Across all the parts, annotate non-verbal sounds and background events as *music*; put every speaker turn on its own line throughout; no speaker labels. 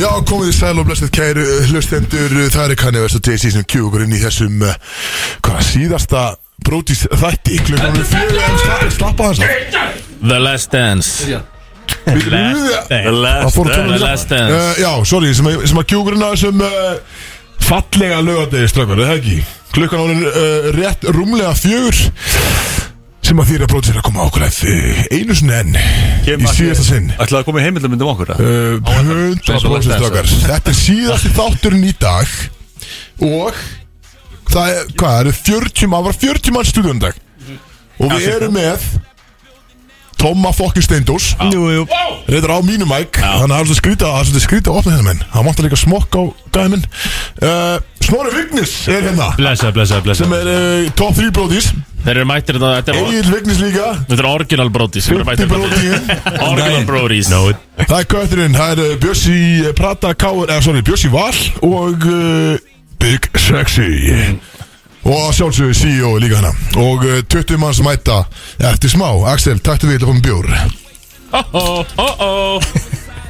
Já, komið í sæl og blessið kæru uh, hlustendur uh, Það er kannið veist og J.C. sem kjúkur inn í þessum uh, Hvað síðasta brótis þætti Klukkanum fjögur en slappa- Slappa hans af
The Last Dance The
Það
Last
fór að
Dance
tala
The
um þetta.
Last Dance
Eh, Já, sorry, sem, að- sem að kjúkur inn á þessum uh, Fallega lögadegi strafgar, það ekki Klukkan álinn uh, rétt rúmlega fjögur Sem að þýra brótis er að koma á okkur að eh, Einu sinni enn Í síðasta sinn
Ætlaði að koma í heimildamindum okkur eða?
Uh, 100% strákar
sko.
Þetta er síðasti þátturinn í dag Og Það er, hvað, það eru 40 Það var 40 mann stúdíundag Og við erum með Tóma fokkin Steindós
Jú, jú
Reyður á mínu mæk Þannig að það er svolítið skrýta Það er svolítið skrýta að opna hérna minn Það vantar líka smokk á gæði minn uh, Snorri Vignis er hérna
Blessa, blessa, blessa
Sem er uh, top 3 bróðis
Þeir eru mættir þetta Þetta er or-
Egil Vignis líka
Þetta er original brótis sem eru mættir
Fimmti
þarna.
bróðirinn.
Original brótis
Það er kötturinn, það er uh, Bjössi uh, Prata Káur, eða sorry, Bjössi Val og uh, Big Sexy Og að sjálfsögðu CEO líka hana Og uh, 20 manns mæta eftir smá Axel, takk til við að fá með bjór
Oh-oh-oh-oh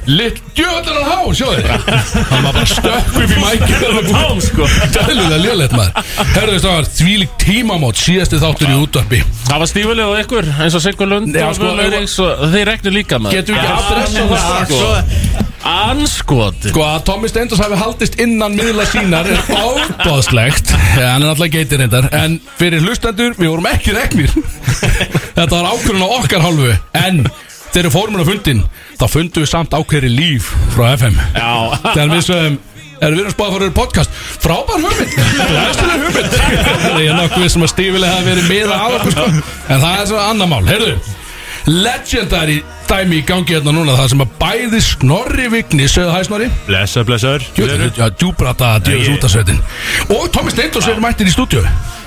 Litt djöðan hann há, sjáðu Hann var bara stökk upp í mækið og búið
Tám sko
Dælulega lélegt maður Herðu stráðar, þvílík tímamót síðasti þáttur í útvarpi
Það var stífuleg og ykkur eins og Sigur Lund
Já,
og
sko,
Guðlaug Eiríks og þeir reknu líka maður
Getum við ekki adressa það,
sko Anskoti
Sko að Tommy Steindors hafi haldist innan miðla sínar er ábáðslegt Hann er alltaf geitir reyndar En fyrir hlustendur, við vorum ekki regnir Þetta var ákvörðun á okkar hálfu En þegar við fórum hann á fundin Þá fundum við samt ákveðri líf frá FM
Já
Þegar við sögum Erum við erum spáð fyrir podcast Frábær hugmynd Læstuleg hugmynd Það er nokkuð sem að stífilega hafa verið meira á okkur sko En það er svo annar mál Heyrðu Legendary dæmi í gangi hérna núna Það sem að bæði Snorri Vigni Sögðu hæ Snorri
Blessa, blessaður
Jú, Djúbrata djöðs út af sveitin Og Tommy Steindors er mættir í stúdíu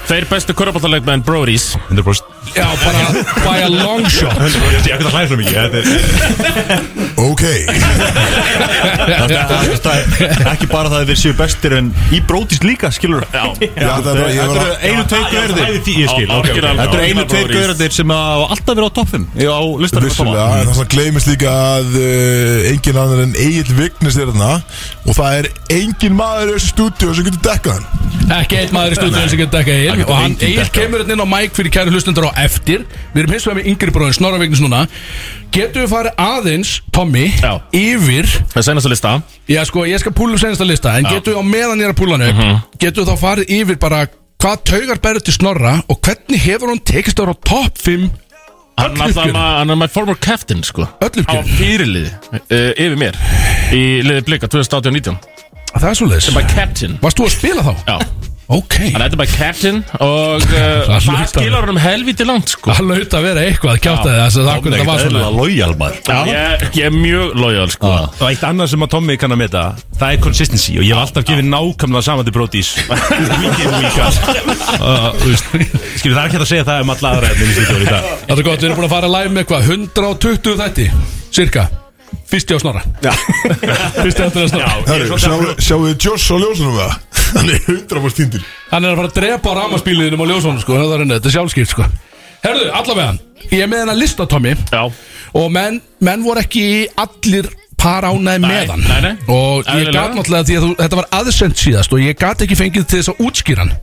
Þeir bestu korrupáttalegmenn brótis
100%
Já, bara by a long shot
Ég veit að hlæða svo mikið Þetta er-
Ok,
þetta er- þetta er ekki bara það að þeir séu bestir en í brótist líka, skilur
Já
já, það er, ég
Þetta
var
eru einu tveik gauðir Þetta eru einu tveik gauðir sem hafa alltaf verið á toppum á listanum hjá Tomma.
Vissulega, en það sem gleymist líka að uh, engin annar en Egil Vignis er þarna og það er engin maður í þessu stúdíu sem getur dekkað hann
Ekki eitt maður í stúdíun sem getur dekkað Egil
getur
Og hann
enginn
Egil
dekkað.
kemur hérna inn á mæk fyrir kæru hlustendur á eftir Við erum hins vegar með yngri bróðin Snorra Vignis núna Getum við farið aðeins, Tommy
Já.
Yfir,
Það er senast að lista
já sko, ég skal púla upp senasta lista En getum við á meðan ég er að púla hann upp
Mhm.
Getum við þá farið yfir bara Hvað taugar berður til Snorra Og hvernig hefur hann tekist ára á topp 5
Hann er alltaf
uppgjörið.
ma- hann er my former captain sko
Öll uppgjörið.
Á fyrirliði uh, Yfir mér Í liði blika 2018-19
Það er svo
By captain
Varst þú að spila þá?
Já
Ok
Hann er by captain Og uh,
*laughs* Það
það
hlutar.
skilur hann um helviti langt sko
Það laut að vera eitthvað, kjátaði þess að það akkur þetta var svona
lojal maður
ég, ég er mjög lojal sko
Og eitt annað sem að Tommi kann að meta Það er consistency og ég hef alltaf gefið nákvæmlega saman til brótis Víkinn víkast Skilur það er ekki hægt að segja það um alla aðra efnum í stúdíónu í dag
Það er gott, við erum búin að fara að live með hvað 120 þætti, cirka Fyrst ég á snorra *laughs* Fyrst ég á snorra
Herru, sjáu, sjáu þið Joss á ljósunum það? Hann er 100% tindir
Hann er að fara að drepa á ramaspíliðinum á ljósónum sko Það er henni, þetta er sjálfskipt sko Herðu, allavega, ég er með hennar lista Tommy
Já
Og menn, menn voru ekki allir par ánæði
Nei,
með hann
nei, nei.
Og ég
Eðlilega.
gat náttúrulega því að þú, þetta var aðsend síðast Og ég gat ekki fengið til þess að
*laughs*
útskýra hann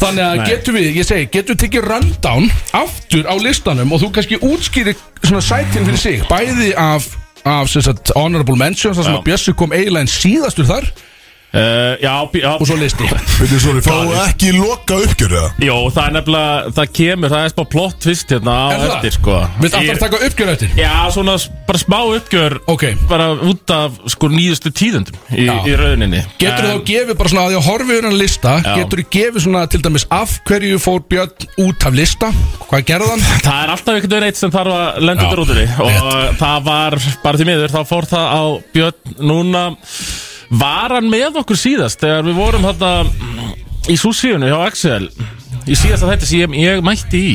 Þannig að getum við, ég segi, getum við tekið rundown Aftur á listanum Og þú kannski útskýrir svona sætin fyrir sig Bæði af, af sem sagt, honorable mentions Það sem
Já.
að Bjössi kom eiginlega en síðastur þar
uh, Já, bí- já
Og svo listi
Veitir, sorry, fáu ekki loka uppgjörða
Jó, það er nefnilega, það kemur, það er spá plott fyrst hérna á
Er það?
eftir sko
Við ætlum
Ég-
að taka uppgjör eftir
Já, svona s- bara smá uppgjör
Ok.
Bara út af sko nýjustu tíðundum í,
Já.
í rauninni
Getur þú
En-
þá gefið bara svona að ég horfi yfir hann lista
Já.
Getur þú gefið svona til dæmis af hverju fór Björn út af lista Hvað gerði hann?
Það er alltaf einhvern veginn eitt sem þarf að lenda
Já,
út úr útunni og
rétt.
það var bara því miður, þá fór það á Björn núna var hann með okkur síðast þegar við vorum þarna í súsíunni hjá Axel í síðasta þetta sem ég, ég mætti í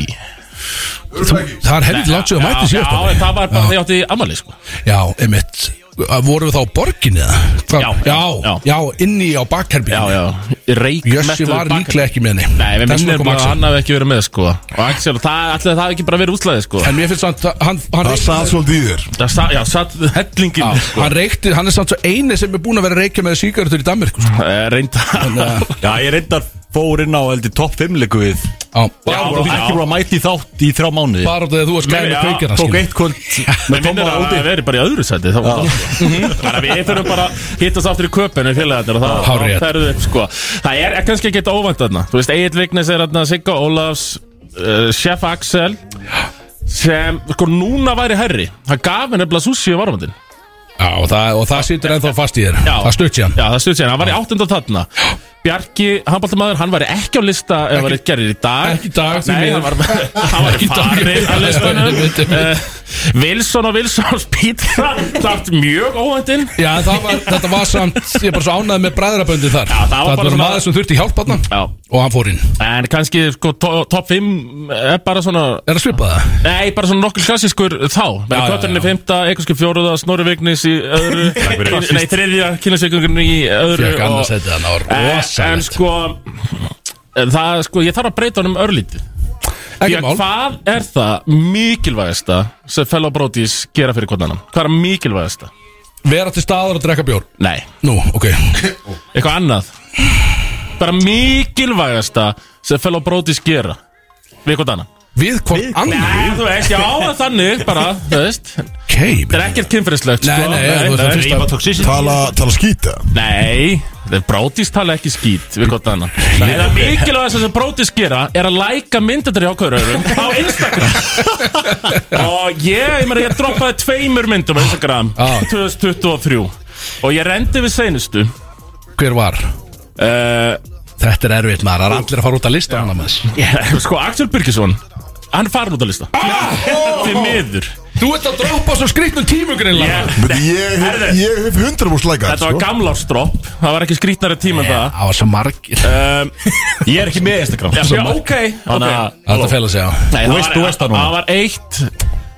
Það er helviti látt sér að mæti
Já,
síðast
já, en
ári.
það var bara því átti amali sko
Já, einmitt Að Voru við þá á borginni eða? Hva-
Já,
já,
já.
já, inni á
Já,
bakherbygginni
já, reik
Jössi var líklega ekki með henni
Nei, við
Þess vegna
minnum
kom
bara að
Axel.
hann hafi ekki verið með sko Og Axel, það, allir það hafi ekki bara verið útlæði sko
En mér finnst samt að hann, hann,
Það
reykti-
sað svolítið í þér
Það sa, já, satt hellingin
Já,
sko.
hann reykti, hann er samt svo eini sem er búin að vera að reykja með sígarettur í Danmörku sko.
Eh, Reynda *laughs*
Já, ég reyndar fór inn á heldur topp 5 leiku við Já,
Já, bara-
bara ekki búin að mæti þátt í þrjá mánuði
bara út af því að þú varst gæði með kveikjara
Tók
skilur.
eitt kvöld
*laughs*
með
Minnum
Tóma
að
úti
það verið bara í öðru sæti þá var það, sko. Þannig að við þurfum bara að hittast aftur í köpinu félagarnir og það
Hárrétt.
ferðu upp sko Það er er kannski ekki eitt óvænt þarna Þú veist, Egil Vignes er þarna Sigga Ólafs uh, Chef Axel sem sko núna væri herri hann gaf henni nefnilega sushi um í varumandin
Já, og það, og það situr ennþá fast í þér
Já.
Það stutt síðan
Já, það stuð sér, hann var í áttunda þarna Bjarki, handbóltamæður, hann var ekki á lista ef hann var eitt gerir í dag
Ekki í dag, því
Nei,
miður.
hann var, hann var
Ekki *laughs* í dag.
farinn á listanum
Einmitt, einmitt.
uh, Wilson og Wilsons pizza Dart mjög óhættin
Já, en það var, þetta var samt, ég er bara svo ánæði með bræðraböndið þar Já,
það var bara
var
svona-
maður sem þurfti hjálp hann
Já,
Og hann fór inn
en kannski sko, to- topp 5 er bara svona
Er það svipað það?
Nei, bara svona nokkur klassískur þá
Já,
Menni Kötturinn
já,
er fymta, Eikonski fjóruða, Snorri Vignis í
*laughs*
öðru
fyrir.
Nei, þriðja, kynasvíkungurinn í öðru
Fjökk
og-
annars þetta, það var
En, en
rosalegt
sko en Það, sko, ég þarf að breyta honum örlítið Því
Ekki
að
mál
hvað er það mikilvægasta sem fellow brotis gera fyrir hvernig annan? Hvað er mikilvægasta?
Vera til staðar og drekka bjór
Nei,
Nú, ok
eitthvað annað Bara mikilvægasta sem fellow brotis gera við hvernig annan
Við hvort annar
Nei, þú veist, já, það er þannig bara, þú veist
Ok
Það er ekkert kynfyrirslegt,
Nei,
sko
nei, þú veist, það
nei,
fyrst að
Rífa toxicity
Tala, tala skýta
nei, nei Brótis tala ekki skít við gott annan Nei, það mikilvægast sem Brótis gera er að læka myndindar í ákvörðurum á
*laughs*
Instagram Og ég, ég meina, ég droppaði tveimur myndum á Instagram
Ah.
2023 Og ég rendi við seinustu
Hver var?
uh,
Þetta er erfitt maður, það er allir að fara út að lista
*laughs*
hana með þess
Sko, Axel Birgisson, hann er farin út að lista Þið miður
Þú ert að droppa svo skriktnum tímugreinlega
Ég-
Beti, Ég
*laughs*
hef-
Herðu.
ég hef sko. hundra múst lækað
Þetta var gamlársdropp, það var ekki skrítnari tíma en það
Það var svo margir
Um,
*laughs* Ég er ekki með Instagram
já, já, ok,
Þannig að-
ok.
Þetta fæla sig á
Nei,
Þú veist- þú veist það núna.
Það var eitt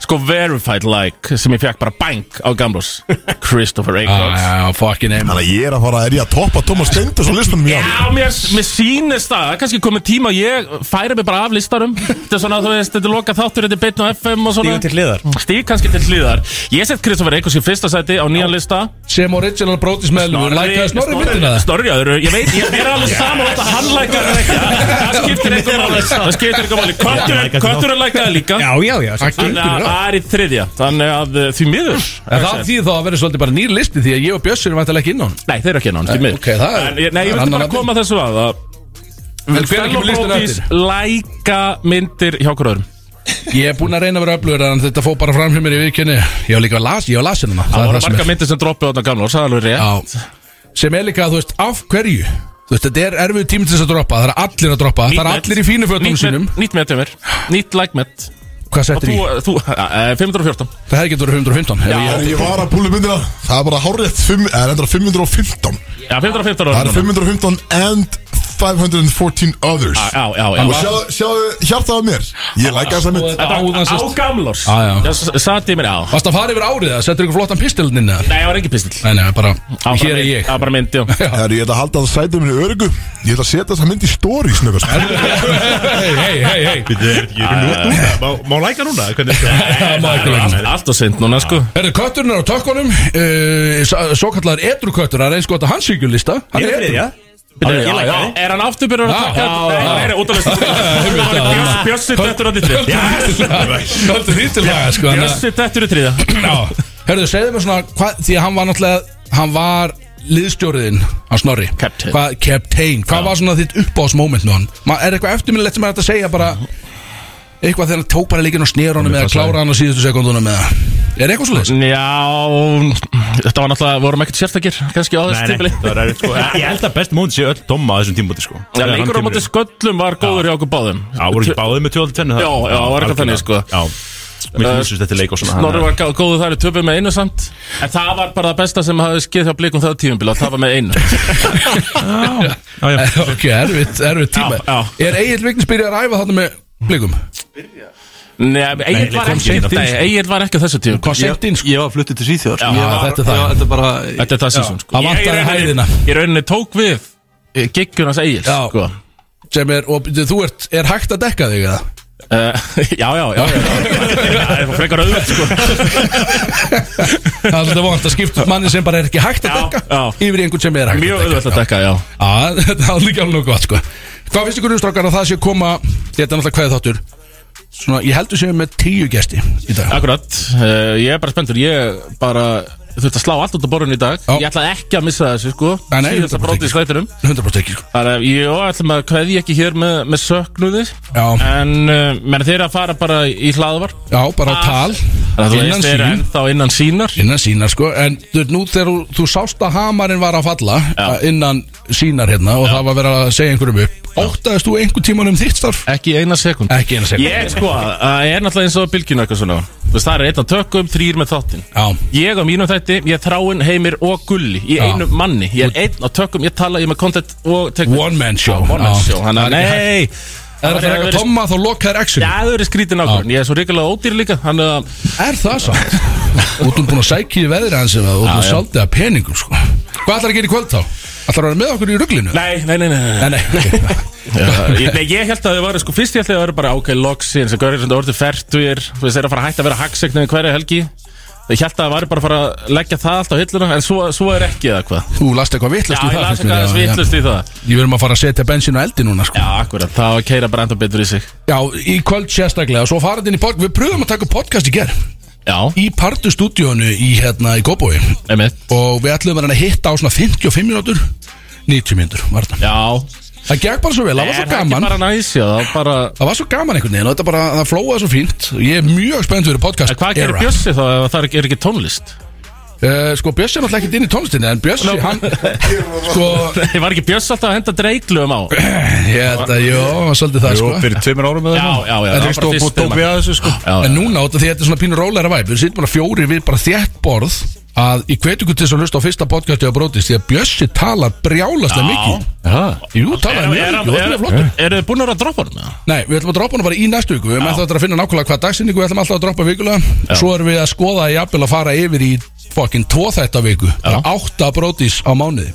sko verified like sem ég fekk bara bang á
*laughs*
gamlós
Ah,
Christopher Eikons
Já, já, fucking aim
Þannig að ég er að fara, er ég að toppa Thomas Stenders á listanum hjá mér?
Já, mér, mér sýnist það, kannski komið tíma að ég færi mig bara af listarum Þetta er svona, þú veist, þetta er lokað þáttur, þetta er beinn á FM og svona Mm,
Stíðum til hliðar
Stíg kannski til hliðar Ég set Kristoffer Eikons í fyrsta sæti á nýjan lista
Sem original brótis meðlum Lækaði snorri myndina það
Snorri, já, þeir eru- ég veit, ég mér er alveg saman þetta hann lækaði eða ekki Það skiptir eitthvað máli, það skiptir eitthvað máli Kötturinn- Kötturinn lækaði líka
Já, já, já Það
Þannig að það er í þriðja Þannig að uh, því miður
En það þýð þá að vera svolítið bara nýr listi Því að ég og Bjössur erum vantilega ekki inn á hann
Nei, þeir eru ekki enn því miður
ok, það er-
En ég- Nei, ég
það
vilti
er annar
bara
vandinn.
koma þessu að að
En hvenær kemur listin
Fellowbrotis
eftir?
læka myndir hjá hverjum
Ég er búin að reyna að vera öflugur En þetta fór bara fram hjá mér í viðkynni Ég var líka að las, ég var lasin hana
Það
er
voru
sem
marga myndir sem droppi á þarna gamla og sagði alveg rétt
er Já. Sem er líka, þú veist, af hverju Þú veist, þetta er erfið tími til þess að droppa Það er allir að droppa, það er
Nýtt met.
allir í fínu fötunum
Nýtt met-
sínum
Nýtt met hjá mér Nýtt like met
Hvað
Og
settir
þú,
í?
þú, eh, 514
Það hefði getur 115 ef ég-
Herri, Ég var að búli myndina Það er bara hárrétt fimm- Það er endur 515
Já, 515
Það
orðið
er
núna.
515 and 514 others
Ah, Já, já, já
Og sjáðu, sjáðu hjartaðu mér Ég læka þessa mynd
Þetta áðan
Á
sest-
gamlors
Já, Ah, já.
Sati mér á
Varst að fara yfir árið það, settur ykkur flottan pistilinn inn eða?
Nei, það var engin pistill
Nei, nei, bara,
Það var bara
hér er
mynd-
ég
Það var bara mynd, já
*laughs* Herri, ég ætla að halda það sætið minni örgu Ég ætla að setja þessa mynd í stories nöggast
*laughs*
Hei, hei, hei, hei
Býttu, er
Ah,
þetta ekki nú- núna? Má- Má læka núna? Hvernig er
Það *laughs* má ekki lengur
Allt- Allt og sind núna, sko
Herðu, kötturinn er á tökkunum uh, Svo kallar edru köttur Það er eins gott að hans sýkjulista Hann
Ég er
edrú.
þriðja
Byrju,
Já,
já,
já.
Er hann aftur byrjur að
Já,
taka
já,
þetta?
já.
Nei, nei, út af
*laughs*
list Bjössi dættur á dittri
Höldu því til það sko, hann að-
Bjössi dættur í þriða
Já. Herðu, segðu mér svona hva, Því að hann var náttúrulega Hann var liðstjóriðinn Hann snorri
Captain.
Hva, Captain Hvað var svona þitt uppáðsmoment með hann? Ma, er eitthvað eftirminnilegt sem er hægt að segja bara Eitthvað þegar hann tók bara líkin og snér honum Eða klára hann á síðustu sekundunum eða Er eitthvað svo
Já, þetta var náttúrulega, vorum ekkert sérstakir Kanski á þessu
Nei, nei,
tímili
það var
*laughs*
erfitt sko Ég held að best móti sé öll domma á þessum tímbúti sko
Já, leikur á móti sköllum var góður hjá okkur báðum
Já, voru ekki báðið með 12-10
Já, já, var eitthvað þannig, sko.
Já, mér finnst þetta leik og svona
Snorri var gá- góður þar í töfum með einu samt En það var bara það besta sem hafði skeið hjá blikum það tímabili að tapa með einu
Já, já,
*laughs* Ok, erfitt, erfitt tíma
Já,
Er Egil Vignis byrjað að æfa þarna með blikum?
Nei, Egil var
kom
ekki
seint inn,
Nei,
sko.
Egil var ekki á þessu tíma
Hvað sett inn sko?
Ég var fluttur til Svíþjóðar
Já,
Ég var-
þetta er það.
já, Þetta er bara
Þetta er það sísum sko
Það vantaði
Ég í rauninni-
hæðina.
Í rauninni tók við eh, giggjur hans eigils
Já.
sko.
sem er, og byrju, þú ert, er hægt að dekka þig eða?
uh, *laughs* Já, já, já, já.
*laughs*
Það er frekar auðvöld sko.
Það er alltaf vant að skipta út manni sem bara er ekki hægt að
Já,
dekka
já.
yfir í einhvern sem er hægt
Mjög
að dekka
auðvöld að dekka, já
Já, *laughs* þetta er líka alveg gott sko Hvað finnst ykkur um strákar að það sé að koma Þetta er náttúrulega hvað þáttur Svona, ég heldur sem með tíu gesti í dag
Akkurat, uh, ég er bara spenntur Ég bara þurfti að slá allt út á borðinu í dag
Já.
Ég ætlaði ekki að missa þessu sko
Nei, nei,
Síðast að bróti í skvætinum
100% ekki sko
Þannig að ég ætlum að kveði ekki hér með, með söknuði
Já,
En uh, menn þeir eru að fara bara í hlaðvarp
já bara á tal
Þannig að þú
Innan
veist þeir eru
sín
ennþá innan sínar
Innan sínar sko En þú veist, nú þegar þú- þú sást að hamarinn var að falla að Innan sínar hérna Og það var verið að segja einhverjum upp Óttaðist þú einhvern tíman um þitt starf?
Ekki eina sekund
Ekki einu sekund
Ég sko, það er náttúrulega eins og bylgjuna eitthvað svona Þú veist, það er einn að tökum, þrýr með þáttinn
Já,
Ég á mínum þætti, ég er þráinn, heimir og gulli Í
Já.
einu manni, ég er einn að tökum, ég tala, ég er með content og tek
one man show
One man show, hann
Þannig
að nei
Það er
það
að reka
verið-
tomma þá lokaðir
Já,
exinu
það eru skrítin ákvörðin, ég er svo ríkilega ódýr líka Þannig að,
Er það samt? Og þú er búin að sækja í veðri hans eða og þú er saldið að peningum sko Hvað ætlar að gera í kvöld þá? Ætlar að vera með okkur í ruglinu?
nei, nei, nei, nei, nei.
Nei, nei, *laughs* ok.
Já, ég, nei, ég held að það var, sko, fyrst ég held að það var bara ok, loksins, það görður sem það orðið fertugir þú veist, þeir eru að fara að hætta að vera hagsegnum í hverja helgi ég held að það var bara að fara að leggja það allt á hilluna, en svo, svo er ekki eða hvað
Þú last eitthvað vitlust
Já,
í
ég
það
las
finnst mér,
eitthvað aðeins
já,
vitlust í það
já. Ég verðum að fara að setja bensin á eldi núna sko
Já, akkurat, það var að keira bara enda betur í sig
Já, í kvöld sérstaklega og svo farað inn í podcast Við pröfum að taka upp podcast í ger
Já,
Í partustúdíónu í hérna í Kóbói
emitt
Og við ætlum að reyna að hitta á svona 55 mínútur 90 mínútur var þetta
Já,
Það gekk bara svo vel, það var svo
Er ekki
gaman
bara næs, já, það var bara
Það var svo gaman einhvern veginn og þetta bara, það flóaði svo fínt og Ég er mjög spennt fyrir podcast
En hvað gerir
era.
Bjössi þá ef það er ekki- er ekki tónlist?
Uh, sko Bjössi er náttúrulega ekkert inn í tónlistinni En Bjössi,
*laughs*
hann Sko,
Ég var ekki Bjössi alltaf að henda dreiklum á Já,
hérna, jú, hann var svolítið það
Jú,
sko
fyrir tveimur árum eða
já, já,
Það
það
er
var
ekki
bara
stóð búið
fyrst
dópið að þessu sko
En núna, út af því þetta er svona pínur rólegra væp Við sittum bara fjóri við bara þétt borð Að ég hveti ykkur til þess að hlusta á fyrsta podcasti á Brótis Því að Bjössi talar brjálaslega mikið Jú, talar mjög mikið, og þetta er flott
Eru þið búin að vera að droppa hann með það?
Nei, við ætlum að droppa hana bara í næstu viku Við erum eftir að finna nákvæmlega hvað dagsinningu Við ætlum alltaf að droppa vikulega Svo erum við að skoða í að fara yfir í Fokkin tvo þetta viku Bara Átta brótis á mánuði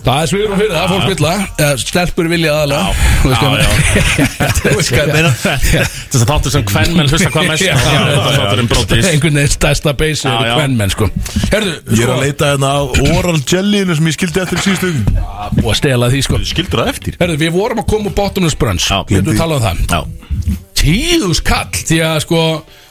Það er svigur og fyrir það, fólk vilja Eða Stelpur vilja aðalega Þú veist hvað *laughs* Þú veist hvað ég meina.
Þess að þáttu sem hvern menn hlusta hvað mest
Já,
á
já, já.
þáttur um brotis
Einhvern veginn stærsta beysi
Já,
yfir
já.
kvennmenn sko
Ég
Herðu,
er
sko,
að leita hérna á oral jellyinu sem ég skildi eftir í síðustu viku.
búið að stela því sko
Skildur það eftir?
Herðu, við vorum að koma úr bottomless brunch
Já,
Við erum talað um það
Já,
Tíðus kall, því að sko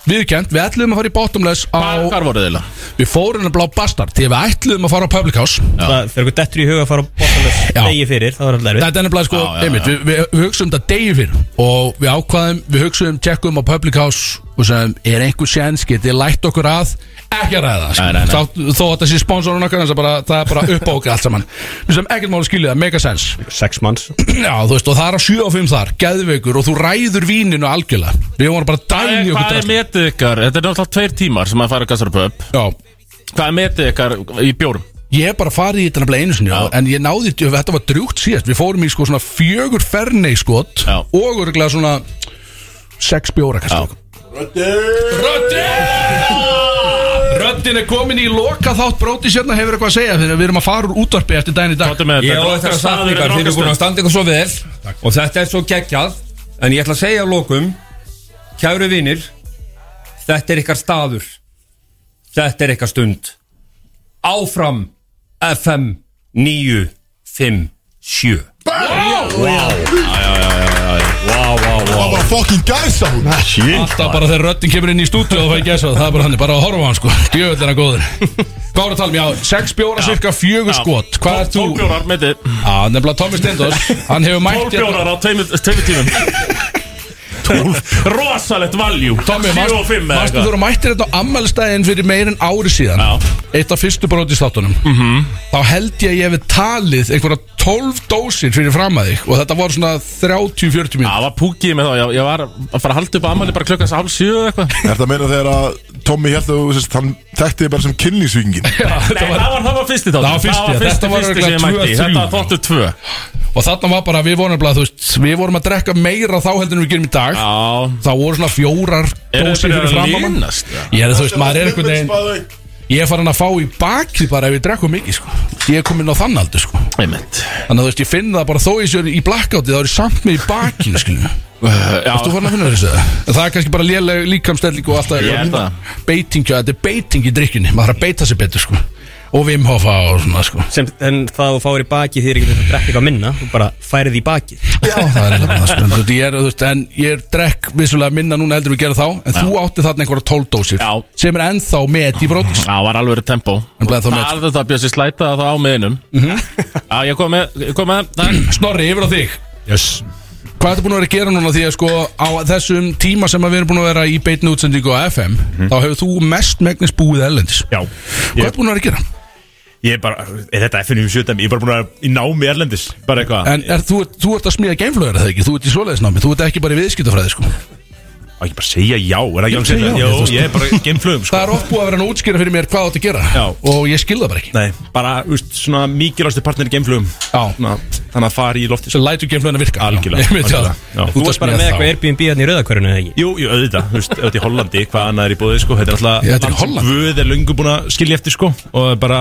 Viðkjönd, við ætlum að fara í bottomless
Hvar-
á
hvar voruð þið eiginlega?
Við fórum að blá bastard því að við ætluðum að fara á Public House
Það fyrir eitthvað dettur í huga að fara á bóttalöf
Já.
degi fyrir, það var alltaf erfitt
Þetta er nefnilega sko, einmitt, við, við, við hugsaum þetta degi fyrir Og við ákvaðum, við hugsaum, tjekkum á Public House Og sem er einhver séns, getið lætt okkur að Ekki að ræða sko.
Nei, nei, nei.
það Þá- Þó að þetta sé sponsorun okkar, það er bara, það er bara upp á okkur allt saman Við sem ekkert máli skilja það, mega sens
Sex manns
*clears throat* Já, þú veist, og það er á 7 og 5 þar, geðveikur Og þú ræður víninu algjörlega Við vorum bara
Hvað er- Hvað
dæmi
er
okkur drast.
metið ykkar? Þetta er náttúrulega tveir tímar sem að fara að gassar pub
Já,
Hvað er metið ykkar í bjórum?
Ég hef bara farið í þetta nefnilega einu sinni En ég náði, þetta var drjúgt síðast Við fórum í sko svona fjögur fernei skot
Já.
Og örgulega svona Sex bjóra kannski Röddin Röddin er komin í loka þátt Bróti sérna hefur eitthvað að segja Þegar við erum að fara úr útvarpi eftir daginn í dag
Hvað er með
Ég á
þetta?
eftir að staða ykkar, þið eru búin að standa ykkur svo vel Og þetta er svo geggjað En ég ætla að segja á lokum Kæru vinir Þetta er ykkar staður Þetta er ykkar stund Áfram FM 957
Það var fucking gæsa
Ah,
hún
Alltaf bara þegar röddin kemur inn í stúdíu og það fæ ekki að það er bara hann, bara að horfa á hann sko Djöfull er hann góður Hvað var að tala um, já, sex bjóra, cirka fjögur skot Hvað er þú?
Tólf bjórar metið
Já, nefnilega Tommi Stendors, hann hefur
Tólf
mætt hérna-
bjórar á tveimur tveimur
*laughs*
tímum Rosalegt valjú
Tommi,
7 og 5 eða
maður
eitthvað
þú mættir þetta á ammalstæðin fyrir meir en ári síðan
Já. Mhm.
Eitt af fyrstu brótistáttunum -hmm. Þá held ég að ég hef talið einhverja 12 dósir fyrir fram að þig Og þetta voru svona 30-40
Já,
mínútur
það var púkið með þá, ég, ég var að fara að halda upp á amali bara klukkan hálf sjö eða eitthvað
Er þetta að meina þegar að Tommy held að þú sérst, hann þekkti þig bara sem
*laughs*
kynlýsvíkingin
Nei, það var, það var fyrsti þáttur
Það var fyrsti,
það var fyrsti,
þetta var
fyrsti sem ég
örugglega
mætti í.
2-3.
Þetta var þáttur tvö
Og þarna var bara, við vorum nefnilega, þú veist, við vorum að drekka meira þá heldur en við gerum í dag
Já,
Það voru svona fjórar
er
dósir
þetta
fyrir
byrjað að
fram að mann
línast?
Ég er þú veist, maður er einhvern veginn Ég er farin að fá í bakið bara ef ég drekku mikið sko. Ég er komin á þann aldur sko.
Einmitt
Þannig að þú veist, ég finn það bara þó ég sér í blackouti þá er ég samt með í bakinu skiljum
Uh, Já,
Þú farin að finna þessu það En það er kannski bara léleg líkamstelling og alltaf
Ég er það.
Beiting, já, þetta er beiting í drikkunni Maður þarf að beita sig betur sko Og vimhofa og svona sko
sem, en það þú fáir í baki þýðir ekki að drekka eitthvað minna þú bara færið í baki
Já, það er eitthvað sko En þú veist, ég er, þú veist, en ég er drekk vissulega minna núna heldur við gera þá En þú átti þarna einhverja tóldósir
Já.
Sem er ennþá með í brótis
það var alveg tempo
En
Það
bleið þá með,
er þetta að bjössi slæta það á miðinum
Mhm.
Já, ég kom með, ég kom með það
*clears throat* Snorri, yfir á þig
Yes
Hvað ertu búin að vera að gera núna því að sko á þessum tíma sem að við erum búin að vera í beitni útsendingu á FM þá hefur þú mest megnis búið erlendis
Mhm. Já
Hvað ertu búin að vera að gera?
Ég er bara er Þetta FNU 7 Ég er bara búin að vera í námi erlendis Bara eitthvað
En er, þú, þú ert að smíða geimflöður eða ekki? Þú ert í svoleiðisnámi, þú ert ekki bara í viðskiptafræði sko
Á ekki bara segja já Er það ekki alveg
segi já,
segja
ég, þú
Jó, ég er bara geimflögum sko
Það er oft búið að vera að útskýra fyrir mér hvað þú ert að gera
Já.
og ég skil það bara ekki
Nei, bara, þú veist, svona mikilvægstu partner í geimflugum
Já.
Ná, Þannig að fara í lofti
Svo lætur geimflöðin að virka
Algjörlega,
Ég veit
algjörlega.
það.
Já.
Þú
þú
ert
varst bara með eitthvað Airbnb hérna í rauðakörinu eða ekki
Jú, jú, auðvitað, þú veist, auðvitað í Hollandi, hvað annað er í bóði, sko Þetta er alltaf
Já, þetta er í Hollandi.
Guð er löngu búin að skilja eftir, sko Og bara,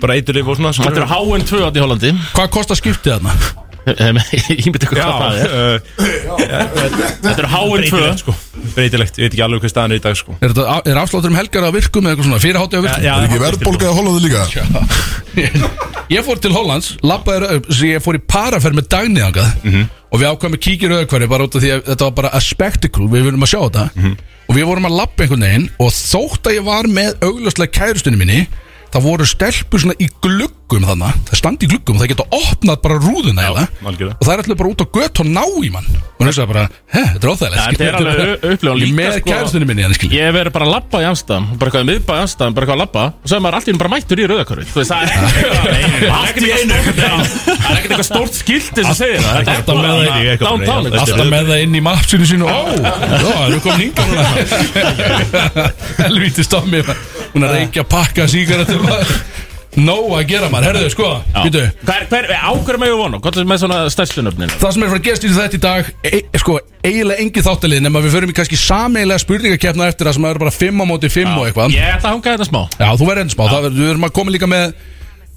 bara eiturlif og svona skilur.
Þetta er HN2 átt í Hollandi
Hvað kostar skiptið þarna?
Ég myndi ykkur hvað það er
Já, eh,
Þetta er HN2
breytilegt, sko Breytilegt, ég veit ekki alveg hvað staðan er í dag, sko
Er, þetta, á- er afsláttur um helgar að virkum eða eitthvað svona fyrir hátíð á virkum?
Er ekki verðbólgaði Hollandi líka?
Ég fór til Hollands, labbaði, rau- ég fór í paraferð með dagni angað og við ákvæmum að kíkja í rauðakværi bara út af því að þetta var bara a spectacle, við viljum að sjá þetta og við vorum að labba einhvern veginn og þótt að ég var með augljóslega kærustunni minni það voru stelpur svona í gluggum þannig, það standi í gluggum, það geta opnað bara rúðuna Já,
algjörlega.
og það er allir bara út á gött og ná í mann og þess að bara, heh, þetta er óþægilegt
Já, þetta er
skilur.
alveg u- upplifun líka,
Með
sko.
kærustunni minni, hann skilur
Ég hef verið bara að labba í Amstæðan Bara eitthvað miðbæ í Amstæðan, bara eitthvað að labba Og svo er maður allt í einu bara mættur í rauðakörfi Þú veist, það
Ah,
er Allt í einu Það er ekkert eitthvað stórt skilti sem segir það Þetta er
Alltaf með það í eitthvað
Downtown,
Þetta er-
Alltaf með það inn í mappsinu sínu Ó, já, erum við komin hinga núna *laughs* Helvíti stommi Hún er að reykja pakka sígarettur Nó að gera maður, herðu, sko býtu.
Hver, hver, ákveður með ég vonu? Hvað er með svona stærstunöfnin?
Það sem er frá að gerast í þetta í dag e, Sko, eiginlega engi þáttalið Nefn að við förum í kannski sameiginlega spurningakeppna eftir það sem er bara 5 á móti 5 og eitthvað
Ég ætla að hanga þetta smá
Já, þú verður enn smá, það verður, við verðum að koma líka með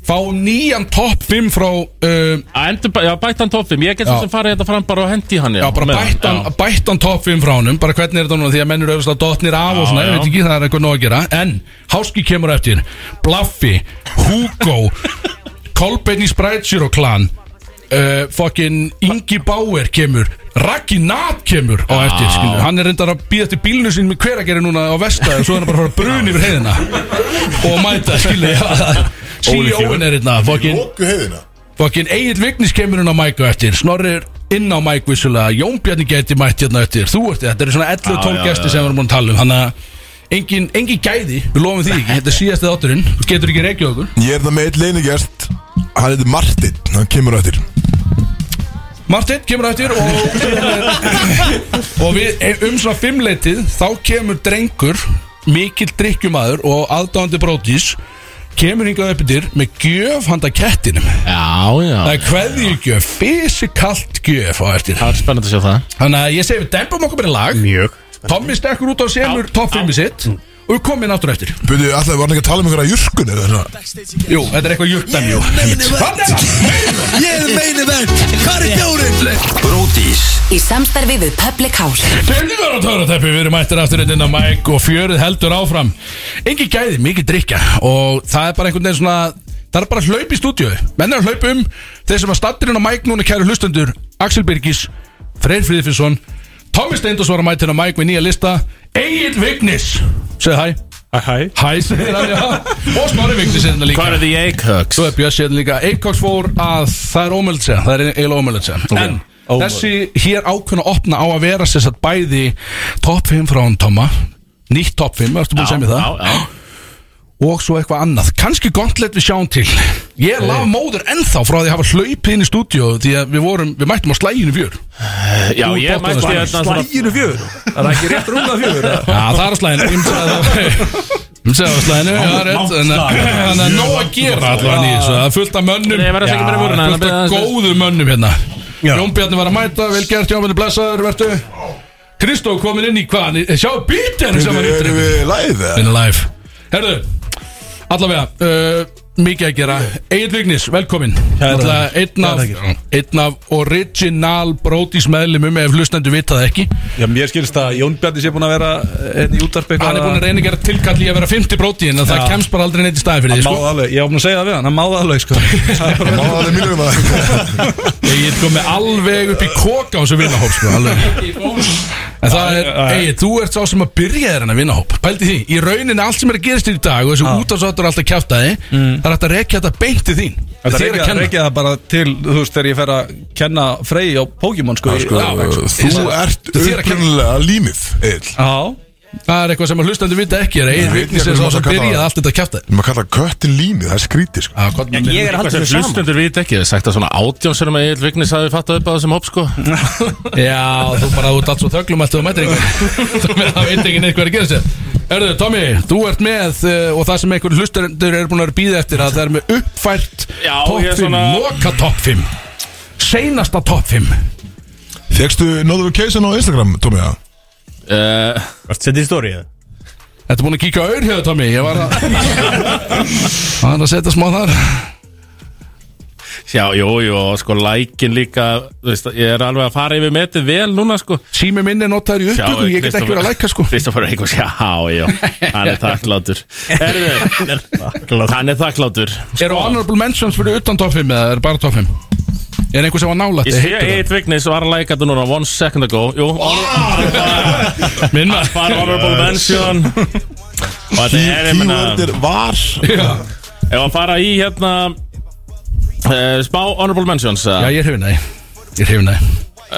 Fá nýjan topp 5 frá uh,
Að endur bara- Já, bættan toppum Ég get
Já.
sem farið þetta fram bara og hendi hann
Já, bara bættan, bættan topp 5 frá honum Bara hvernig er þetta núna því að mennur auðvitað dotnir af og svona,
já.
ég veit ekki, það er eitthvað nóg að gera En, Háski kemur á eftir Blaffi,
*laughs*
Hugo Kolbeinn í Sprætsjur og klan uh, Fokkin Ingi Bauer kemur Raggi Nat kemur á eftir skilur. Hann er reyndar að býða til bílnu sín með hveragerði núna á vesta og svo er hann bara að fara brun yfir heiðina og mæta, skilur CEO-in er hérna, fokkin
Lóku heiðina
Fokkin Egil Vignis kemur inn á mæk og eftir Snorri er inn á mæk vissulega Jón Bjarni gæti mætt hérna eftir Þú ert þetta eru svona 11 og 12 gæsti sem við erum búin að tala um Þannig að engin, engin gæði Við lofum því ekki, þetta er síðasti þátturinn Þú getur ekki reykja okkur
Ég er það með eitt leinigest Hann heitir Martin, hann kemur á eftir
Martin kemur á eftir og, og við um svona fimmleitið Þá kemur drengur Mikill drikkjumadur og aðdáðandi brótis Kemur hingað upp yfir Með gjöf handa kettinum
Já, já
Það er kveðju gjöf, fysikalt gjöf á eftir
Það er spennandi að sjá það
Þannig að ég segi við dempum okkur bara í lag Mjög Tommi stekkur út á semur topp 5 sitt Og við komum inn aftur eftir
Byrju, alltaf var hann ekki að tala um einhverja jurkun eða svona
Jú, þetta er eitthvað júrtan, jú
Ég er meini vend Hvað er bjórið? Bródís
Í samstarfi við Public House
Fylgur á töruteppi, við erum mættir aftur hérna inn á mæk Og fjörið heldur áfram Engi gæði, mikið drikja Og það er bara einhvern veginn svona Það er bara að hlaupa í stúdíu Menn er að hlaupa um Þeir sem að stattir inn á mæk núna kæru hlustendur Axel Birgis, Freyr Friðfinsson Tommi Steindors var að mæta inn á mæk með nýja lista Egil Vignis Segðu hæ
Hæ
Hæ, segir hann, já Og Snorri Vignis er þetta líka
Hvað er því ég högst?
Svo er Björn síðan hérna líka Eikoks fór að það er ómöld segja Það er eiginlega ómöld segja En þessi hér ákveðna opna á að vera sér satt bæði Top 5 frá hann Toma Nýtt top 5, ertu búin að segja mér það
Já, já
Og svo eitthvað annað Kanski gauntlet við sjáum til
Eh.
Ég laf móður ennþá frá því að hafa hlaupið inn í stúdíu Því að við, vorum, við mættum á slæginu fjör
Já, ég mætti hérna svona
Slæginu fjögur Það er ekki rétt rúmlega fjögur eða?
Já, það er á slæðinu Ég myndi segja það Ég myndi segja það á slæðinu Já, rétt en- Þannig að nóg að gera allavega nýs Það er fullt af mönnum
Nei, ég verð að segja bara í vöruna, en að
fullt
byrja
af
aðeins.
góðu mönnum hérna Jón Bjarni var að mæta Vel gert, Jón Bjarni blessaður Vertu Kristó komin inn í hvað Hann- Sjá bítinu sem hann
Erum
yttir
við live eða?
Been alive Herðu Allavega, uh, mikið að gera Egil Vignis, velkomin Allavega, einn af, einn af original brótis meðlumum ef hlustandi vita það ekki
Já, mér skilst að Jón Bjarni sé búin að vera hérna í útarpi
Hann er búin að reyna að gera tilkall í að vera 50 bróti en það
Já.
kemst bara aldrei neitt í staði fyrir því
Hann
sko.
máði alveg, ég var búin að segja það við hann, hann máði alveg sko Það er bara-
Máðaði mínum að
Egil komið sko alveg upp í koka á þessu vinnahóp sko, alveg. En það er, Egil, þú ert sá sem að byrja þér hennar vinnahóp Pældi því, í rauninni allt sem er að gerast þér í dag og þessi útafsáttur er alltaf kjátaði mm. það er hægt að rekja þetta beint til þín
Þetta
Þér
reykja, reykja það bara til, þú veist, þegar ég fer að kenna Frey á Pokémon sko í- Já,
það Þú ert
Þér að kenna.
upprunalega límið Egil
Það er eitthvað sem að hlustandi vita ekki er Egil
Ég veit
Vignis
ekki
er
hvernig
sá
maður
sem
kallar
byrjaði
það.
allt þetta kjátaði
Við maður kalla köttin límið, það er skrítið sko
Ég er
Eitthvað
alltaf
sem
svo saman
hlustundur vit ekki, það er sagt að svona átjónsurum að Egil Vignis hafi fattað upp á þessum hopp sko
*laughs* Já, þú bara út allt svo þöglum að þú mætir einhver *laughs* Það veit ekki neitt hvað er að gera sér Erðu, Tommy, þú ert með uh, og það sem einhver hlustendur er búin að vera býða eftir að það er með uppfært
Já,
topp
ég er
5, svona...
svona-
loka topp 5 seinasta topp 5
Fegstu notification á Instagram, Tómi, já?
Eh,
Vart setið í stórið
Þetta er búin að kíka á auðhjöðu, Tommy Ég var
*laughs*
að, var að setja smá þar
*laughs* Já, jú, jú, og sko lækin líka þú veist, Ég er alveg að fara yfir metið vel núna sko
Sími minni notaður í upptöku, ég get ekki verið að læka
*laughs*
sko
Kristoffer Eikos, já, já, hann er þakklátur Herðu, Hann er þakklátur
Eru honorable mentions fyrir utan topp 5 eða er bara topp 5? Er einhver sem var nálætt?
Ég sé Egil Vignis var að læka þetta núna One second ago Jú,
Minna
bara honorable mention
*laughs*
Og þetta er, ég meina
Keyword er var
Ef að fara í hérna uh, Spá honorable mentions
Já,
uh,
ég er hefinn að Ég er hefinn að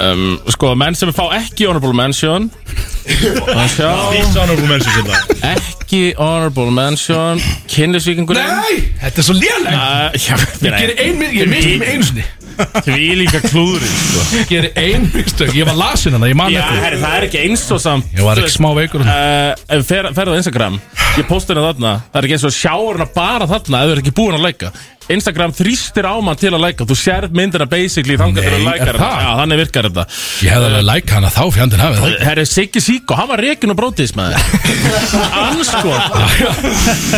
um, Sko, menn sem fá ekki honorable mention Og sjá
Dishonorable mentions hérna
Ekki honorable mention Kynlisvíkingurinn
Nei, þetta er svo lélægt
Uh, já,
Ég gerir ein mistök, ég misti mig einu sinni
Því líka klúðurinn sko.
Ég gerir ein mistök, ég var lasin hana, ég man
Já,
eftir
herri, það er ekki eins og samt
Ég var ekki smá veikur hérna. þarna.
uh, fer, Ferðu á Instagram Ég posta hérna þarna Það er ekki eins og sjáur hana bara þarna Ef þú er ekki búin að læka Instagram þrýstir á mann til að læka Þú sérð myndina basically þangað til að
Nei,
læka
er
hana
það?
Já, þannig virkar þetta
Ég hefði alveg læk hana þá fjandinn hafið það
Herri, Siggi Sýko, hann var reikin og brótis
*laughs*
með það Anskot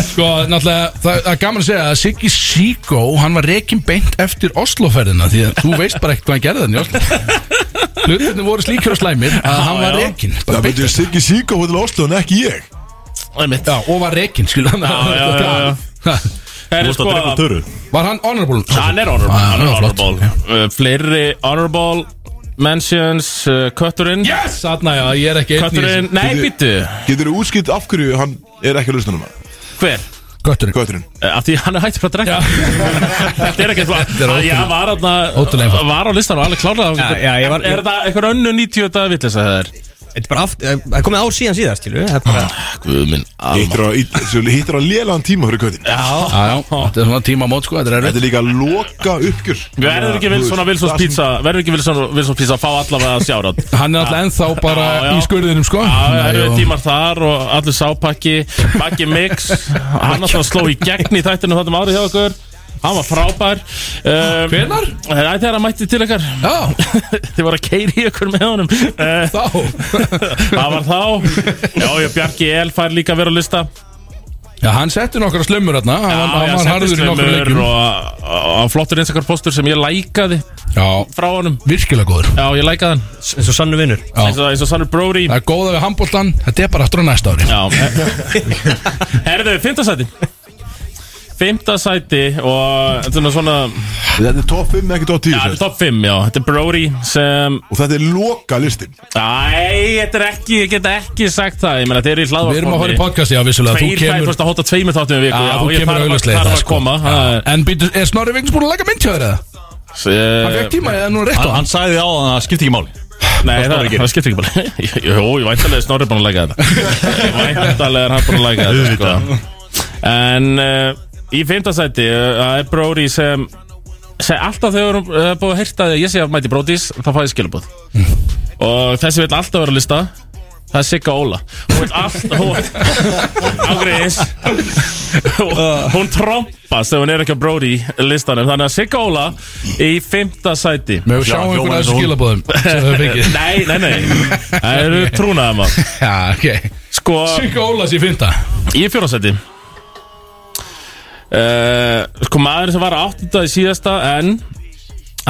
Sko, náttúrulega, það það er gaman að segja að Siggi Sýko, hann var rekin beint eftir Osloferðina Því að þú veist bara ekkert hvað hann gerði þannig í Oslo Hlutinni voru slíkur og slæmir að hann var rekin
Það betur Siggi Sýko hóðil Oslo en ekki ég
Það er mitt
Já, og var rekin, skilur hann
já, já,
*laughs*
Herri, sko,
Töru
Var hann honorable?
hann er honorable,
Ah,
hann er
já, flott.
honorable. Uh, Fleiri honorable mentions uh, Kötturinn
Yes, þarna já, ég er ekki einn í
Kötturinn,
þessu.
nei,
Bíddu.
býttu
Getur þú útskipt af hverju hann er ekki að lusna núna?
Hver?
Kötturinn
Kötturinn
Eh, Af því hann er hættur frá að drekka *laughs* Þetta er ekki
er
eitthvað
ótrúlegt.
Að Ég var,
Ótrúlega
atna,
einfalt.
var á listan og alveg klárað
Já, já, ég var-
Er það eitthvað önnu 90 dagar vitleisa það er?
Þetta er bara aftur Það er komið ár síðan síðast, skilur við Það er bara
Guð minn alma
Hittir á, hittir á lélagan tíma fyrir köttin
Já, já, þetta er svona tíma mót sko, þetta er erfitt
Þetta er líka loka uppgjör
Verður ekki Wilson að Wilson's pizza Verður ekki Wilson- Wilson's pizza að fá allavega sjárat
Hann er alltaf ennþá bara
Já, já.
í skurðinum sko
Já, það eru
Nei,
tímar þar og allur sápakki Baggi
*laughs*
Mix Hann alltaf sló í gegn í þættinu þáttum árið hjá okkur Hann var frábær um,
Hvenær?
Æ, Þegar hann mætti til ykkar
Já,
*laughs* Þið voru að keiri í ykkur með honum Eh,
þá
*laughs* Það var þá Já, já, Bjarki El fær líka að vera að lista
Já, hann setti nokkra slömmur þarna Hann,
Já,
hann
já,
var harður í nokkra
settist
leikjum
og, og, og flottur einstakar postur sem ég lækaði
Já,
frá honum
virkilega góður
Já, ég lækaði hann
eins og sannu vinnur
eins og, eins og Sannur Brody
Það er góða við handbóltan, þetta er bara aftur á næsta ári
Já Herðu, fimmtasæti Fimmtasæti og þetta er nú svona
Þetta er top 5 ekki top 10
Já,
sem sagt.
top 5, já Þetta er Brody sem
Og þetta er loka listin
Æ, þetta er ekki, ég get ekki sagt það Ég meina, þetta er í hlaðvarpformi
Við erum að horfa í podcast, já, vissulega Þú
Tveir, tveir, þú
kemur,
veist að hóta tveimur þáttum í viku
já, þú
ég
kemur
þarf að-
auðvitað
þarf að koma það er-
sko. En býtur, er Snorri Vignis búin að læka mynd hjá þér eða? Hann
Eh,
fekk tíma eða nú er rétt á
Hann, hann sagði á hann að það skipti ekki máli
Nei, það, það skiptir ekki *laughs* bara Jó, ég væntalega er Snorri búin að læka
*laughs*
þetta Væntalega er hann búin að læka þetta sko. En uh, í fimmtasæti eh, Það er Brody sem, sem Alltaf þegar við erum uh, búin að heyrta að Ég sé að mæti Brodís, þá fæ ég skilabóð
Mm.
Og þessi vill alltaf vera að lista Það er Sigga Óla Hún vill alltaf Ágriðis Hún trompast þegar hún er ekki á Brody listanum Þannig að Sigga Óla Í fimmta sæti
Með við sjáum einhverja þessu skilabóðum
*laughs*
sem þau fengið
Nei, nei, nei Það eru trúnaðar maður
*laughs* Já, ok
Sko,
Sigga Ólas í fynda
ég er fjóraðsæti uh, Sko maður sem var að áttunda í síðasta En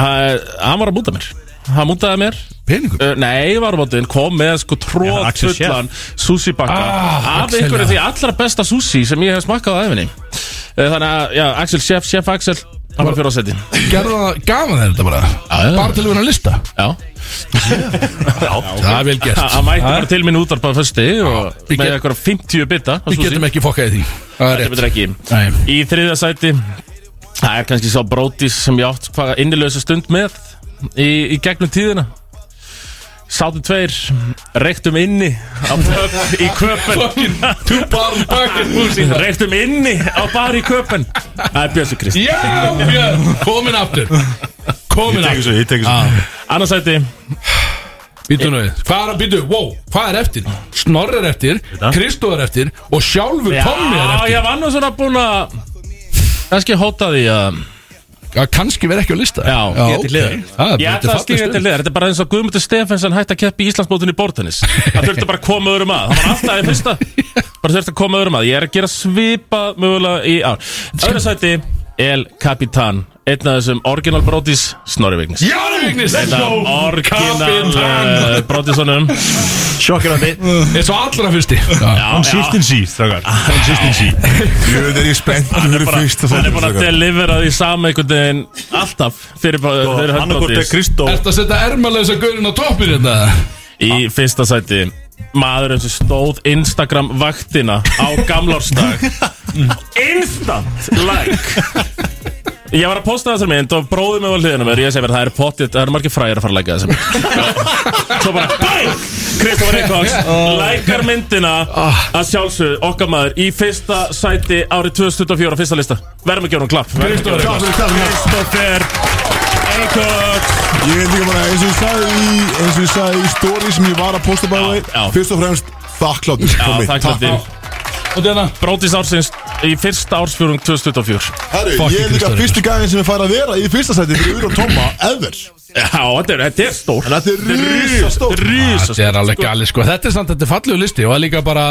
uh, Hann var að múta mér Hann mútaði mér
Peningur?
Uh, nei, varumótin kom með sko
Já, Axel Schell.
tróðfullan sushi-bakka
Ah,
af
Axel,
einhverju
já.
því allra besta sushi sem ég hef smakkað á æfinni Þannig að, já, Axel, chef, chef Axel hann var fyrir á seti
Gerða það gaman þeir þetta bara
já.
Bara til að vera að lista
Já,
Það er vel gert
hann mætti bara til minn útarpað fyrsti og
Við
með
get-
eitthvað 50 bita af
Við
sushi.
getum ekki fokkað í því Það er
Þetta
rétt
betur ekki
Nei.
Í þriðja sæti Það er kannski sá brótis sem ég átt hvaða innilösa stund með í, í gegnum tíðina Sátum tveir Reyktum inni á pub í köpen
Two bar bucket music
Reyktum inni á bar í köpen Það er Bjössi Krist
Já, Björn, komin aftur Komin
Ég tek
aftur
þessu, ég tek þessu
Annars sæti
Býtu nú við Hvað er að býtu? Wow, hvað er eftir? Snorri er eftir Kristó er eftir Og sjálfur Tommi er
Já,
eftir
ég var nú svona búin að kannski hóta því að
að kannski vera ekki á lista
Já,
já
til hliðar.
Það er
Ég
þetta
ætla að skilja
fallegt
þetta
stöð.
liðar Þetta er bara eins og Guðmundur Stefensen hætti að keppa í Íslandsmótinu í bortennis Það þurfti bara að koma öðrum að Það var alltaf í fyrsta Bara þurfti að koma öðrum að Ég er að gera svipa mögulega í ár Öðru sæti El Capitan Einn af þessum orginal brótis Snorri Vignis
Já, Vignis, let's
Þetta eh,
go
orginal brótisonum
Sjokkrandi
*laughs* Eins og allra fyrsti Já,
Consistency, þakkar Consistency
Jöfn er ég spennt fyrir fyrst
Hann er búin að delivera því sama einhvern veginn Alltaf fyrir, fyrir
Annarkort er
höndbrótis
Kristó
Ertu að setja ermalösa gaurin á toppin hérna?
Í fyrsta sæti Maðurinn sem stóð Instagram vaktina Á gamlársdag *laughs* Instant like Ég var að posta þessar mynd og bróði mig á hliðinu mér Ég segi mér það er potið, það eru margir fræðir að fara að læka þessar mynd Svo bara BANG! Kristofur Eikóks Lækar myndina að sjálfsögðu okkar maður Í fyrsta sæti árið 2024 á fyrsta lista Verðum að gera hún klapp Kristofur Kristofur Eikóks
Ég veit ekki bara, eins og ég sagði í eins og ég sagði í stóri sem ég var að posta bæði vei
já.
Fyrst og fremst, þakkláttur
Já,
Tommy.
takk fyrir
Takk.
Og þetta
Brótis ársins í fyrsta ársfjörung 2024
Herru, ég er
Fucking
líka
Kristoffer.
fyrsti gæðin sem ég fær að vera í fyrsta sæti fyrir Ur og Tomma, ever
Já, þetta er, þetta er stór
En þetta er risastórt.
Þetta er alveg galið sko Þetta er samt, þetta er fallegu listi Og það er líka bara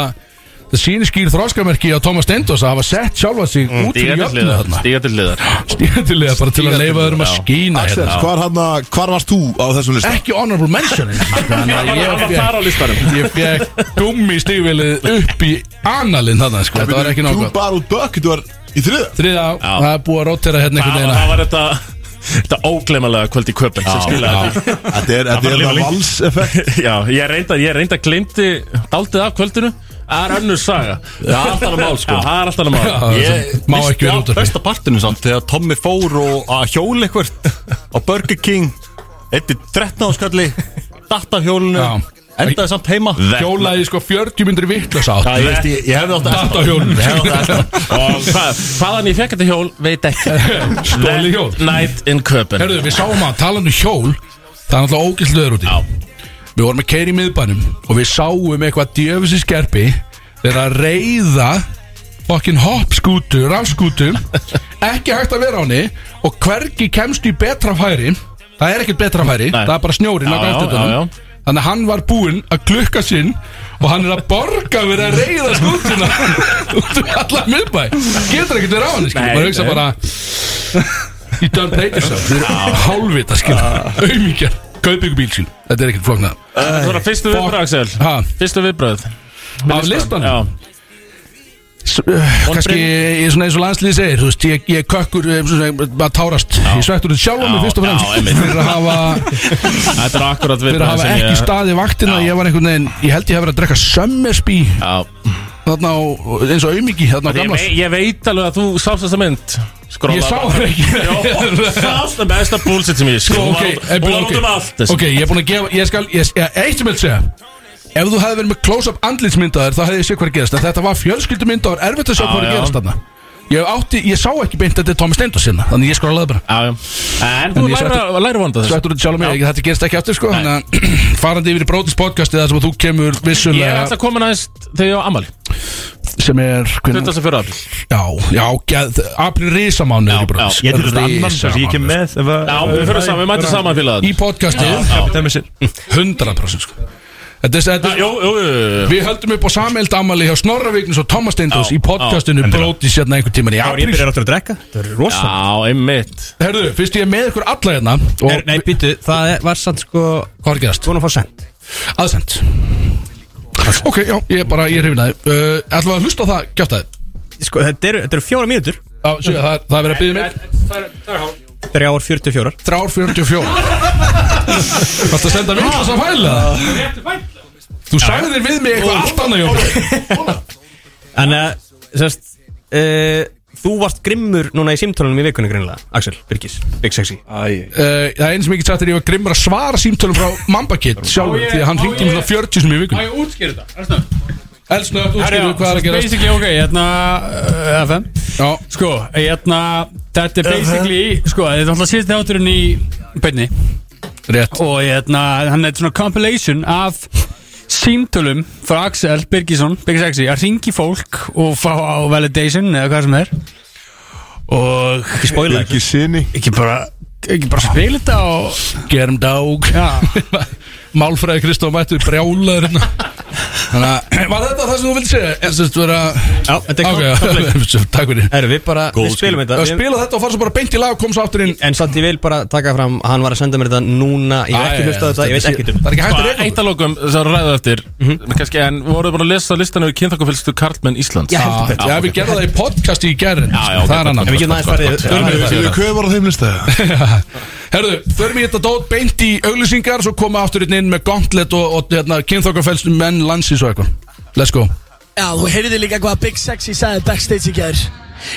Það sýnir skýr þróskamerki á Thomas Stendos að hafa sett sjálfa sig út
Stíga
fyrir
til
jöfnu
Mm, hliðar
þarna
Stíga til hliðar
Stíðandilega bara til að leifa þeirum að
já.
skýna
Axel,
hérna
hvar, hana, hvar varst þú á þessum lista?
Ekki honorable mention Þannig
*laughs*
að
Ég
ég
var þar á
fekk-
listanum
Ég fekk gummi stífilið upp í analinn þarna sko Þetta var ekki
Þú
nákvæm
bara út bökk, þú var í þriða
Þriða, það er búið að rotera hérna
Það var-
einhvern veginn
það var þetta Þetta óglemalega kvöld í köpun sem skilaði því
Þetta er þetta er það valseffekt
*laughs* Já, ég reynda, ég reynda glimti daldið af kvöldinu Það er önnur saga Já,
Það er alltaf annað mál, sko.
Það er alltaf annað mál
Ég
Má ekki vera
misti
útvarpi.
á besta partinu samt Þegar Tommy fór og að hjóla eitthvað Á Burger King Eitti 13 áskalli Datt af hjólinu
Já.
Endaði samt heima
Hjólaði sko 40 myndir vittlösa átt
Það ég veist ég, ég hefði átt að
Datt á hjólinu.
Ég hefði átt að elta.
*laughs* Og hvað, hvaðan ég fekk þetta hjól, veit ekki
Stóli hjól
Night in köpun
Herðu, við sáum að talandi um hjól Það er náttúrulega ógilt löður úti Við vorum að keira í miðbænum Og við sáum eitthvað djöfisins gerpi Þeir að reyða Fokkin hoppskútu, rafskútu Ekki hægt að vera á henni Og hvergi kemst í betra færi Það er ekkert betra færi Það er bara snjórin
Já, já, já, já.
um. Þannig að hann var búinn að klukka sinn Og hann er að borga verið að reyða skútuna *laughs* Út um allar miðbæ Getur ekkert verið á henni skilur.
Nei,
Bara hugsa
nei.
bara Í Dan Peterson Þeir
Ah.
eru hálfvita skil Auðmíkjar Kaupið ykkur bíl sín Þetta er ekkert flóknað
Það var fyrstu viðbröð, Axel
Ha
Fyrstu viðbröð
Af listanum
Já,
Kanski eh, ég, svona eins og landslýði segir Þú veist ég, ég kökkur eh, svona, Bara tárast Ég svektur þetta sjálf á mig
Já,
fyrst og
já,
fremst
einmitt.
Fyrir að hafa
þetta er akkurat
Fyrir að
viðbröð
hafa
sem
ekki
ég-
staði vaktina Ég var einhvern veginn Ég held ég hef verið að drekka Sömmersby
Já,
Þarna á Eins og auðmíki Þarna á
Ég,
gamlas
vei, ég veit alveg að þú sást þessa mynd Skróla
Ég sá það ekki *laughs*
Sást það besta bullshit sem ég
Sko,
Hún
ok,
var út-
eh,
hún var
ok.
út um allt þessi.
Ok, ég er búin að gefa, ég skal, ég, ég, eitt sem ég vil segja Ef þú hefði verið með close-up andlitsmyndaðar þá hefði ég séð hvað er að gerast En þetta var fjölskyldumynda og er erfitt að sjá hvað er
Já,
að
já.
gerast þarna Ég átti, ég sá ekki beint að þetta er Thomas Stendos hérna Þannig ég skor að laða bara
Já, já. En þú
En ég
læra,
svekktur-
læra vonda þessu
Svettur þetta sjálf mér, þetta gerist ekki aftur sko Þannig að *clears throat* farandi yfir í Brótis podcastið þar sem þú kemur
Ég er
vissulega
alltaf komin aðeins þegar ég á Amali
Sem er, hvernig,
24. april
já, já, geð, april risamánu
Já,
í Brótis
Ég tek þetta annan Þess að ég kem með
Já, við fyrir saman, við mætum saman fyrir það
Í podcastið
Kapitæmi sér
100% sko Þetta er, þetta er,
Jú, jú, jú, jú, jú.
Við höldum upp á sameild ammali hjá Snorra Vignis og Thomas Steindós
Já,
í podcastinu
já, endilega.
Brótis hérna einhvern tíman í apríl
aftur að drekka Það er rosa
Já, einmitt
Herðu, fyrst ég er með ykkur alla hérna og
Er, nei, býtu, það er, var samt sko
hvað er gerast?
Svona að fá send
Aðsend Ok, já, ég er bara, ég er hefinaði uh, Ætlum við að hlusta á það, kjátaði
Sko, þetta eru, þetta eru fjóra mínútur
Já, sjö, það, er- það er verið að byggja mig
Þrjár 44
Þrjár 44 Varstu að senda vilt þess að fæla? Þú sagðir við mig eitthvað allt annað Jón
Þannig að, sérst uh, eh, Þú varst grimmur núna í símtólunum í vikunni greinlega Axel, Birgis, Big Sexy
Uh, það er eins og mikið sagt er ég var grimmur að svara símtölum frá Mamba Kid sjálfur því að hann hringi mér svona 40 sem í vikun
ég útskýri þetta
Elsnögt, útskýrðu hvað er að
Þetta er
gerast
basically ok, hérna uh, FM
Já,
Sko, hérna, þetta er basically Sko, þetta er alltaf síðan þátturinn í beinni
rétt
Og hérna, hann er svona compilation af símtölum frá Axel Birgisson, Big Sexy að ringi fólk og fá á validation eða hvað sem er og ekki spoila
Ekki sinni
ekki bara, ekki bara spila þetta og
Gerum dag
já,
*laughs* Málfræði Kristof mættur brjálaður hérna Þannig að, *clears throat* var þetta það sem þú vildi segja? Ég syns vera
Já, þetta er
*laughs*
okay, komplex
Ok, já, takk fyrir
Erum við bara, við spilum þetta
Að
við-
spila þetta og fara svo bara beint í lag og koma svo aftur inn
En samt ég vil bara taka fram, hann var að senda mér þetta núna Ég hef
Æ,
ekki hlustað á þetta, ég veit ekki um
Það er ekki hægt að
Bara
reyna
eitt að lokum sem ræðu eftir kannski, En voruðu búin að lesa listan yfir kynþakafélstu Karlmenn Íslands
Já, heldur betur
Já, við gerðum það í podcast í gerðin
Já, já, ok,
Það er annan
En við getum aðeins farið aðeins farið-
Hvað var á þeim
*laughs*
lista?
Herðu, förum í þetta dót beint í auglýsingar Svo koma aftur hérna inn með gauntlet og, og hérna, kynþokkarfelstum menn landsins og eitthvað Let's go
Já, þú heyrði líka hvað Big Sexy sagði backstage í gær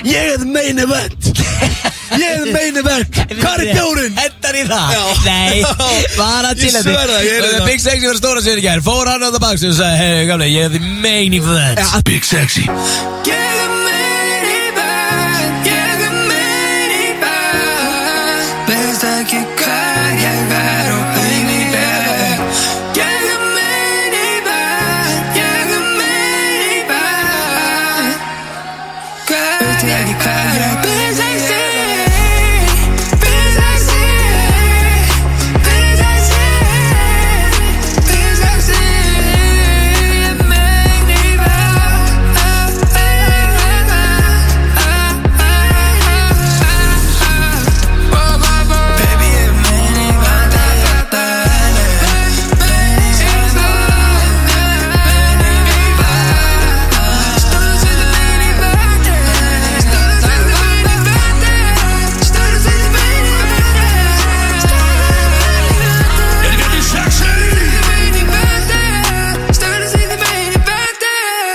Ég er the main event Ég er the main event Hvað er bjórinn?
Endar í það?
Já.
*laughs* Nei, bara til
Ég sver það, ég er hérna. það.
Big Sexy var stóra sér í gær Fór hann á það baks og sagði Hei, gamle, ég er the main event
Já.
Big Sexy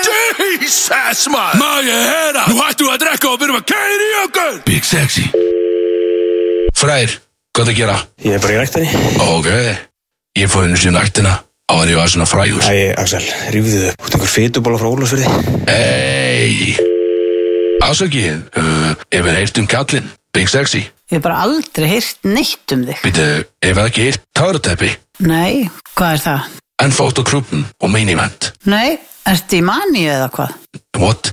Jesus, man! Má ég heyra? Nú hættu að drekka og byrjum að kæri okkur! Big Sexy
Freyr, hvað það gera?
Ég er bara í ræktinni
Ok, ég fóði einu sinni nættina á að ég var svona frægur
Æ, Axel, rífðu þau Þú tengur fytubóla frá Ólafsfyrði
Hey Ásakið, uh, ef við heyrt um kallinn Big Sexy,
Ég hef bara aldrei heyrt neitt um þig.
býttu, ef það ekki heyrt Tárutæpi,
Nei, hvað er það?
en fótt á krúpun og meinivend
Nei, ertu í maníu eða hvað?
What?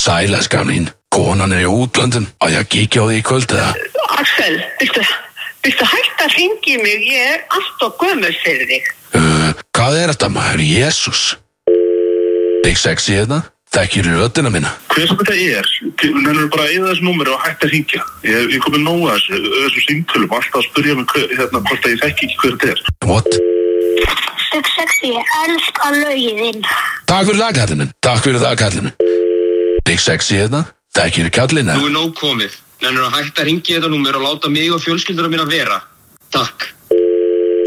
Sælas gamlín, konan er í útlöndum og ég kíkja á því í kvöld eða
Axel, viltu, viltu hægt að ringi mig? Ég er allt og gömur fyrir þig.
uh, Hvað er þetta maður, Jésús? Big Sexy hérna, þekkir röddina mína
Hver sem þetta er, nennur bara að eða þessu númeri og hægt að hringja. Ég, ég komið nóg að þessu, þessu símtölum, alltaf að spyrja mig hver, hérna, hvort að ég þekki ekki hver þetta er.
What?
Stig sexy, ég elska lögiðinn.
Takk fyrir það kallinn minn, takk fyrir það kallinn minn Big Sexy hérna, þekkir hérna? kallinn eða
Nú er nóg komið Nennur að hætta að ringi þetta númer og láta mig og fjölskylduna mín að vera Takk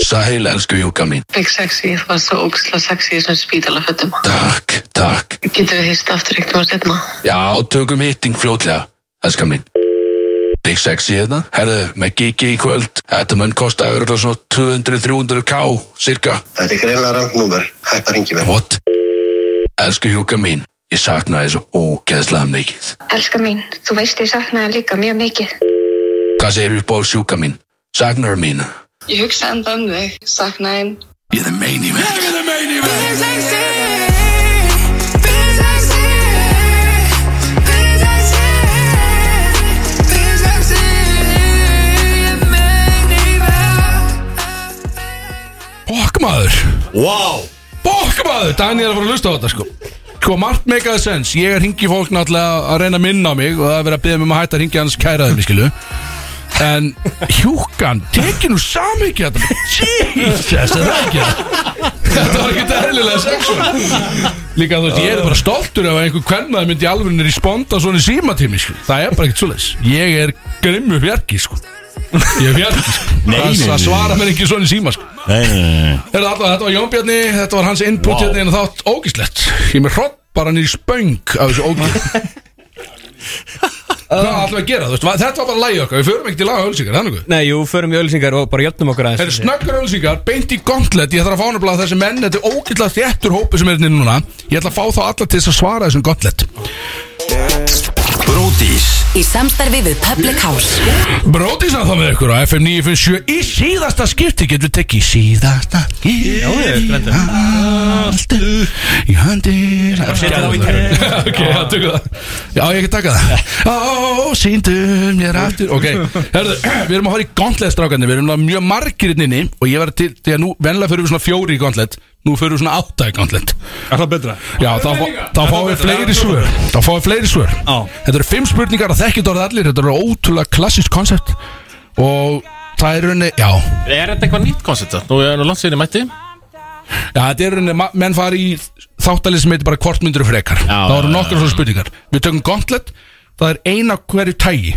Sæl, elsku júka mín
Big sexy, þú var svo ógislega sexy í þessum spítalafötum.
Takk, takk
Getur við hýst aftur eitt maður setna?
Já, tökum hitting fljótlega Elskan mín Big sexy hérna Herðu, með gigi í kvöld Þetta mun kosta örugglega svona 200-300 k Cirka
Þetta er greinlega rangt númer, hægt að hringja mig.
What? Elsku hjúka mín Ég sakna þessu ógeðslega mikið
Elska mín, þú veist ég saknaði líka mjög mikið.
Hvað segir upp á sjúka mín? Saknar mín
Ég hugsa enda um þig, saknaði hinn.
Ég er meini með Ég er meini með
Big
Okk maður Wow Bokkabaður, Daniel er að fara að lusta á þetta sko Sko, margt make a sense Ég er hringi fólk náttúrulega að reyna að minna á mig Og það er verið að beða mig um að hætta að hringi hans kæraði mig skilu En hjúkan, tekið nú samhengi þetta Jesus, er það ekki Þetta var ekki eðlilega sko. sexuál Líka þú veist, ég er bara stoltur ef einhver kvennmaði myndi alveg responda svona í símatími sko. Það er bara ekkert svoleiðis Ég er grimmu fjarki sko. Ég er fjarki sko.
Nei, nei, nei.
Það svara mér ekki svona í síma sko.
Nei, nei, nei, nei.
Heyrðu, allavega, Þetta var Jón Bjarni, þetta var hans input
Vá.
hérna inn og þátt ógíslegt Ég er með hrótt bara niður í spöng af þessu ógíslega Hvað ætlum við að gera, þú veist, va- þetta var bara lægi okkar, við förum ekkert í laga ölsingar, þannig
Nei, jú, förum við ölsingar og bara jöfnum okkur aðeins
Þetta er snöggur ölsingar, beint í gauntlet Ég þarf að fá nefnilega þessi menn Þetta er ógætla þéttur hópi sem er hérna núna Ég ætla að fá þá alla til þess að svara þessum gauntlet
Bródís Í samstarfi við Public House
Bróðis að þá með ykkur á FM 957 Í síðasta skipti getum við tekið í Síðasta skipti Allt í höndir
Bara setja það á í kerfið.
*laughs* Ok, það tökur það Já, ég ekki taka það Ó, síndu mér aftur Ok, herðu, við erum að horfa í gauntlet strákandi Við erum náttúrulega mjög margir inn inni Og ég var til, því að nú, venlega fyrir við svona fjóri í gauntlet Nú fyrir við svona átta í gauntlet
Er það betra?
Já, þá, fá- þá fáum við fleiri svör Þá fáum við fleiri svör Þetta eru fimm spurningar að þekkið orðið allir Þetta eru ótrúlega klassísk koncept Og það er rauninni, já
Er þetta eitthvað nýtt koncept það? Nú er nú langt sér í mætti
Já, þetta er rauninni, ma- menn fari í þáttalið sem heitir bara hvort myndir og frekar já, Það
já,
eru
já,
nokkur svona spurningar Við tökum gauntlet, það er eina hverju tægi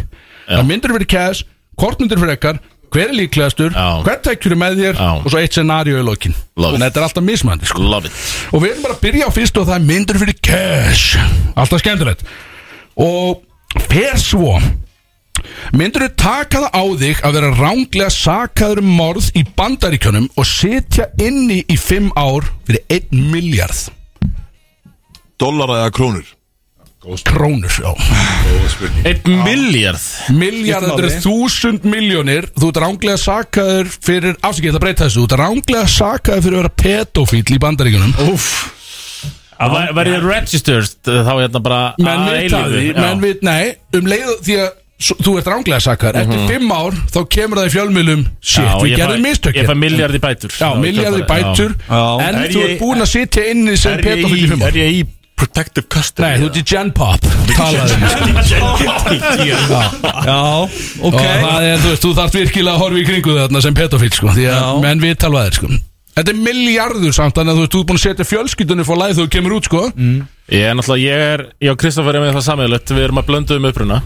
Það myndir verið kæðis, hvort myndir og frekar Hver er líklegastur, hvert tækjur er með þér Og svo eitt scenaríu í lokin Þannig að þetta er alltaf mismandi sko. Og við erum bara að byrja á fyrst og það er myndir fyrir cash Alltaf skemmtilegt Og fer svo Myndur þú taka það á þig að vera ránglega sakaður um morð í bandaríkjunum og sitja inni í fimm ár fyrir 1 miljard
Dollara eða krónur
Krónur, já
Einn miljard
Miljard, þetta eru þúsund miljónir Þú ert ránglega sakaður fyrir Afsakið, það breyta þessu Þú ert ránglega sakaður fyrir að vera pedofíl í bandaríkjunum Úff
Að væ- væri það registered þá hérna bara
menn
að
vita
eilífu,
því,
já.
menn vit, nei um leið því að s- þú ert ránglega sakar
Mhm.
eftir fimm ár þá kemur það í fjölmjölum shit,
Já,
við
ég
gerðum
fæ-
mistök
ég fæ
hérna.
milljarð í bætur.
já,
Já,
miljardi
í
bætur
kjölfarið, já.
en
Er
þú
ég-
ert búin að sitja inni sem
er ég
pedofíl í
í-
fimm ár
er
ég í protective custody nei, þú ert í gen pop talaðu um Já,
ok.
Og það er, þú veist, þú þarft virkilega að horfa í kringu þarna sem pedofíl, sko Því að menn við tala þér, sko Þetta er miljardur samt, þannig að þú veist, þú ert búin að setja fjölskyldunni fór læð þegar þú kemur út, sko
Mm. Ég er náttúrulega, ég er, ég og Kristoffer er með það sammeðlegt Við erum að blönduðum uppruna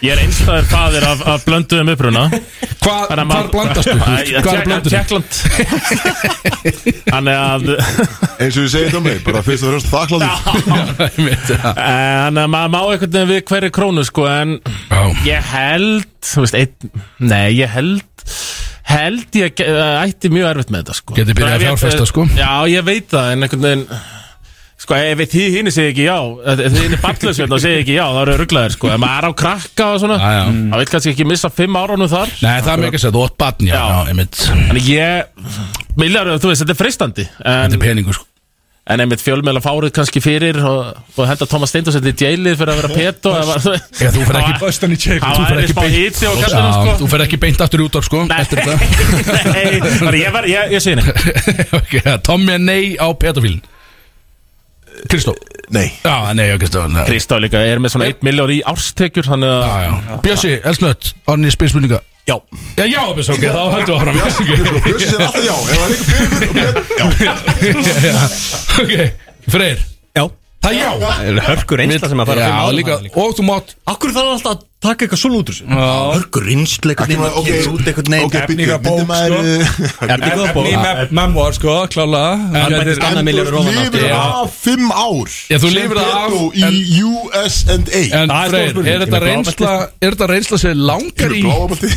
Ég er einstæður faðir af, af blönduðum uppruna
Hvað, hvar blandastu? Hvar blönduðu?
Tjekkland *laughs* Þannig að
Eins og ég segi þetta um mig, bara fyrst og fremst þakkláttur
Þannig að eh, maður má einhvern veginn við hverju krónu sko En ég held, þú veist, einn Nei, ég held Held ég að ge- að ætti mjög erfitt með þetta sko
Geti byrjað að
Ef ég-
fjárfesta, sko.
Já, ég veit það, en einhvern veginn Sko, ef þið hinn segir ekki já eh, Ef þið hinn er ballusveitn og segir hérna ekki já Það eru rugglaðir, sko, ef maður er á krakka og svona Það vil kannski ekki missa fimm árunum þar
Nei, það er mikið að segja, þú átt batn, já, já, einmitt
Þannig ég, millar, þú veist, þetta er freistandi Þetta er
peningur, sko
En einmitt fjölmeðla fárið kannski fyrir og, og henda Thomas Steindorsson í djælið fyrir að vera peto
Já, þú fer ekki
Böstan í tjekk
Þú fer ekki beint-
hiti á
Já,
kastunum, sko
Þú fer ekki beint aftur út af sko Eftir þetta
Nei, bara ég var, ég, ég sé henni
*laughs* Ok, Tommy er nei á pedofílin Kristó
Nei
Já, nei, Kristó
Kristó líka er með svona 1 miljón í árstekjur Þannig að já,
já. Bjössi, elsnött, orðin ég spyr spurninga Já Já, já, Bjössi, ok, þá höldum við áfram
Bjössi er alltaf já, ef það er ekki
Já, Ok, Freyr Já Það er já
Það er hörkur reynsla sem að fara
Já,
fimm ár
líka,
með
og þú mátt
Akkur þarf alltaf að taka eitthvað svona út úr sér Hörgur reynsla
Ekki
eitthvað
maður- ok,
kemur út eitthvað
ok,
neina
bíddu, myndi maður-
sko? Efni góða bók
Efni memoir sko, klálega
En þú lifir af fimm ár
Já, þú lifir það af-
Sem Beto Í US&A
En Freyr, er þetta reynsla Er þetta reynsla sér langar í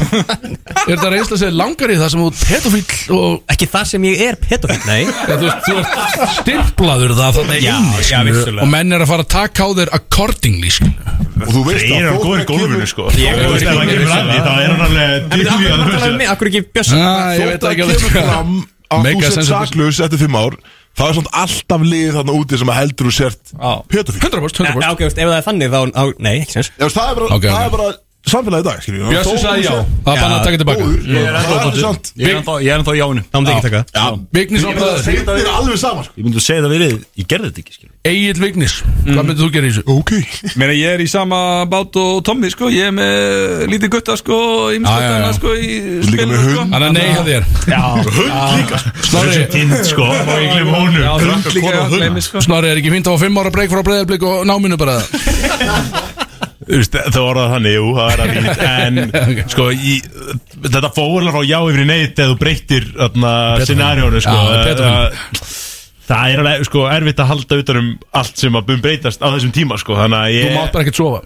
*laughs* Er þetta reynsla sér langar í það sem þú ert pedofíll og
Ekki það sem ég er pedofíll, nei
*laughs* Já, þú veist, þú ert stimplaður það þannig
Já,
inni,
já,
skilur,
vissulega.
Og menn er að fara að taka á þér accordingly skilur.
Og þú veist
Freyr er
að
hann góður í gólfinu, sko. Ég-
Þú veist
Ef hann kemur að því, þá er hann alveg
En
dýrlíf
af
að
hverju talar
hlusta.
við mig?
Akkur ekki
Þó
Ah,
það kemur fram að þú sett saklaus eftir fimm ár Það er svona alltaf lið þarna úti sem að heldur þú sért pedofíl
100%,
Eh, Já, ok, veist, ef það er þannig þá, á, nei, ekki sens
Já, veist, það er bara,
Ok, ok.
það er bara samfélagi í dag skilju
Bjössi sagði já, það er bannað að taka tilbaka
Ég er ennþá- ég er ennþá í jánu Það
myndi ekki taka það. Vignis
Ég myndi
opnaði-
segja þetta við-
Þetta er alveg sama,
Ég myndi segja það við þig, Ég gerði þetta ekki Mm. skilur.
Egil Vignis, hvað myndir þú gera í þessu?
Ok
Meina ég er í sama bát og Tommy sko Ég er með lítið gutta sko
Já, já, já.
Ímskvöldana sko í
Líka
spilinu,
með hund.
sko.
Hann er nei hjá þér.
Já
Hund líka, sko.
Snorri
Þessi týnd, sko, má ég gleyma honum.
Já,
Hund
frakka,
líka,
kona
já, sko.
og hund.
gleymis, Snorri er ekki fínt að fá fimm ára breyk frá breyðarblik og náminu bara
Þú veist, það var það þannig, jú, það er að fínt
*laughs*
En, sko, í, þetta fóðurlega frá já yfir í neitt Eða þú breytir
Petrólínu.
scenarjónu, sko
Já,
eh,
petrólínu.
eh, Það er alveg, sko, erfitt að halda utan um allt sem að bum breytast á þessum tíma, sko Þannig að
Þú
ég
mátt bara ekkert sofa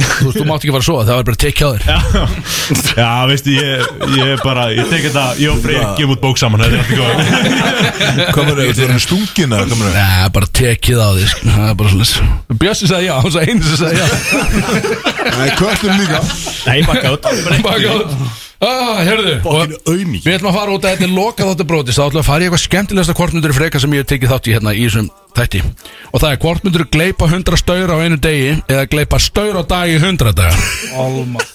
Þú veist, þú mátt ekki fara að sofa, það var bara tekja á
þér Já, veistu, ég, ég er bara, ég tek þetta, ég og Freyr gefum út bók saman, þetta er alltaf
Oh
góð
Komur þau, þú erum stungin eða komur þau?
Nei, bara tekið á því, sko, það er bara svolítið Bjössi sagði já, hann sagði einu sem sagði já
Nei, kvöldum líka
Nei, baka út Baka út Ah, herðu Við ætlum að fara út að þetta er lokað áttu brótis Þá ætlum við að fara í eitthvað skemmtilegasta kvortmundur freka sem ég hef tekið þátt í hérna í þessum þætti Og það er kvortmundur gleipa 100 staur á einu degi Eða gleipa staur á dag í 100 daga Alma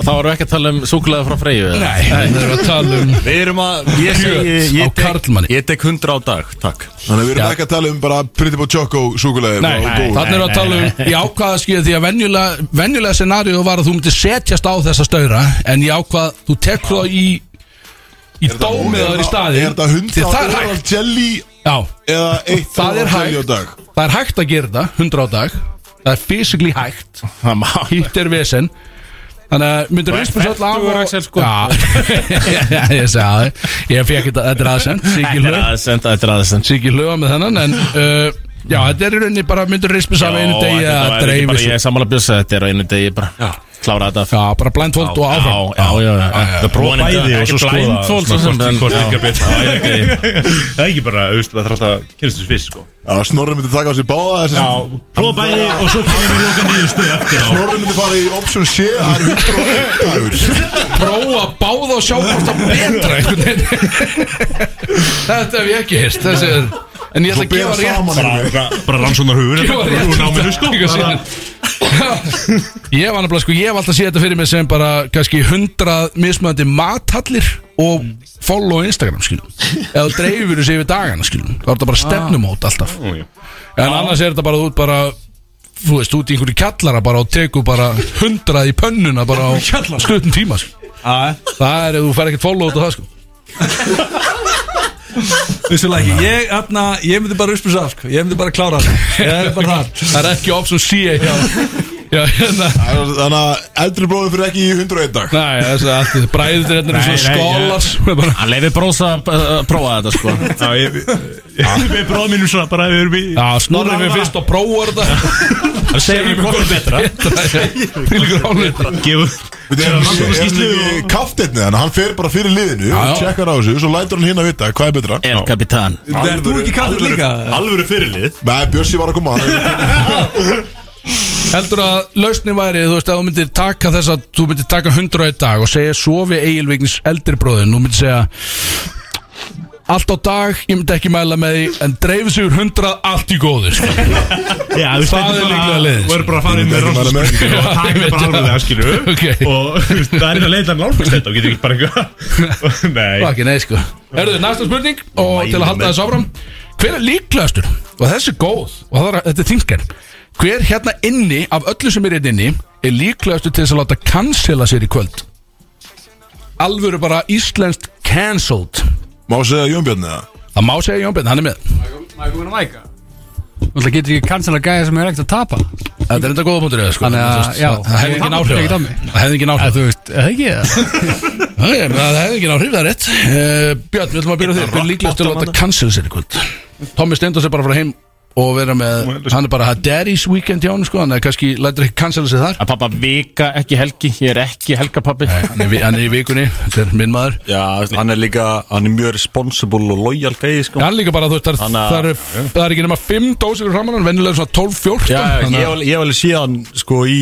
Þá erum við ekki að tala um súkulega frá Freyju eða?
Nei, við erum að tala um
Við erum að Ég segi
Kjöt á
Ég tek
karlmanni
Ég tek 100 á dag Takk
Þannig að við erum ekki að tala um bara Pretty Boy Choco súkulega
Nei, þannig erum við að tala um Ég ákvað að skýra því að venjulega, venjulega scenaríu var að þú myndir setjast á þessa staura En ég ákvað, þú tekur það í Í dómið að það er í staði
Er þetta
Því það
100
er hægt.
oral jelly
Já
Eða eitt
Það
oral
er
jelly á
hægt
dag
Það er hægt að gera það, 100 á dag Það er physically hægt Hitt er vesen Þannig að myndir
Og er
reynspils öll af
fertugur,
og-
Axel, sko.
Já, *laughs* ég sagði það Ég fekk þetta, þetta er aðsend
Þetta er aðsend, þetta er aðsend
Siki löga með þennan En uh, já, þetta er í rauninni bara myndir reynspils af einu degi að dreifi
Ég er
sér
sammála bjösa þetta er á einu degi bara Klára þetta
Já, bara blindfold og áfram.
Já, já, já
já.
Prófa bæði og svo skoða
Blindfold
svona
svo sem
hvort-
en-
hvort
já.
virkar betur.
Já, já, ok.
*laughs* Það er ekki bara, þú veist, það þarf alltaf að kynast þessu fyrst, sko
Já, Snorri myndi taka á sig báða þessi
Já, prófa bæði og svo kemur við loka nýju stöð eftir á
Snorri myndi fara í option C Það er 100 dagur
Prófa báða og sjá hvort það betra einhvern veginn *laughs* Þetta hef ég ekki hist Þessi er En ég ætla að gefa rétt
Bara, bara rannsónar hugur
Gefa rétt
Úr náminu, sko
Ég sé
Bara-
Ég var nefnilega sko, ég hef alltaf séð þetta fyrir mig sem bara kannski 100 mismöðandi mathallir og follow á Instagram skilum eða þú dreifur þessi yfir dagana skilum þá er þetta
Ah.
bara stefnumót alltaf en
Ah.
annars er þetta bara þú ert bara þú veist, út í einhverju kjallara bara og tekur bara 100 í pönnuna bara á stuttum tíma skilum.
Ah, eh.
það er, þú fær ekkert follow út á það sko
Vissulega ekki Ég, atna, ég myndi bara uspisa af sko Ég myndi bara klára það Ég er bara þar
það er ekki option C hjá Já, hérna
Þannig að eldri bróður fyrir ekki í 101 dag
Nei, þessi allt bræður þetta er svona skólas
Hann leiði brósa að uh, prófa þetta sko
Já, ég Við bróðum mínum svona bara við erum í
Já, snorri við fyrst og prófur þetta
Það segir við hvort er betra
Fylgur álita
Við erum ekki kaftetni þannig að hann fer bara fyrir liðinu
Já, já.
Tjekkar á þessu, svo lætur hann hinn að vita hvað er betra
El Capitan
Er þú ekki kaftet líka?
Alvöru fyrirlið
Nei, Bjössi var að koma
Heldur að lausnin væri, þú veist, að þú myndir taka þess að þú myndir taka 100 í dag og segja sofi eigilvignis eldri bróðin þú myndir segja Allt á dag, ég myndi ekki mæla með því en dreifir sig úr 100 allt í góðu sko.
Já, við
Það er líklega leiðin, sko.
Við erum bara að fara inn með rannsóknarspurningar og
*laughs*
það er bara alveg það, skilju
Ok.
Og þú veist, það er að leiða nálgast þetta og getur ekki bara eitthvað Nei
Það var ekki nei sko Herðu, næsta spurning og
Mæli
til að halda
með.
þessu áfram Hver er líklegastur? Og þessi er góð og það er, þetta er þingar Hver hérna inni, af öllu sem er hérna inni er líklegastur til þess að láta cancela sér í kvöld? Alvöru bara íslenskt cancelled
Má segja Jónbjörn eða?
Það má segja Jón Björn, hann er með
Má ég komin að mæka? Þú getur ekki cancela gæja sem er ekkert að tapa *laughs*
Þetta er enda góða punktur eða sko
Þannig að,
Þú veist,
já,
það- Það hefði
ég-
engin áhrif
ekkert á
það.
mig.
Það hefði engin áhrif
Þú veist, eða ekki það?
*laughs* Það er- það hefði engin áhrif, það er rétt Eh, Björn, við ætlum að byrja á þér Hver er líklegastur til að láta cancela sér í kvöld? Tommi Steindors er bara frá heim og vera með Hann er bara að daddy's weekend hjá hann sko Þannig að kannski lætur ekki cancela sér þar
Að pappa vika ekki helgi Ég er ekki helgapappi
hann er, vi- hann er í vikunni, þetta er minn maður
Já, hann er líka Hann er mjög responsible og loyal gæði sko
Hann líka bara, þú veist, það er,
Hann að-
það er, það er ekki nema 5 dósir í framann, venjulega svona 12-14
Já, ég
þannig
hef
að-
alveg- ég hef alveg séð hann sko í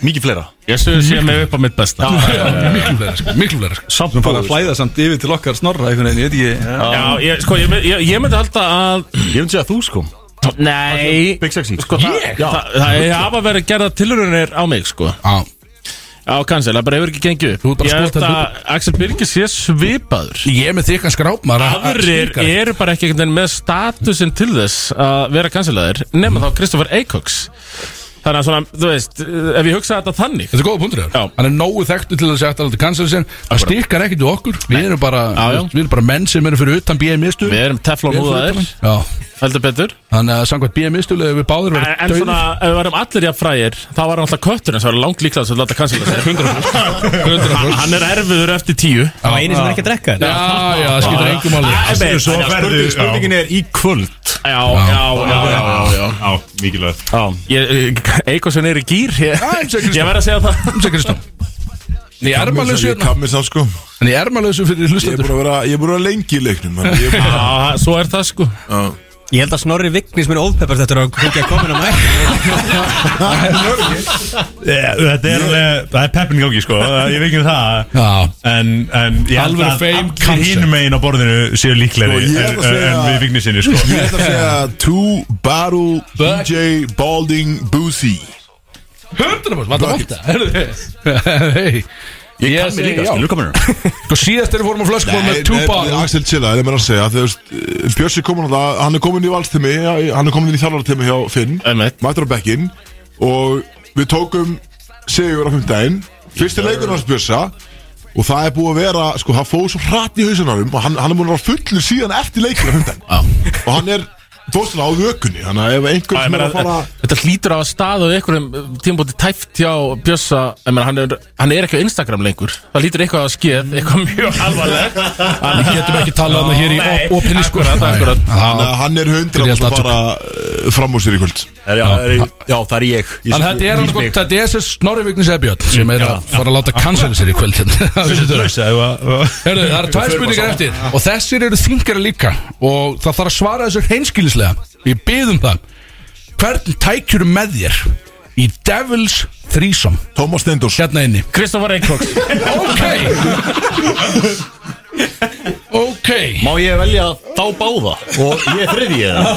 Mikið fleira
Ég stöðu sé mig upp á mitt besta
Miklu fleira, sko, miklu fleira sko.
Samt
Nú bara flæða samt yfir til okkar snorra einhvern veginn, ég veit ekki
sko, Já, ég, sko, ég, mynd- ég, ég myndi halda að
Ég myndi segja að þú sko
Nei Big Sexy sko,
Ég?
það, það, það er hafa verið gerða tilrunir á mig sko
Já
Á cancel, það bara hefur ekki gengið upp
bara
Ég held
skotar
að Axel Birgis sé svipaður
Ég er með þykkan skráp maður að- að
Aðrir
stinga.
eru bara ekki einhvern veginn með statusin til þess að vera cancelaðir Nefna þá Kristoffer Eikoks Þannig að svona, þú veist, ef ég hugsa þetta þannig
Þetta er góða punktur þér Hann er nógu þekktu til þess að þetta aldrei kansla sér Það styrkar ekkert við okkur Við erum bara, við erum bara menn sem eru fyrir utan BMI stuð
Við erum teflon húðaðir
Já
Heldur betur
Þannig að samkvæmt BMI stuð Við báður
En,
verið
en svona, ef við varum allir jafn frægir Þá var hann alltaf kötturinn sem var langt líklega sem láta cancela sér 100 Hann hann er erfiður eftir tíu
Það var eini sem er ekki að drekka
Já, já, það skiptir engum máli.
Skilur, svo
Þannig að
ferðu-
spurning- spurningin
er í kvöld
Já, já, já, já, já, já.
Já, mikilvægt
Eikosun er í gýr Ég,
Já, eins og Kristó.
ég verð að segja það
Eins og Kristó Ég er maður laus
Ég
hérna
kam mér samt sko
En ég er maður laus fyrir
Ég er
hlustandur
búin að vera- ég er búin að vera lengi í leiknum þannig að ég er
*laughs*
bara-
Já, svo er það sko
Ég held að Snorri Vignis minn óðpeppast eftir að hugja að koma inn á mæk
Yeah, Eh, þetta er alveg, það er peppin í gangi
*laughs*
sko Ég veit ekki um það
Já.
En, en ég held
Alvöru
að
fame
allir hínum megin á borðinu séu líklegri
Sko, ég
en,
ætla að segja-
en við vignisinni
*laughs*
sko
*laughs* Ég ætla að segja Two Battle DJ Balding Boozy
Hörðunum Hvað það
Bucket.
vant *laughs* það? Hei Ég
kann mig líka, skilur,
komin
*laughs* Sko síðast þegar við fórum á flösku Fórum með
nei,
túpa
nei, Axel Chilla, ég meina að segja þegar, veist, eh, Björsi komin á það, hann er komin í valstimi Hann er komin inn í þjálfartimi hjá Finn Mættur á bekkin Og við tókum Sigur á fimmtæðin Fyrsti leikur hans Björsa Og það er búið að vera, sko, það fóð svo hratt í hausunum Og hann, hann er búin að vera fullur síðan eftir leikur á fimmtæðin Og hann er Fórstulega á vökunni, þannig að ef einhver
Já, ég
sem er
meina, eh,
að fara
Þetta hlýtur á að staða á einhverjum eh, tímabóti tæft hjá Bjössa ég meina, hann, er, hann er ekki á Instagram lengur Það hlýtur eitthvað að skeð, eitthvað mjög alvarlegt Hann
Við getum ekki talað um það hér í
Nei,
op- opinni sko
akkurat, akkurat.
Þannig að hann er hundra
Byrja
að
alltaf
fara uh, fram úr sér í kvöld
Já, það er- já, það er ég Ég-
Þannig að þetta er
ég-
alveg gott, þetta er þessi Snorri Vignis Ebbjörn sem er að fara að láta cancela sér í kvöld hérna.
Herðu,
Herðu, það eru tvær spurningar eftir og þessir eru þingara líka og það þarf að svara þessu hreinskilislega Ég bið um það Hvern tækjur með þér í Devils Threesome?
Tómas Steindors
Hérna inni
Kristoffer Eikóks
Ok Ok
Má ég velja þá báða og ég er þriði eða?
*laughs*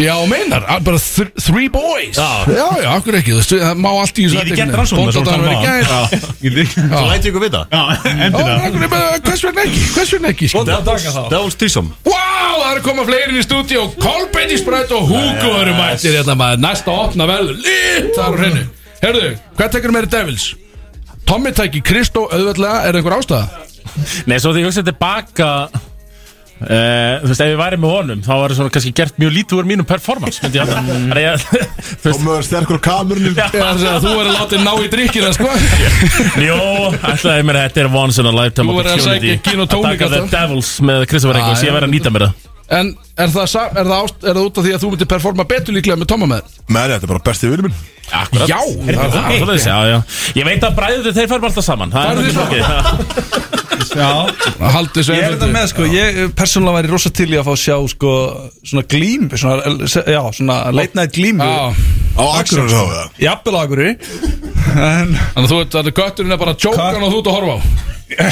Já, meinar, að bara th three boys
Já.
já, já akkur ekki, þú veist, það má allt í þessu
Ég er gett rannsókn með
Bóndadagurinn var í gær.
Svo læti ykkur vita
Já, af hverju bara- Hvers vegna ekki, hvers vegna ekki sko?
Devils Threesome
Wow, það eru að koma fleiri inn í stúdíu Kolbeinn í sprætt og Hugo eru mættir hérna maður Næsta opna verður lit Það eru hreinu Herðu, hvað tekur meiri Devils? Tommy tæki Kristó auðveldlega Er einhver ástæða?
Nei, svo því ég hugsaði tilbaka Uh, þú veist, ef ég væri með honum þá var það svona kannski gert mjög lítið úr mínum performance myndi ég alltaf
Mm.
Þannig að ég- þú veist,
Tómas sterkur á kamerunum
Ég er að segja að þú verður látið ná í drikkina sko
Jó, ætlaði ég mér að þetta er once in a lifetime
Þú verður að
opportunity
sækja gin og tónik
taka the
alltaf.
devils með Kristoffer Eikóks
Já,
ég
já.
verði að nýta mér það
En er það, sa- er það, ást, er það út af því að þú myndir performa betur líklega með Tomma með?
Nei, þetta er bara besti vinur minn
Akkurat.
Já,
Heyrðu,
það er
það er svoleiðis, já, já. Ég veit að bræður þeir færum alltaf saman Það
Færu
er
þið
ekki ekki
Haldi
Ég
þessu
er
einföldu.
þetta með sko, ég persónulega væri rosa til í að fá að sjá sko svona glím, svona, eh, já, svona late night glímu
Já.
Á Akureyri þá eða?
Jafnvel aðgurri En,
Þannig að þú ert að götturinn er bara tjókan og þú ert að horfa á
*laughs*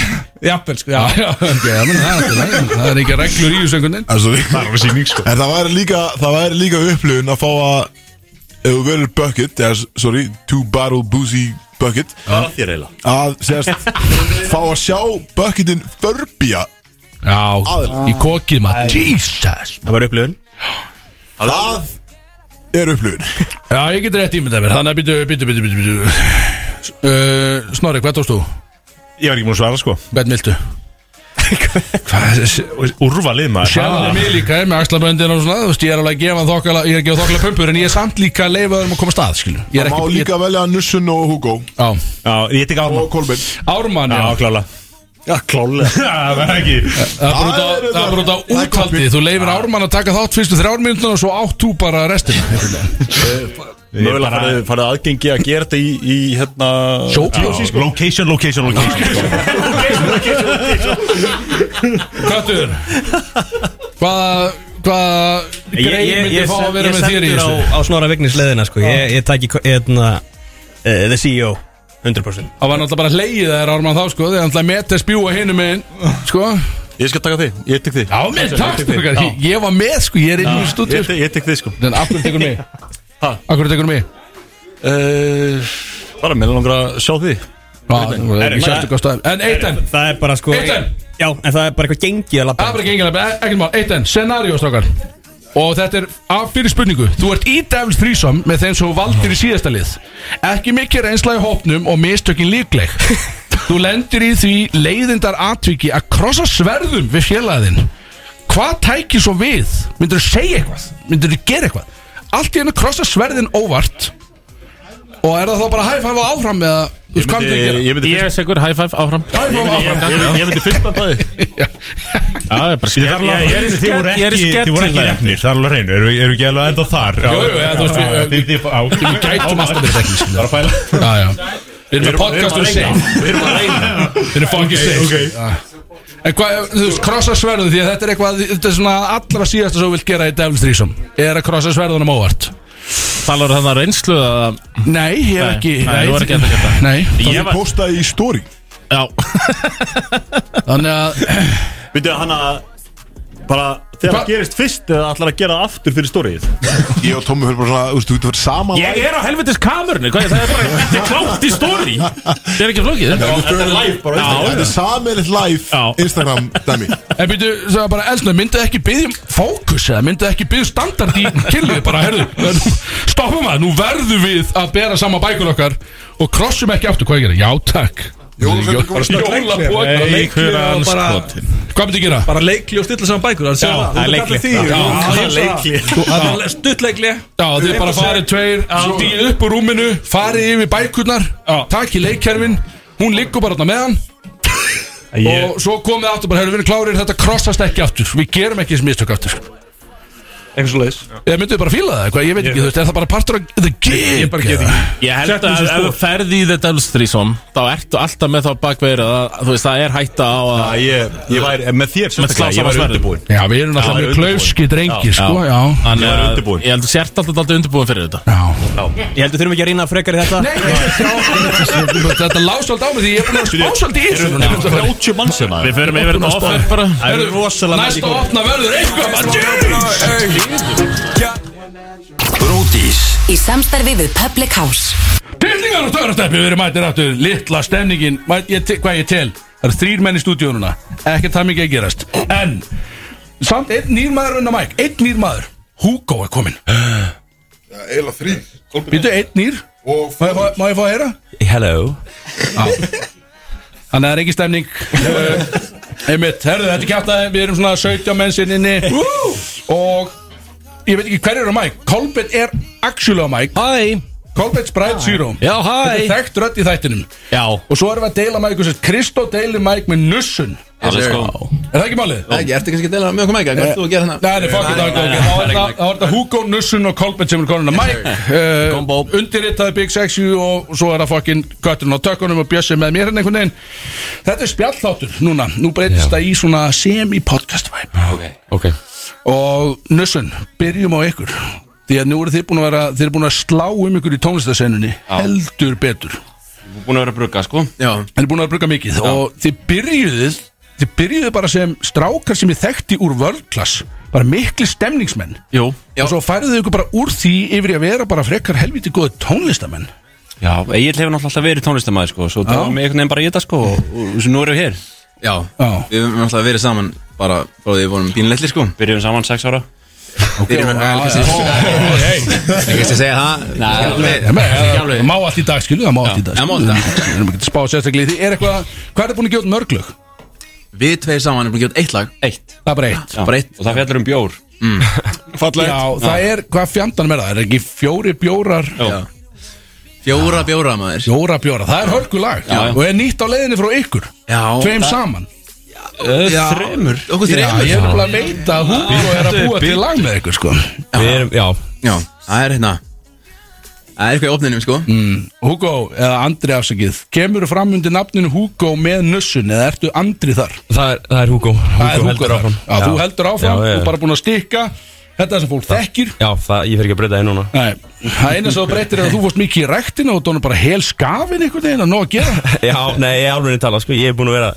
jafnvel sko, já
Já, ok, já, menn, það er allt í lagi. Það er ekki reglur í þessu einhvern veginn
En svo-
Það er alveg síning sko
En það væri líka Það væri líka upplifun að fá að Ef þú verður bucket eða, Sorry, two barrel boozy bucket
Það er þér eiginlega
Að segast Fá að sjá bucketin förbja
Já, í kokið maður Jesus
Það var upplifun
Það er upplifun
Já, ég get rétt ímyndað mér Þannig að byttu, byttu, byttu,
*laughs*
byttu, byttu. Uh, Snorri, hvað tókst þú?
Ég var ekki múin að svara sko
Hvern viltu?
Hvað, Úrvalið maður Ah.
Sjálfur mig líka, ég með axlaböndin og svona Þú veist, ég er alveg að gefa þokkala Ég er að gefa þokkala pumpur En ég er samt líka að leifa þeim að koma af stað, skilu Ég er
Má
ekki
líka velja Nussun og Hugo
Já,
Já, ég tek
Og
Ármann
Kolbeinn
Ármann,
Já, klála
já
Já, *laughs*
*laughs*
klálega
Það var ekki Já,
Það er
Það er
bara út á- það er bara út á
það er
úthaldi
komið.
Þú leifir Ármann að taka þátt fyrstu þrjármyndun Og svo átt þú bara restina
Mögulega
bara-
farið- farið aðgengi að gera þetta í, í hérna
Sjópljósi, sko
Location, location, location
Köttur Hvaða Hvaða
Ég,
greið
ég,
myndi
ég,
fá að
ég,
vera
ég
með þér í
sendur á,
þessu
á Snorra Vignis leðina sko. Ég, ég tæki ko- hérna, uh, The CEO 100%
Það var náttúrulega bara leiðið þær Ármann þá sko Þegar hann ætlaði að metta spjúa hinu megin Sko
Ég skal taka þig, ég tek þig
Já, mér, takk, strákar. Ég- ég var með sko, ég er inn í stúdíu,
Ég ég tek þig sko
En af hverju tekur mig? Af hverju tekur mig?
Uh, bara, mér langar að sjá því
það er ekki sérstök ástæður. En eitt enn.
Það er bara sko
Eitt enn.
Já, en það er bara eitthvað gengið að lappa
Það er bara gengilega, ekkert Eh, mál, eitt enn, scenario strákar Og þetta er af fyrir spurningu Þú ert í dæfnst frísam með þeim sem þú valdir í síðasta lið Ekki mikið reynsla í hópnum og mistökin
*laughs*
líkleg Þú lendir í því leiðindar atviki að krossa sverðum við fjölaðin Hvað tækir svo við? Myndur þú segja eitthvað? Myndur þú gera eitthvað? Allt í hennu krossa sverðin óvart Og er það þá bara high five og áfram eða Þú veist hvað myndir þú gera?
Ég myndi Ég er segur high five áfram
High five áfram
Ég myndi fyrst að bæði
Já, það er bara
Ég þarf
skell
alveg að þið voru
Ég er
ekki,
skell
þið voru ekki jafnir, það er alveg hreinu, eru er ekki alveg enda þar?
Jú, jú, eða þú veist, við-
við, við, á,
Við gætum alltaf verið ekki
Það er að pæla
Já, já Við erum með podcast og safe
Við erum að reyna
Við erum fucking safe En hvað, þú veist, krossa sverðun Því að þetta er eitthvað, þetta er svona allra síðasta sem þú vilt gera í Devil's Threesome Er að krossa sverðunum óvart
Talar þannig að reynslu að
Nei, ég er ekki
Nei, þú er ekki enda geta
Nei
Ég var
postaði í story
Já
Þannig að
Veitu, hann að Bara, þegar það gerist fyrst eða ætlar að gera það aftur fyrir stórið
Ég og Tómi fyrir bara svona, þú veist, þú getur verið saman
Ég er á helvitis kamerunni, hvað er það? er bara- Þetta er klátt í stóri Þetta er ekki flókið
Þetta er live bara Þetta er samanleitt live Instagram dæmi
En býtu, það er bara elsnöð, myndu ekki byggjum fókus eða myndu ekki byggjum standard í killið bara, herðu, nú- stoppum að, nú verðum við að bera sama bækur okkar og krossum ekki aftur, hvað ég gera? Já, takk Jólapokar
Leikhljóðan
skotin Hvað myndu gera?
Bara leikli og stilla saman bækur
Já, það er leikhlé. Já, það er leikhlé.
leikli Stutt leikli
Já, þið bara farið tveir, stíð upp úr rúminu, farið yfir bækurnar, takið leikkerfin, hún liggur bara þarna með hann og svo komið aftur bara, hefur verið klárir, þetta krossast ekki aftur, við gerum ekki þessi mistök aftur.
Eitthvað svo leiðis
Eða mynduðu bara fíla það eitthvað, ég veit ekki, þú veist, er það bara partur af the game? Ég bara get ekki.
Ég held
Settu
að
þessu sko.
ef þú
spor.
ferði í þetta elstrísom Þá ertu alltaf með þá bakverið að Þú veist, það er hætta á að
Já, ég, ég væri, með þér sérstaklega, ég
slásama
væri
sverðum.
undirbúinn
Já, við erum
Já,
náttúrulega mjög
undirbúinn.
klaufski drengir, sko, já.
Þannig
Ég var
að-
undirbúinn.
Ég held að sért alltaf alltaf undirbúin fyrir þetta
Ég heldur þurfum ekki að reyna frekar í þetta
Þetta lást alltaf á mig því ég er búin að spá svolítið í þessu. núna.
30 mann sem
hérna?
hérna.
Við förum yfir þetta offer bara
Það eru rosalega
Næsta opna verður eitthvað, maður,
Bródís Í samstarfi við Public House
Tilningar og törasteppi, við erum mættir aftur Littla stemningin, mæ, ég, te- hvað ég tel Það eru þrýr menn í stúdíununa Ekkert það mikið að gerast En, samt einn nýr maður unna mæk Einn nýr maður, Hugo er komin
Eila þrý
Býtu, einn nýr
Og
Má ég fá- má ég fá að heyra?
Hello
Þannig að það er ekki stemning
*laughs*
Eh, Einmitt, herðu, þetta er kjáttaði Við erum svona 17 menn sinn inni Og ég veit ekki hverju eru á mæk Kolbett er actually á mæk
Hæ
Kolbett Sprite Zero
Já,
Þetta er
hæ
þekkt rödd í þættinum
Já
Og svo erum við að deila mæk sem sagt, Kristó deilir mæk með nussun Er það ekki málið?
Nei, ekki, ertu kannski að deila mjög okkur mækja, hvað ert þú að gera þannig?
Nei, nei, fuck it, ok, ok. Þá er það- þá er það Hugo, Nussun og Kolbett sem er konuna Mike uh, Undirritaði Big Sexy og svo er það fucking Götturinn á tökkunum og Bjössi með mér hérna einhvern veginn Þetta er spjallþáttur núna Nú breytist það í svona semi-podcast vibe
Ok
Og Nussun, byrjum á ykkur Því að nú eru þið búin að vera Þið eru búin að slá um ykkur í tónlistasennunni Heldur betur
Búin að vera að brugga, sko Já
En er búin að bruka mikið Og þið byrjuðuð Þið byrjuðu bara sem strákar sem ég þekkti úr vörlklass Bara mikli stemningsmenn
Jú
Og svo færðu þau ykkur bara úr því yfir í að vera bara frekar helviti góði tónlistamenn
Já, ég hefur náttúrulega alltaf verið tónlistamæði, sko Svo
Já.
það var mig einhvern veginn bara í þetta, sko Og og svo nú erum við hér Já,
Já.
við höfum alltaf verið saman bara frá því við vorum pínleitli, sko Byrjum saman sex ára Byrjum við
já,
kannski Ég kannski að segja það Nei,
Það má allt í dag skilu, það má allt í dag
það má allt í
skilu.
dag.
Við erum ekki að spá sérstaklega í því Er eitthvað, hvað er það búin að gjóta mörglög?
Við tveir saman erum búin að gera eitt lag Eitt
Það er bara eitt
Bara eitt Og það fjallur um bjór Fallegt
Já, það er, hvað fjandanum er það? Er ekki fjóri bjórar?
Já. Fjóra bjóra maður
Fjóra bjóra, það er hörgulag
Já, já.
Og er nýtt á leiðinni frá ykkur
Já
Tveim
það-
saman
Já. Okkur þremur
Já, ég er nefnilega að veita að Hugo er að búa til lag með ykkur sko
Við erum, já Já, það er hérna Það er eitthvað í opninum sko
mm, Hugo, eða Andri afsakið Kemur fram undir nafninu Hugo með nussun Eða ertu Andri þar?
Það er, það er Hugo
Það er Hugo þar. Já, þú
Já.
heldur áfram,
Já,
þú
ég-
er bara búin að stikka Þetta er það sem fólk þekkir
Já, það, ég fer ekki að breyta það núna
Nei, það eina sem þú breytir
*laughs*
er að þú fórst mikið í ræktina og þú dónar bara hel skafin einhvern veginn að nóg að gera
Já, nei, ég er alveg niður tala, sko, ég er búin að vera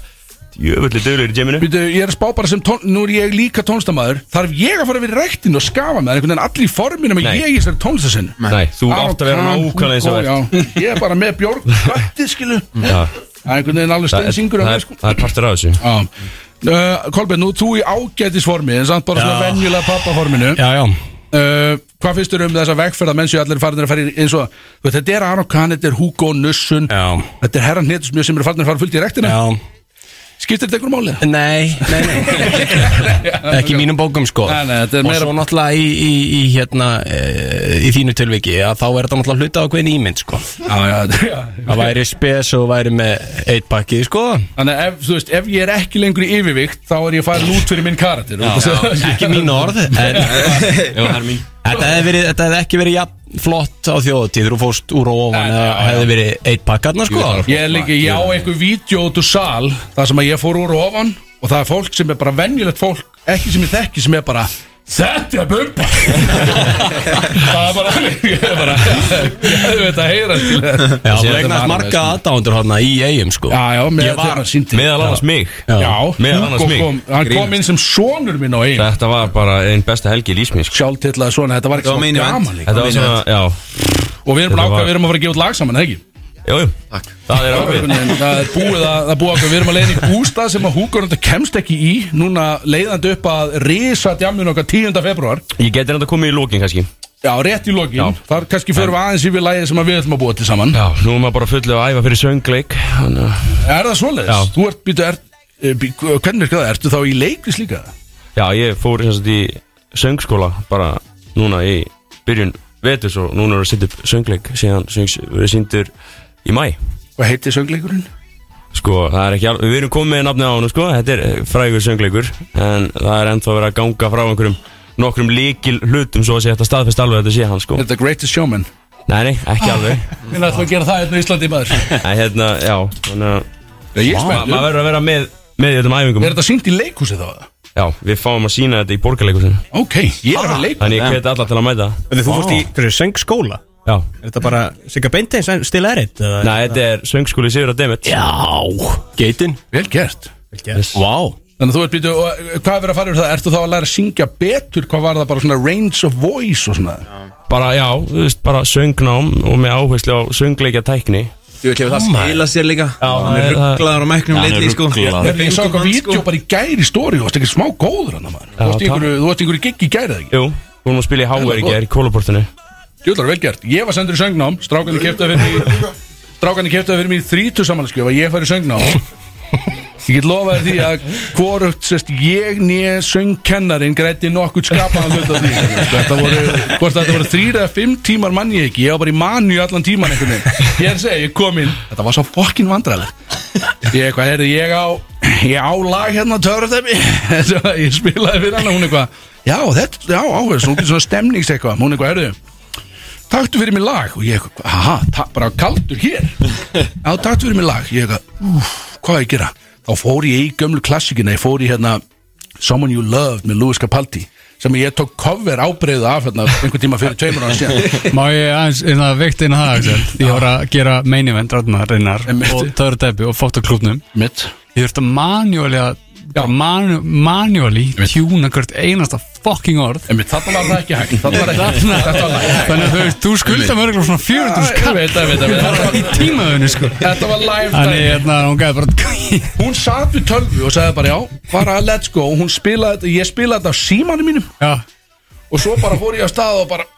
Jöfulli dölur í geminu
Býtu, ég er að spá bara sem tón, nú er ég líka tónlistamæður Þarf ég að fara að vera í ræktinu og skafa með einhvern veginn allir í forminu með
Nei.
ég í þessari tónlistasinn
Nei, þú átt að vera nákvæmlega eins og
verð Ég er bara með björg, skvættið skilu Það
Já.
er einhvern veginn
Það
alveg
er-
steinsingur
það er- Það er partur af þessu
sko. Já uh, Kolbeinn, nú þú í ágætisformi en samt bara
Já.
svona venjulega pappaforminu
Já, já
Uh, hvað finnst þér um þessa vegferð að menn séu allir farinir að fara í- eins og þú veit, þetta er Aron Kahn, þetta er Hugo Nussun
já.
þetta er Herran Hnetusmjöð sem eru farinir að fara fullt í rektina
já.
skiptir þetta einhverjum máli?
Nei, nei, nei Ekki í mínum bókum sko
Nei, nei, þetta er
Og
meira-
svo náttúrulega í, í, í, hérna, e, í þínu tilviki að þá er þetta náttúrulega hluta á hvern ímynd sko
já, já, já.
*laughs* Það væri spes og væri með eitt pakki sko
Þannig að ef, þú veist, ef *laughs* ég er ekki lengur í yfirvikt þá er ég farin út fyrir minn karakter
Já, já, ekki mín orð
*laughs*
en,
Jú, það er mín
Þetta hefði, verið, þetta hefði ekki verið jafn flott á þjóðutíð þú fórst úr og ofan eða hefði verið eitt pakkarna sko
Ég er líka, ég á einhver vídeo út úr sal Það sem að ég fór úr og ofan Og það er fólk sem er bara venjulegt fólk Ekki sem ég þekki sem er bara Þetta er bumba *laughs* Það er bara Ég er bara *laughs* Ég veit að heyra skilur.
Já,
Sér
þú
þetta
eignast
var
marga
alveg,
aðdándur hérna í eigum sko
Já, já, meðal
Ég var-
þeirra sýndi-
Meðal annars
Já.
mig
Já.
Meðal annars
Hugo
mig
kom- Hann kom inn sem sonur minn á eigin
Þetta var bara einn besta helgi í lífsmi
Sjálftillaði svona, þetta var ekki
Þetta var
svona
main event.
gaman líka.
Þetta var svona, já
Og við erum búin
Þetta
að ákveða,
var-
við erum að fara að gefa út lag saman, eða ekki?
Jújú, það er ákveð
Það er búið að, það er búið að við erum að leiðin í bústað sem að húkarönda kemst ekki í Núna leiðandi upp að risa djamun okkar 10. februar
Ég geti reynda komið í lókin kannski
Já, rétt í lokin Þar kannski förum við aðeins yfir lagið sem að við ætlum að búa til saman
Já, nú er maður bara fullið að æfa fyrir söngleik uh, þannig að-
Er það svoleiðis?
Já.
Þú ert, býtu, er, eh, bí- hvernig virkar það? Ertu þá í leiklis líka?
Já, ég fór sem sagt í söngskóla bara núna í byrjun vetus og núna er að setja upp söngleik síðan söngs, við síndur í mæ
Hvað heitir söngleikurinn?
Sko, það er ekki alveg, við erum komið með nafnið á hann sko, þetta er eh, frægur söngleikur en það er ennþá verið að ganga frá einhverjum nokkrum líkil hlutum svo að sé þetta staðfest alveg að þetta sé hann sko
The Greatest Showman
Nei, nei, ekki alveg
*laughs* Við ætlum að gera það hérna í Íslandi maður
En hérna, já, þannig að
ég er
Vá,
spenntur.
Maður verður að vera með, með í þessum æfingum
Er þetta sínt í leikhúsi þá?
Já, við fáum að sína þetta í borgarleikusinu
Ok, ég er að leika
Þannig ég hveti alla til að mæta
Þannig þú fórst í, hverju, söngskóla?
Já
Er þetta bara Sigga Beinteins en stila eritt?
Nei, þetta er söngskóli Sigur og Demet
Já
Geitin
Vel gert
Yes.
Vá
Þannig að þú ert býtu, og, eh, hvað er verið að fara yfir það? Ertu þá að læra að syngja betur? Hvað var það bara svona range of voice og svona?
Bara, já, þú veist, bara söngnám og með áherslu á söngleikja tækni
Þú veit, hefur það skilað sér líka Já, hann er
það-
rugglaður á mæknum
Já, hann er
leitli, sko
ruglaður.
Ég sá eitthvað vídeo bara í gæri í stóri, þú varst ekki smá góður hann maður Þú varst
takk.
í einhverju- þú varst í einhverju gigg í gæri eða ekki?
Jú, við erum að spila í
Það er
HR í gerð í kólaportinu
Júlar, vel gert, ég var sendur í söngnám Strákan er keftaði fyrir mig Strákan er keftaði fyrir mig í þrítu samanskjöf að ég fari í söngnám Ég get lofaði því að hvorugt sest, ég nýja söngkennarin grætti nokkurt skapaðan hlut á því Þetta voru, hvort þetta voru þrýra eða fimm tímar mann ég ekki Ég var bara í manu allan tíman einhvern veginn Ég er að segja, ég kom inn Þetta var svo fokkin vandræðilegt Ég eitthvað, heyrðu, ég á Ég á lag hérna *laughs* törfdæmi Ég spilaði fyrir hana, hún eitthvað Já, þetta, já, áhverjum, svona, svona stemnings eitthvað Hún eitthvað, heyrðu taktu fyrir mig lag og ég, aha, ta- bara kaldur hér já, taktu fyrir mig lag ég, úf, hvað á ég að gera þá fór ég í gömlu klassikina, ég fór í hérna Someone You Loved með Louis Capaldi sem ég tók cover ábreyðu af hérna, einhver tíma fyrir tveimur ára síðan
Má ég aðeins inn að veikt inn að það Axel? Ég var að gera main event ráðnar reynar
Einmitt.
og törur debbi og fóttaklubnum
Mitt
Ég þurfti að manjúli að bara manu- manually tjúna hvert einasta fucking orð
Einmitt, þarna var það ekki
*laughs*
hægt þarna var ekki-
Þarna-
*laughs* þetta var live.
Þannig að þú veist, þú skulda mörgum svona 400 skall
Ég veit það, ég veit það, ég veit það.
Bara Í tímaðunni sko
Þetta var live
Þannig
dæmi.
hérna, hún gæði bara *laughs*
hún satt við tölvu og sagði bara já, bara let's go og hún spilaði þetta, ég spilaði þetta á símanum mínum
já.
og svo bara fór ég á stað og bara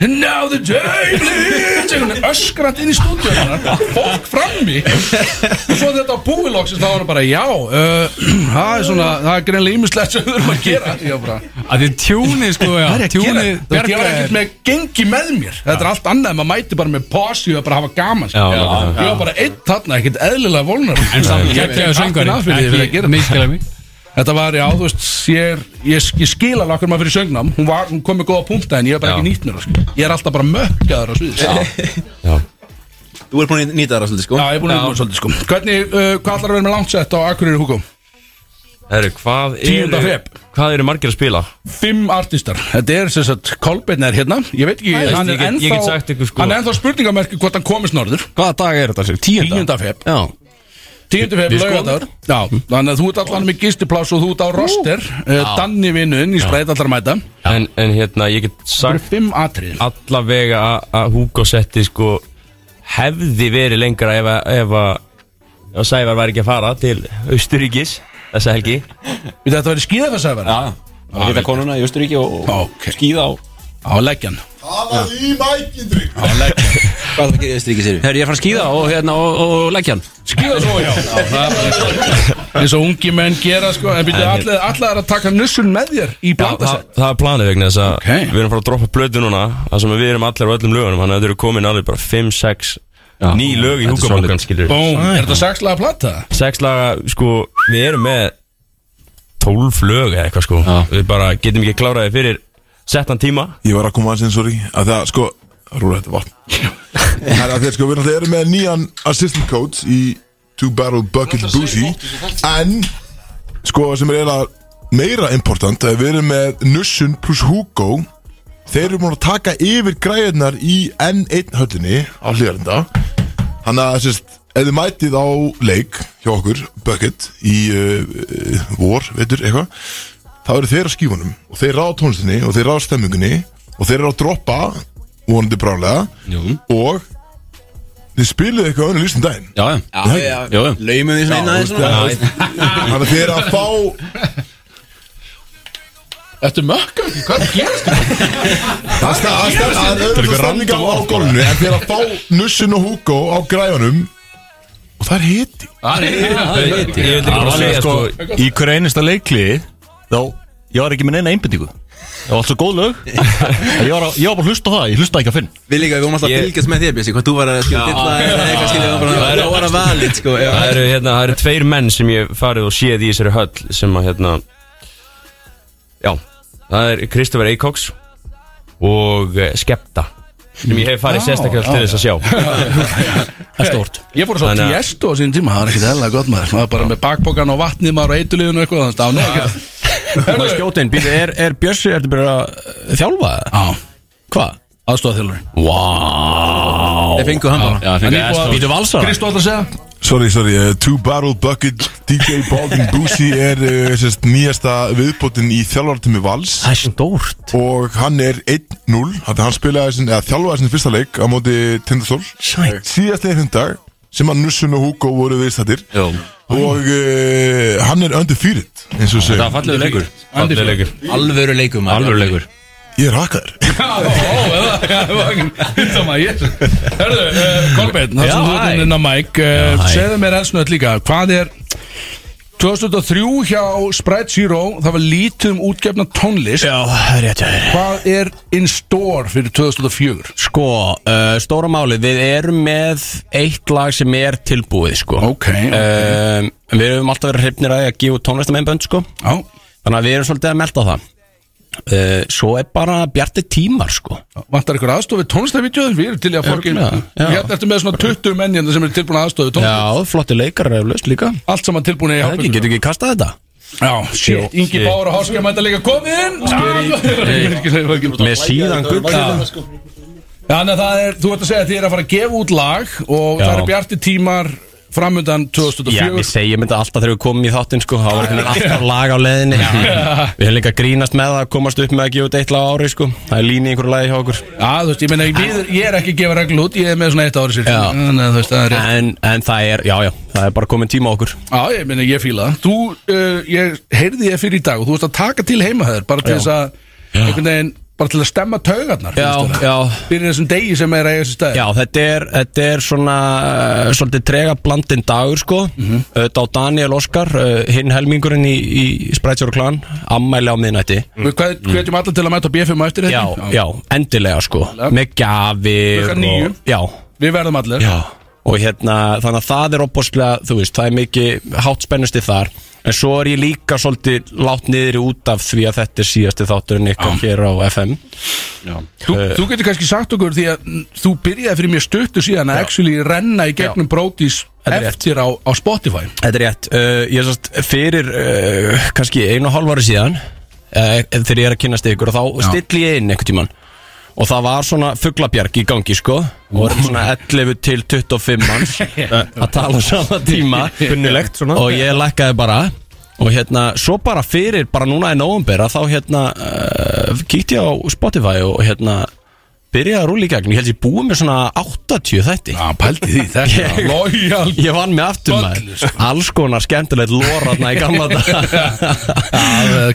And now the day bleeds einhvern veginn öskrand inn í stúdíu hennar fólk frammi og svo þetta á búið loksins þá var hann bara já, uh, *clears throat* það er svona það er greinlega ímislegt sem við erum að gera ég bara,
að þið tjúnið sko, já
hvað er ég að gera
Tjúnið
þetta ég var ekkert með gengi með mér þetta er allt annað, en maður mæti bara með posi og bara hafa gaman
Já,
skilur.
já, já.
ég var bara einn þarna, ekkert eðlilega volnar
En samt geggjaður söngvari, ekki misskilja mig.
Þetta var, já, þú veist, ég, er, ég, ég skil alveg okkur maður fyrir söngnám Hún, var, hún kom með góða punkta en ég er bara
Já.
ekki nýtt mér það, sko. Ég er alltaf bara mökkaður á sviðis Já,
Þú er búin að nýta það svolítið, sko
ég er búin að nýta mér svolítið, sko Hvernig, uh, hvað ætlar að vera með langsett á Akureyri Hugo?
Herru, hvað
10.
eru
feb.
Hvað eru margir að spila?
Fimm artistar Þetta er sem sagt, Kolbeinn er hérna Ég veit ekki,
Æ,
hann
ég
er
get- ég get
ennþá
sagt ykkur, sko.
Hann er ennþá spurningamerki hvort hann komist norður
Hvaða dag er þetta?
10. feb
Já
10.
Við
februar
skoðum
laugardagur Já, þannig að þú ert allan með gistipláss og þú ert á roster uh,
Já.
Danni vinnuðinn í spreit allar að mæta
en, en hérna, ég get sagt
Fimm atrið
Allavega að- að Hugo setti sko Hefði verið lengra ef að Ef að ef að Sævar væri ekki að fara til Austuríkis Þessa helgi
Við þetta verið skíða fyrir Sævar
Já,
Það var að hitta konuna í Östuríki og okay. skýða á
Á leggjan
Tala í mækindri
Hvað er það að gera í Östuríki sér? Herri, ég er að fara að skýða og, hérna, og, og, og leggja hann
Skýða svo, já Það er bara eins og ungi menn gera sko En byrju,
En- hérna,
allir allir er að taka nussun með þér í
það,
blandasett
það er planið vegna þess að við erum að fara að droppa blödu núna Það sem við erum allir á öllum lögunum Þannig að þetta eru komin alveg bara 5, 6, 9 lög í
Þetta er
húkabókan skilur
Búm, er þetta sexlaga plata?
6 laga, sko, við erum með 12 lög eða eitthvað sko Við bara getum ekki kláraði fyrir settan tíma
Ég var að koma aðeins inn, sorry að Það sko, rúra þetta vatn Það er að þér sko, við náttúrulega erum með nýjan assistant coach í Two Barrel Bucket Boozy En, sko, sem er eiginlega meira important að Við erum með Nussun plus Hugo Þeir eru búin að taka yfir græðunar í N1 höllinni á hlýðarenda Þannig að, sérst, ef þið mætið á leik hjá okkur, Bucket, í uh, uh, vor, veitur, eitthvað þá eru þeir á skífunum og þeir ráða tónlistinni og þeir ráða stemmingunni og þeir eru að droppa vonandi brálega og þið spiluðu eitthvað önnu lífstum daginn
Já,
já, já, já.
Laumum því svona inn aðeins svona.
Þannig að þeir eru að fá
Þetta er mökkum, hvað er að gera sko?
*laughs*
Það er stað- það er stað- það er auðvitað stemning á, á gólunni en þeir eru að fá nussin og Hugo á græjunum og það er hiti
Ég vildi bara segja sko Í hverju einasta leikli Þá Ég var ekki með neina einbindíku Það var alltaf góð lög En Ég var, að, ég var bara að hlusta á það Ég hlusta ekki að finn
Við líka, við vorum alltaf að fylgjast með þér, Bjössi, hvað þú var að skilja dilla eða eitthvað skilja, við vorum bara að var að valið, sko. já.
Það eru, hérna, það eru tveir menn sem ég hef farið og séð í þessari höll sem að hérna Já, það er Kristoffer Eikóks og eh, Skepta sem ég hef farið
Já,
sérstaklega
já,
til þess að sjá
*laughs* Það er stórt Ég fór svo
Þannig að-
tiesto á sín tíma, það var ekkert eðla gott maður Maður bara með bakpokan og vatnið maður og eituliðun og eitthvað Þannig að það var nú ekkert
Má ég skjóta inn, býtu, er, er Bjössi, ertu bara að uh, þjálfa? Já Hvað?
Aðstofa þjálfari
Vá
Þeir fengu hann bara.
Já, þeir fengu aðstoð Býtu valsara
Kristó ætla að segja
Sorry, sorry, uh, Two Barrel Bucket DJ Balding Boosie er uh, sérst, nýjasta viðbótin í þjálfartimi Vals
Það er stórt
Og hann er 1-0, þannig að hann spilaði sin, eða, þjálfaði sinni fyrsta leik á móti Tindastól Sæt Síðast eða hundag sem að Nussun og Hugo voru viðstættir Jó Og uh, hann er undir fyrirt, eins og segja
Þetta var fallegur leikur.
Undir
Fallegur leikur. Alvöru leikur, maður.
Alvöru leikur. Ég er hakkaður
*laughs* Þetta maður ég Hörðu, uh, Kolbeinn, það
Já,
sem þú
hæ.
ert inn að Mike
Já,
uh,
hæ.
Segðu mér elsnöð líka, hvað er 2003 hjá Sprite Zero Það var lítið um útgefna tónlist
Já, rétt hjá þér
Hvað er in store fyrir 2004?
Sko, uh, stóra málið, við erum með eitt lag sem er tilbúið, sko
Ok, ok.
um, Við höfum alltaf verið hrypnir að því að gefa tónlistamenn bönd, sko
Já
Þannig að við erum svolítið að melda það uh, Svo er bara bjarti tímar, sko
Vantar ykkur aðstofi tónlistavídeóð? Við erum til í að fólki
Örugglega, já.
Hérna ertu með svona 20 mennjandi hérna sem eru tilbúin aðstofi tónlist
Já, flotti leikar er löst líka
Allt saman tilbúin í
Það ekki, getur ekki kastað þetta
Já, shit, Ingi Bára Háska mæta líka komið inn *laughs* Skeri
Með síðan gugga
Þannig að það er, þú ert að segja að þið er að fara að gefa út lag og
Já.
það eru bjarti tímar framundan
Já, við
2004
segjum þetta alltaf þegar við komum í þáttinn sko, þá var einhvern veginn alltaf lag á leiðinni Við höfum líka grínast með það að komast upp með að gefa út eitt lag á ári sko Það er líni í einhverju lagi hjá okkur
Já, þú veist, ég meina, við, ég er ekki að gefa reglu út, ég er með svona eitt ári sér Þannig að þú veist, það er rétt
en, en það er, já, já, það er bara komin tíma á okkur
Já, ég meina, ég fíla það Þú, uh, ég heyrði ég fyrir í dag og þú veist að taka til heima þeir bara til
Já.
þess að, einhvern veginn, bara til að stemma taugarnar
Já,
finnst þér það?
já
Fyrir þessum degi sem er að eiga þessi stæð
Já, þetta er, þetta er svona uh, svolítið trega blandin dagur sko
Mhm.
Þetta á Daniel Óskar, uh, hinn helmingurinn í, í Sprætsjóru klan, ammæli á miðnætti
Við hvað- hvetjum alla til að mæta á BFM á eftir þetta
Já, já, endilega sko Með gafir
Klukkan níu.
og, Já,
Við verðum allir
Já Og hérna, þannig að það er opbóslega, þú veist, það er mikið hátt spennusti þar En svo er ég líka svolítið látt niður út af því að þetta er síðasti þátturinn ykkar hér á Eh. FM Já
Þú, þú getur kannski sagt okkur því að mm, þú byrjaði fyrir mjög stuttu síðan að actually renna í gegnum brótis eftir á, á Spotify
Þetta er rétt, uh, ég sast fyrir uh, kannski einu og hálf ári síðan uh, Þegar ég er að kynast ykkur og þá stilli ég inn einhvern tíman og það var svona fuglabjarg í gangi sko og voru svona 11 til 25
*laughs*
manns að tala á sama tíma
Kunnulegt svona.
og ég lækkaði bara og hérna, svo bara fyrir bara núna í november að þá hérna uh, kíkti ég á Spotify og hérna byrjaði að rúla í gegn, ég held ég búið með svona 80 þætti Já,
pældi því, þetta
*laughs*
er
Ég, ég vann með aftur maður
sko.
Alls konar skemmtilegt lóraðna í gamla
*laughs*
*laughs*
dag
Já,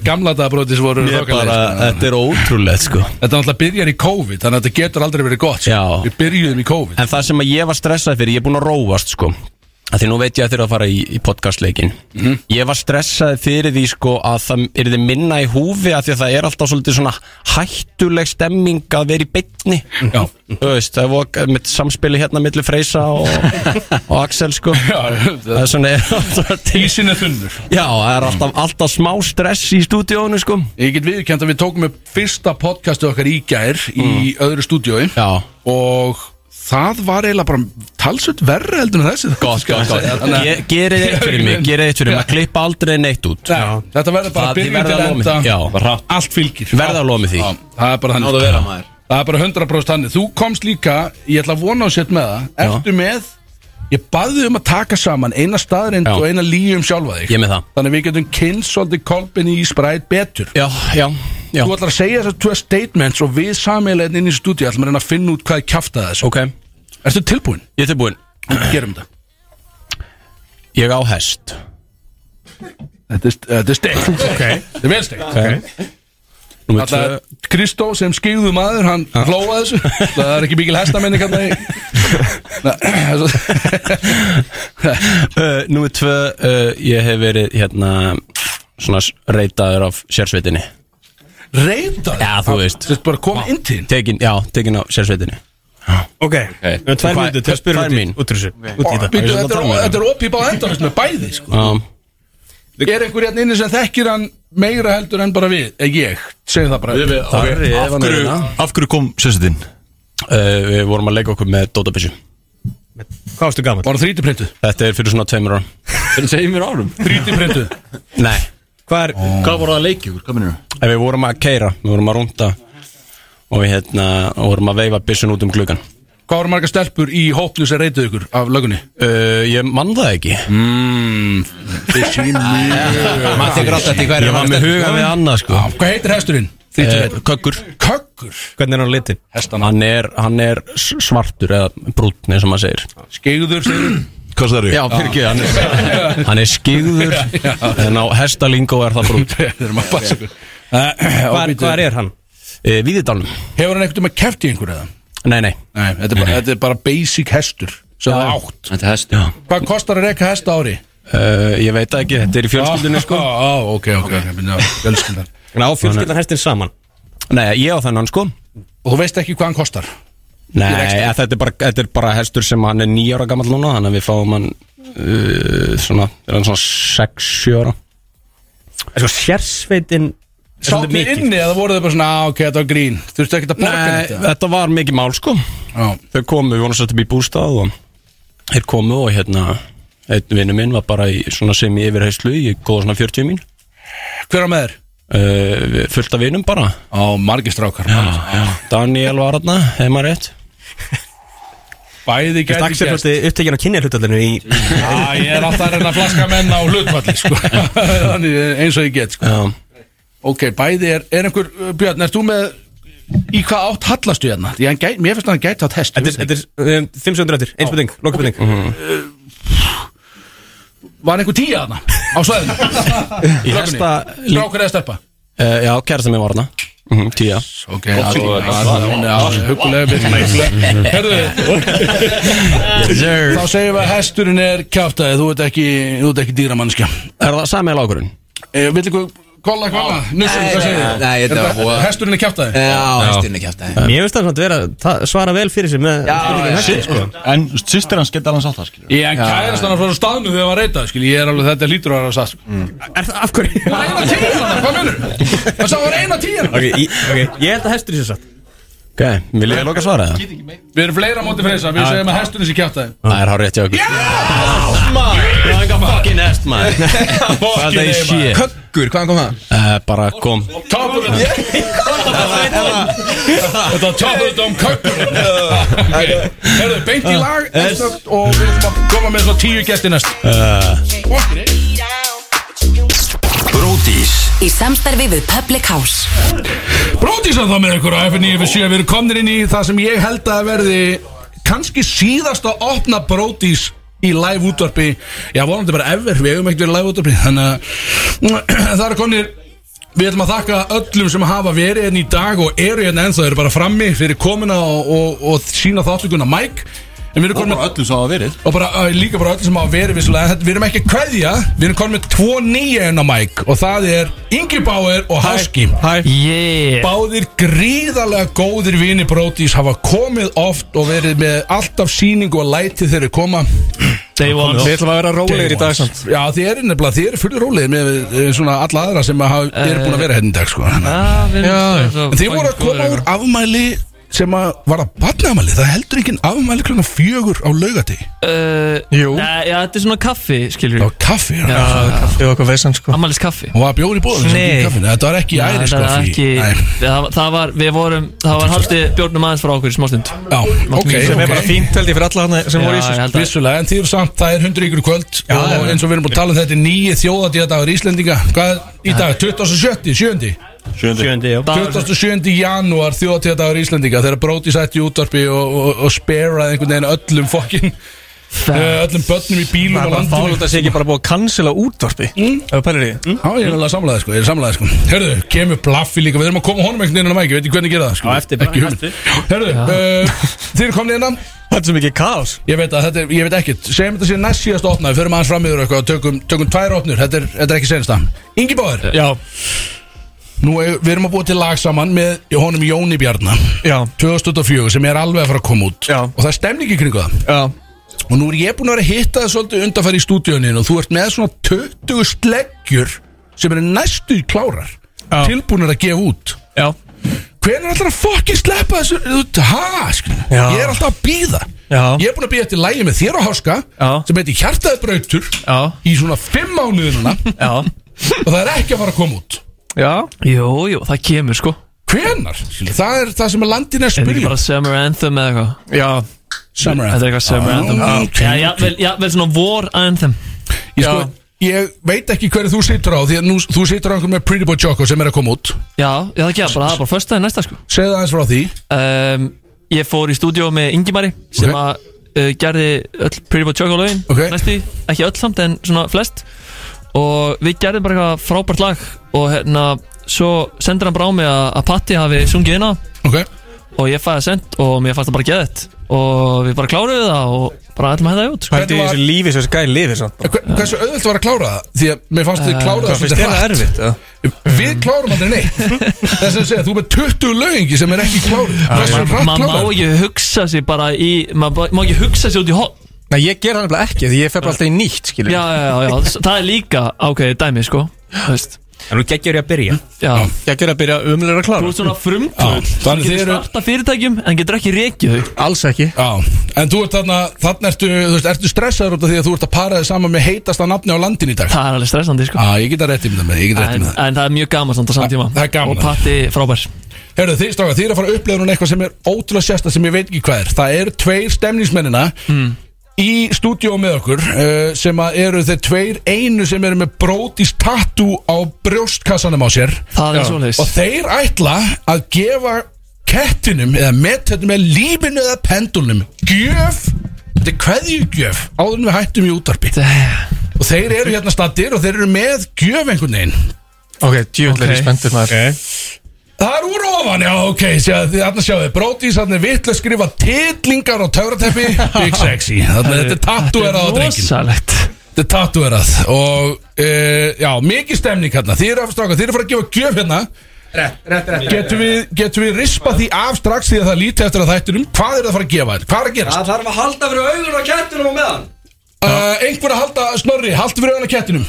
gamla dagabrótis voru
Ég
hrokalegir,
bara,
sko.
þetta er ótrúlegt sko
Þetta náttúrulega byrjar í COVID Þannig að þetta getur aldrei verið gott sko. Við byrjuðum í COVID
En það sem að ég var stressað fyrir, ég er búinn að róast sko að því nú veit ég að þeirra að fara í, í podcastleikin
Mhm.
ég var stressað fyrir því sko að það er þið minna í húfi að því að það er alltaf svolítið svona hættuleg stemming að vera í beinni Já. þú veist, það var mitt samspili hérna millir Freysa
*laughs*
og, og Axel sko Já, það er svona er alltaf
*laughs* Ísinn er þunnur
Já, það er alltaf, alltaf smá stress í stúdíónu sko
Ég get viðkjönd að við tókum upp fyrsta podcastu okkar í gær Í öðru stúdíói
Mm. Já.
Og það var eiginlega bara talsvöld verra heldur en þessi
Gott,
*laughs*
gott, gott Ge- Gerið eitt fyrir mig, gerið eitt fyrir mig að klippa aldrei neitt út
Já. Þetta verður bara
Það- ég
byrjun
verð
til
að lofa
enda
mig. Já.
Allt fylgir
Verð að lofa mig því.
Já, Það er
Náðu
bara
að
þannig
vera,
Já.
maður.
Það er bara 100% þannig Þú komst líka, ég ætla að vona á sett með það Ertu með Ég baði um að taka saman eina staðrind og eina líu um sjálfa þig
Ég með *laughs* það.
Þannig að við getum kynnt svolítið kolpin í spræt betur
Já, já, já
Þú ætlar að segja þessar tvö statements og við samilegin inn í stúdíu ætlum að reyna að finna út hvað er kjafta þessu
Ok
Ertu tilbúin?
Ég er tilbúin
Gerum þetta
Ég á hest
Þetta er, þetta er steikt
Ok
Þetta er vel steikt
Ok Númer
Alla, Kristó sem skýðu maður hann hlóa þessu það er ekki mikil hestamenni
*laughs*
kallar *laughs*
uh, Númer tvö uh, Ég hef verið hérna Svona s- reytaður af sérsveitinni
Reytaður?
Já, þú veist
Þetta bara kom inn til
Tekin, já, tekin á sérsveitinni
Ok, við höfum tvær
Hvað-
mínútur til
hvað-
að spyrja
tvær
út í-
mín?
út úr þessu út í þetta.
þetta
um
er- þetta er opið bara enda með bæði sko.
Já
er einhver hérna inni sem þekkir hann meira heldur en bara við eh, ég, segjum það bara
Við- við- ok, af hverju-
hérna.
af hverju kom sérsveitin? Uh, við vorum að leika okkur með Dótabissu
Hvað varstu gaman?
Var það þrítiprintu?
Þetta er fyrir svona tveimur árum
Fyrir tveimur árum?
Þrítiprintu?
Nei
Hvað er
Hvað voru það að leikja úr? Hvað minnur
En Við vorum að keira, við vorum að rúnda Og við hérna, og vorum að veifa byssun út um gluggan
Hvað voru marga stelpur í hópnu sem reytuðu ykkur af lögunni?
Uh, ég mann það ekki
mm, Þið sé mjög
Maður tekur alltaf eftir hverju Ég var með hugan við annað sko
Ah, Hvað heitir hesturinn?
Eh, Köggur
Köggur?
Hvernig er hann litin?
Hestana
Hann er, hann er s- svartur eða brúnn eins og maður segir
Skeigður
Hvað sagður ég? Já, fyrir ekki, hann er, *laughs* hann er skigður En á hestalingo er það *laughs* brúnn Eh,
Þeir eru maður passa ykkur
Hvar- Hvar er hann?
e, Víðidalum
Hefur hann einhvern veginn keft í einhverju eða?
Nei, nei
Nei, þetta er bara, þetta er bara basic hestur sem það átt
Þetta er hest, já
Hvað kostar að reka hesta ári?
Uh, ég veit það ekki, þetta er í fjölskyldunni sko
Á, á, Ah, ok, ok, ok, fjölskyldan
Ná, fjölskyldan hestin saman
Nei, ég á þennan sko
Og þú veist ekki hvað hann kostar?
Nei, ja, þetta, er bara, þetta er bara hestur sem hann er nýjára gammal núna Þannig að við fáum hann uh, svona, er hann svona 6-7 ára
En Sko, sérsveitin er
Sátt
svolítið
við
mikið.
inni eða voruð þið bara svona, á, ok, þetta var grín Þurftu ekki að borga
Nei,
neitt, eða?
þetta var mikið mál sko
Já.
Þau komu, við vonum sett upp í bústað og þeir komu og hérna einn vinnu minn var bara í svona sem í yfirheyslu í góða svona 40 mín
Hver á með þér?
Uh, fullt af vinum bara
Á margir strákar
Daniel var hérna, hef maður rétt
Bæði
Þetta
gæti
Axel
gerst
svolítið upptekinn á kynja hlutallinu í
Já, ég er alltaf að reyna að flaska menn á hlutvalli, sko *laughs* Þannig, eins og ég get, sko
Já.
Ok, bæði er, er einhver, uh, Björn, erst þú með Í hvað átt hallastu hérna? Því hann gæti, mér finnst hann gæti átt hest ég
Þetta
veit
er- þetta er um, 500 rættir, einspurning, lokaspurning
Var einhver tíja þarna á *laughs* svæðinu?
Í
Löggunni?
hesta lí-
Strákur eða stelpa?
uh, Já, kærasta minn var hérna mm -hmm, Tíja
Ok, hún er alveg hugulega
*laughs*
byrjum
*laughs*
Sir.
Þá segjum við að hesturinn er kjáftæði Þú ert ekki, þú ert ekki dýramannskja
Er það sami lágurinn?
Vill ykkur kolla kolla? Nussum,
Nei,
hvað
nei,
segir þið?
nei, þetta
Er
var voða-
Hesturinn er kjáftæði?
Já, hesturinn er kjátt
Mér finnst það samt vera að ta- svara vel fyrir sig með spurningum hætti, sko.
En sýstir hans geta alveg sátt það skilur
Ég en kærast hann að frá staðnum þegar hann var reytað skil, ég er alveg þetta lítur að vera satt sko.
Er það af hverju?
Það var eina tíðan, hvað minnur? Það sá var eina tíðan
Ok, ég- ok, ég held að hestur sér satt
Ok, vil ég loka svara það?
Við erum fleira á móti freysa, við
Já.
segjum að hestunum sé kjátt aðeim
Það er hár rétt hjá okkur
Það er eitthvað
Fucking hest maður Hvað það er shit
Köggur, hvaðan kom það?
Eh, Bara kom
Toppur Þetta var toppur þetta um kökkur Herðu, beint í lag Eðstökt og við erum að koma með svo tíu gæsti næst
Bródís Í samstarfi við Public House
Bróðísan þá með ykkur á FN957 Við erum komnir inn í það sem ég held að verði kannski síðast að opna Bróðís í live útvarpi Já, vonandi bara ever, við hefum ekkert verið í live útvarpi Þannig að *clears throat* það eru komnir Við ætlum að þakka öllum sem hafa verið hérna í dag og eru hérna ennþá, eru bara frammi fyrir komuna og, og, og sína þáttökuna Mike En við erum komin með
öllum sem hafa verið
Og bara, uh, líka bara öllum sem hafa verið vissulega En þetta- Við erum ekki að kveðja, við erum komin með tvo nýja enn á Mike Og það er Ingi Bauer og Haski Hæ
Yeah
Báðir gríðarlega góðir vini Brodís hafa komið oft og verið með alltaf síningu og læti þegar þeir koma
Day one.
Komið
Við
oft.
ætlum að vera rólegir
Day
í dag
one.
samt.
Já þið eru nefnilega, þið eru fullir rólegir með eh, svona alla aðra sem hafa, eru búin að vera hérna í dag sko
Já, Eh. Ah, við erum
Já,
svo-
en þið voru að koma úr afmæli sem að var að barnaafmæli það heldur ekki afmæli klukkan fjögur á laugati
Uh,
Jú.
Nei, já, þetta er svona kaffi, skilur við
Kaffi,
Já,
Ég var okkur veisann sko
Amalins kaffi
Og var bjóri í bóðum sem
Nei
í kaffinu? Þetta var ekki
Nei,
Irish
þetta var
coffee.
ekki,
Nei.
það, það var, við vorum Það var haldið bjórnum aðeins frá okkur í smástund
Já, ok,
Sem er bara fínt,
held ég fyrir alla hana
sem voru í þessu, sko.
Vissulega, en þið eru samt, það er 100 ykkur í kvöld og
já, já.
eins og við erum búin að tala um þetta er nýji þjóðadíðadagur Íslendinga Hvað er í dag? 27. 7.
Sjöndi, já
27. janúar þjóðatíðadagur Íslendinga þegar Bróti sætti í útvarpi og, og, og speraði einhvern veginn öllum fokkin öllum börnum í bílum
Það er
og
bara fálut
landum
að það sé ekki bara búið að cancela útvarpi Ef þú pælir í Hm? því
Já, ég er alveg að samlaði sko, ég er samlaði sko Herðu, kemur blaffi líka, við erum að koma honum einhvern veginn inn á mæki, veit ég hvernig gera það sko
Á eftir bara,
Ekki hugmynd. Herðu, uh, þið eru komin innan
Þetta er svo mikið kaos
Ég veit að þetta er, ég veit ekkert Segjum þetta sé næst síðast opna, við förum aðeins fram yfir eitthvað og Tökum, tökum tvær opnur, þetta er, þetta er ekki senasta Ingi Báður
Já
Nú, er- við erum að búa til lag saman með honum Jóni Bjarnar
Já
2004 sem er alveg að fara að koma út Já. Og það er stemning í kringu það
Já
Og nú er ég búin að vera að hitta það svolítið undanfæri í stúdíunin Og þú ert með svona 20 sleggjur Sem eru næstu klárar Já. Tilbúnar að gefa út
Já
Hvernig ætlar að fokkin sleppa þessu út? Ha, skil,
Já.
ég er alltaf að býða
Já.
Ég er búin að býða eftir lægi með þér á háska Já. Sem heitir Hjartaði brautur
Já.
Í svona fimm mánuði núna
Já
Og það er ekki að fara að koma út
Já
Jú, jú, það kemur sko
Hvenar? Það er það sem er landin að
Er þetta ekki
spyrja
bara Summer Anthem eða eitthvað?
Já
Summer
Þetta er eitthvað Summer Anthem
Ah, ok,
Já,
ok.
jafnvel- jafnvel svona War Anthem
Ég, sko, ég veit ekki hverju þú situr á Því að nú, þú situr á einhver með Pretty Boy Choco Sem er að koma út
Já, já það ekki, bara, það er bara fyrsta en næsta sko
Segðu aðeins frá því
um, Ég fór í stúdíó með Ingimari sem
Ok.
að uh, gerði öll Pretty Boy Choco lögin
Ok.
næstu, því, ekki öll samt en svona flest og við gerðum bara eitthvað frábært lag og hérna svo sendir hann bara á mig að, að Patti hafi sungið inn á
okay.
og ég fæði send og mér fannst það bara geðið og við bara kláruðum það og bara ætlum að hæða út sko.
Pældi í þessu lífi sem þessi gæði lífi samt
Hver- Hversu auðvelt var að klára það? Því að mér fannst þið
Eh,
klára
hvað, finnst þér það erfitt, eða?
Við klárum aldrei neitt Þess að segja, þú er með 20 lögingi sem er ekki klárið Hversu
maður
rætt
má
klárar
ekki hugsa sér bara í maður má ekki hugsa sér út í hot
Nei, ég ger það nefnilega ekki Því ég fer bara alltaf í nýtt,
já,
skilur
já, já, já, það er líka ákveðið dæmi sko Það
En þú geggjur ég að byrja
Já
Geggjur að byrja umlega að klára
Þú ert svona frumtöð
Já,
Þú
þannig þið
getur
eru-
starta fyrirtækjum en getur ekki rekið þau
Alls ekki
Já, en þú ert þarna, þarna ertu, þú veist, ertu stressaður út af því að þú ert að para þig saman með heitasta nafni á landin í dag
Það er alveg stressandi, sko
Já, ég get að rétti um það með, ég get að rétti
en,
um það
en það er mjög gaman samt á saman tíma
það er gaman.
Og patti frábær
Herðu, þið stráka, þið er að fara að upplega núna eitthvað sem er ótrúlega sérsta sem ég veit ekki hvað er Það eru tveir stemningsmennina
Hmm.
í stúdíó með okkur uh, sem að eru þeir tveir einu sem eru með brótis tattoo á brjóstkassanum á sér
Það er
Já.
svoleiðis.
Og þeir ætla að gefa kettinum eða metettum eða lífinu eða pendulnum gjöf Þetta er kveðjugjöf áður en við hættum í útarpi Og þeir eru hérna stattir og þeir eru með gjöf einhvern veginn
Ok, djúvill er ég spenntur maður
Það er úr ofan, já, ok, sjá, þið, þarna sjáðu, Brótis, þarna er vitt að skrifa titlingar á töfrateppi, big sexy, þarna þetta er tattúerað á drengin.
Rosalegt
Þetta er tattúerað og, e, já, mikið stemning hérna, þið eru að stráka, þið eru að fara að gefa gjöf hérna, getum við, getum við rispa því af strax því að það líti eftir að þættinum, hvað eru það að fara að gefa þér, hvað er að gerast?
þarf að halda fyrir augun á kettunum og meðan
Uh, einhver að halda Snorri, haldu fyrir augun á kettinum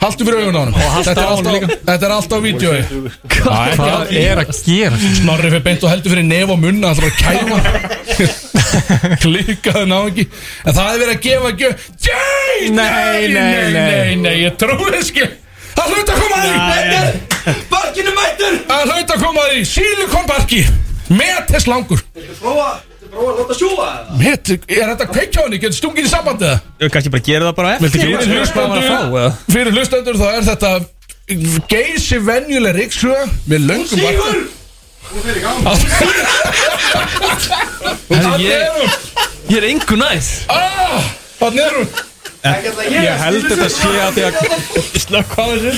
Haldu fyrir augun á honum
Og haltu
Þetta
á
er
honum
allt
líka.
Þetta er alltaf vídjói
Hvað er að
gera? Snorri fyrir beint og heldur fyrir nef og munna Það þarf að *laughs* kæma Klikkaðu ná ekki En það er verið að gefa gjöf Nei, nei, nei, nei, nei, ég trúi þess ekki Það hlut að koma að því Barkinu mættur Það hlut að koma að því Silikonbarki Metes langur
Prófa, prófa að láta sjúa það
Met, er þetta kveikja á henni? Getur stungið í sambandið það?
Ég vil kannski bara gera það bara eftir
Fyrir hlustendur, fyrir hlustendur þá er þetta geysi venjuleg ríksuga með löngum
Sigur!
Þarna er
ég,
hún!
ég er engu næð
Ah, Þarna er hún!
Ég held þetta sé að því að Slökk á þessu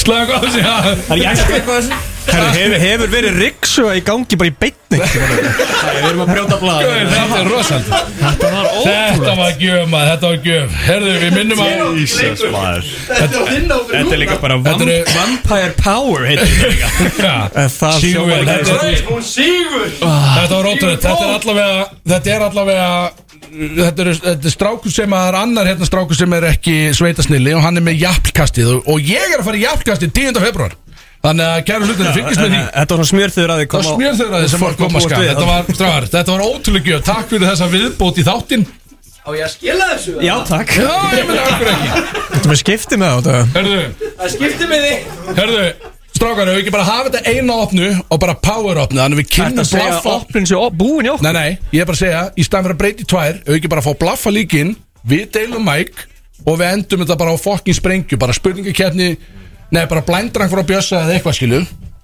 Slökk á þessu, já Það
er ég slökk á þessu Herru, hefur, hefur verið riksuga í gangi bara í beitning Við erum
*laughs*
að brjóta blaða
Guð, Þetta er rosald
Þetta var
Þetta var gjöf maður, þetta var gjöf Herðu, við minnum að
Jesus, maður.
Þetta er þinn ábyrgð
Þetta er líka bara
Þetta eru-
Vampire Power heitir
*laughs*
þetta líka En það
Sigur,
sjóma
þetta er- Ah.
Hún sígur
Þetta var ótrúið, þetta er allavega Þetta er allavega Þetta er, þetta er strákur sem að það er annar hérna strákur sem er ekki sveitasnilli og hann er með jafnkastið og, og ég er að fara í jafnkastið 10. februar Þannig að kæra hlutunum, fylgist með því
Þetta var svona smjörþöður að þið koma
Það smjör þeirra þið sem var að koma að skap Þetta var, strafar, þetta var ótrúlega gjöf Takk fyrir þessa viðbót í þáttinn
Á ég að skila þessu
Já, takk
Já, ég meina okkur ekki
Þetta með skipti með það
Herðu,
Það skiptir með þig
herðu, strákar, ef við ekki bara hafa þetta eina opnu og bara power opnu Þannig við
Þetta
kynnum
segja
blaffa
opnin sér búin í okkur
Nei, nei, ég er bara að segja, í stæðan fyrir að breyti tvær Ef við ekki bara fá blaffa líkin, við deilum mæk Og við endum þetta bara á fokkin sprengju Bara spurningakeppni, nei, bara blændrang frá Bjössa eða eitthvað skilu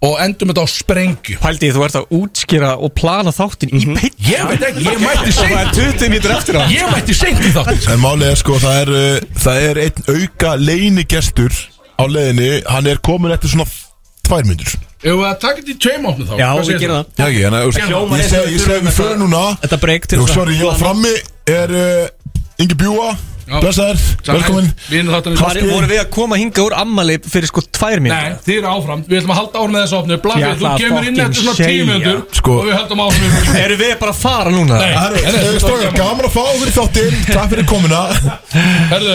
Og endum þetta á sprengju
Pældi þú ert að útskýra og plana þáttin í peitt
Mhm. Ég veit ekki, ég mætti
Og það er 20 mítur eftir á
Ég mætti seint í þátt
En málið er sko, það er, uh, það er einn auka leinigestur á leiðinni Hann er komin eftir svona f- tvær myndur
Ef við að taka þetta í tveim opnu þá
Já,
hvað
við
segir
gerum
þú?
það. Já, ekki, en að-
Já.
Hljómar Ég segi- eins og ég segi við förum núna.
Þetta breyk til
Jú, sorry, ég var frammi, er uh, Ingi Bjúa Blessaður, velkomin
Hvað er- voru við að koma hinga úr ammali fyrir sko tvær
Nei,
mínútur?
þið eru áfram, við ætlum að halda áfram með þessu opnu
Ég
Blafið,
ætla
þú
að
kemur inn
fucking
eftir svona
segja.
tímjöndur
Sko-
Og við höldum áfram yfir-
Eru við bara að fara núna?
Nei.
Það er-
Nei,
eh, Strákar, gaman að fá okkur í þáttinn Takk fyrir komuna
Herðu,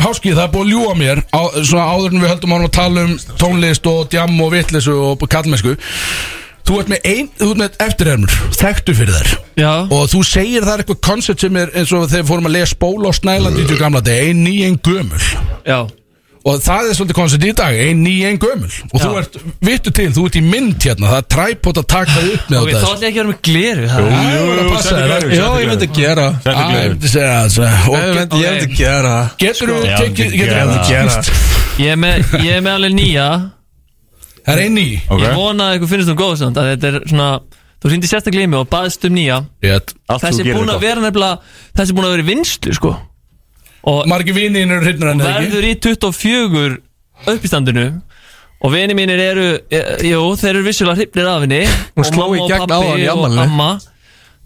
Háski, það er búið að ljúa mér á, Svona áður en við höldum ánum að tala um tónlist og djam og vitleysu og kallmennsku Þú ert með ein, þú ert með eftirhermur Þekktu fyrir þær
Já
Og þú segir það er eitthvað koncept sem er eins og þegar við fórum að lega spóla á Snælandi í gamla dag Ein ný, ein gömul
Já
Og það er svolítið koncept í dag, ein ný, ein gömul Og þú ert, vittu til, þú ert í mynd hérna Það er træpot að *laughs* taka það upp með
Ok, þá
þetta
ætla ég ekki að vera með gleru það.
Jú, jú, jú, settu gleru, settu gleru. Settu
Á,
gleru.
ég
myndi segja það, svo. Og
Ég myndi-
get-
ég myndi
gera það.
Getur þú
Sko, ég
tekið
myndi
getur
gera
þú-
það. Ég er með, ég er með alveg nýja
Það er einn ný
Ég vona að ykkur finnst þú góð samt að Þetta er svona Þú sýndi sérstaklega í mig og baðst um nýja
Rétt. Allt
Þessi
þú
er
gerir
búin
er
að
gott.
vera nefnilega Þessi er búin að vera í vinstu sko Og
Margi vinnin eru hrypnur
hann
eða ekki?
Verður í 24 uppistandinu Og vini mínir eru e, Jú, þeir eru vissulega hrypnir af henni
Hún sló í
Mamma og
gegn á
pabbi
hann í
og
afmælinu.
amma.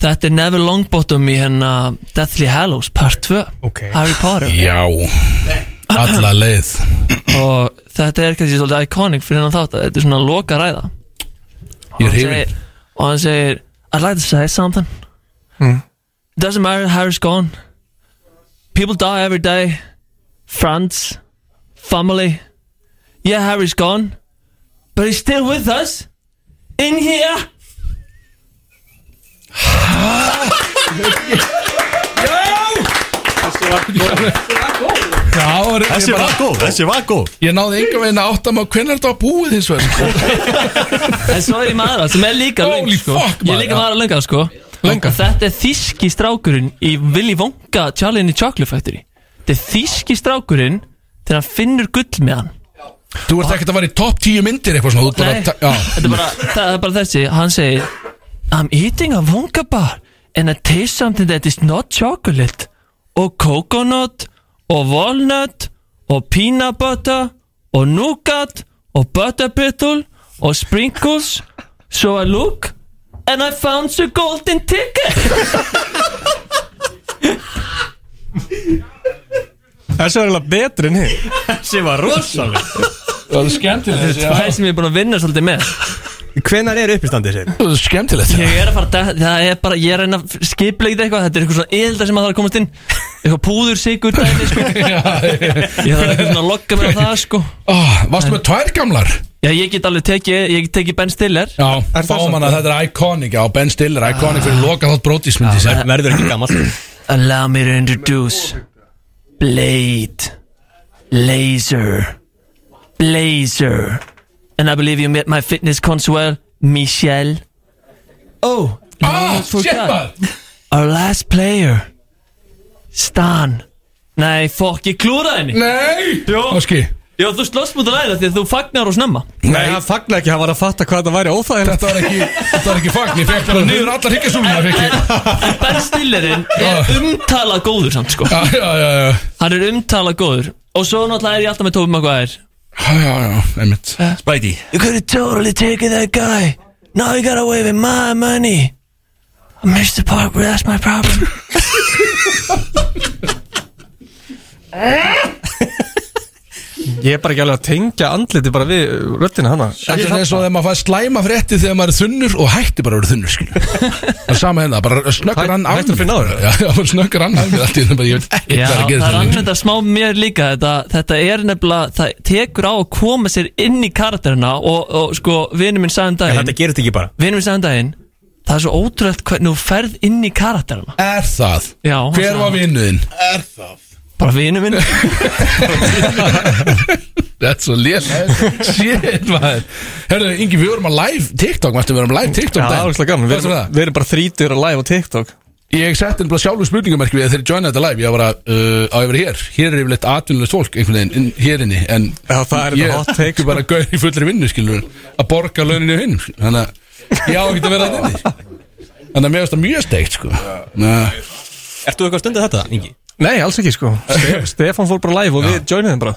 Þetta er Neville Longbottom í hennar Deathly Hallows part 2 okay. Harry Potter
Já Alla leið
og þetta er kannski svolítið iconic fyrir hann þátt að þetta er svona loka ræða
Ég er
segir, og hann segir I'd like to say something
Mm.
It doesn't matter how it's gone people die every day friends family yeah Harry's gone but he's still with us in here
hefur
Þessi var góð, þessi var góð
Ég náði einhver veginn að átta mig hvernig þetta var búið hins vegar sko.
en svo er ég með aðra sem er líka löng
Holy
sko.
fuck,
ég er
maður.
líka með aðra lönga sko.
Lönga.
Og þetta er þíski strákurinn í Willy Wonka Charlie and the Chocolate Factory þetta er þíski strákurinn þegar hann finnur gull með hann
Þú ert ekkert að vera í topp 10 myndir eitthvað svona þú ert bara
Nei,
að ta- já.
þetta er bara, það er bara þessi hann segir I'm eating a Wonka bar and I taste something that is not chocolate og coconut og walnut og peanut butter og nougat og butter brittle og sprinkles so I look and I found the golden ticket
Þessi var eiginlega betri en hér Þessi var rosalega
Það er skemmtilegt
Þetta er tvær sem ég er búin að vinna svolítið með
Hvenar er uppistandið sér?
Það er skemmtilegt
Ég er að fara, að detta- það er bara, ég er að reyna að skipleita eitthvað Þetta er eitthvað svona eðildar sem að það er að komast inn eitthvað púður sigur dæmi
*laughs*
sko Ég þarf eitthvað svona að logga mér á það sko
oh, Varstu með tvær gamlar?
Já, ég get alveg tekið, ég get tekið Ben Stiller
Já, Fáum hann að þetta er iconic Já, Ben Stiller, iconic fyrir loka þátt brótismyndi
Ah,
Verður ekki gammal
Allow me to introduce Blade Laser Blazer And I believe you met my fitness consuel Michelle Oh
Ah,
almost forgot.
shit, maður.
Our last player Stan Nei, fokk, ég klúraði henni
Nei
Jó,
Óski
Jó, þú slóst mútið læra því að þú fagnar og snemma
Nei, hann fagnar ekki, hann var að fatta hvað það væri óþægilegt
Þetta var ekki, þetta var ekki fagn Ég fekk bara niður allar higgjasúlunar
Ben Stillerinn er umtalað góður samt sko
Ah. Já, já, já, já
Hann er umtalað góður Og svo náttúrulega er ég alltaf með Tóbi Maguire
Já, já, já, einmitt
Spidey You could have totally taken that guy Now you got away with my money I missed the part where that's my problem
Eh?
Ég er bara ekki alveg að tengja andliti bara við röttina hana
Þetta er eins og þegar maður fær slæma frétti þegar maður er þunnur og hætti bara að vera þunnur, skilju. Það er sama hérna, bara snöggar hann af Hættur fyrir náður? Já, já, bara snöggar hann af mér allt í þessum, ég veit ekki
Já,
hvað er að
það
gera
er
þetta.
anvenda smá mér líka þetta, þetta er nefnilega, það tekur á að koma sér inn í karakterina og, og sko, vinur minn sagði um daginn Þetta
gerir þetta ekki bara
Vinur minn sagði um daginn Það er svo ótrúlegt hvernig þú ferð inn í karakterina
Er það?
Já, hann
Hver
sagði
var
það.
vinnuðinn?
Er það? Bara vinur
*laughs*
minn
Þetta er svo lél. Shit, maður. Herðu, Ingi, við vorum að live TikTok, mættum við vorum live TikTok.
Já, það er ógeðslega gaman. Við erum-
við erum bara þrítur að live á TikTok. Ég setti nefnilega sjálfur spurningamerki við þegar ég joinaði þetta live, ég var bara, uh, á ég verið hér, hér er yfirleitt atvinnulegt fólk einhvern veginn inn- hér inni, en Já,
það er þetta hot take, sko.
Ég bara gauð í fullri vinnu, skilur, að borga launinu hinn, skilur, þannig að ég á ekki að vera þetta inni, sko. þannig að mér finnst það mjög steikt, sko. Nei.
Ertu eitthvað stundið þetta, Ingi? Nei, alls ekki sko *laughs* Ste- Stefán fór bara live og við joinuðum bara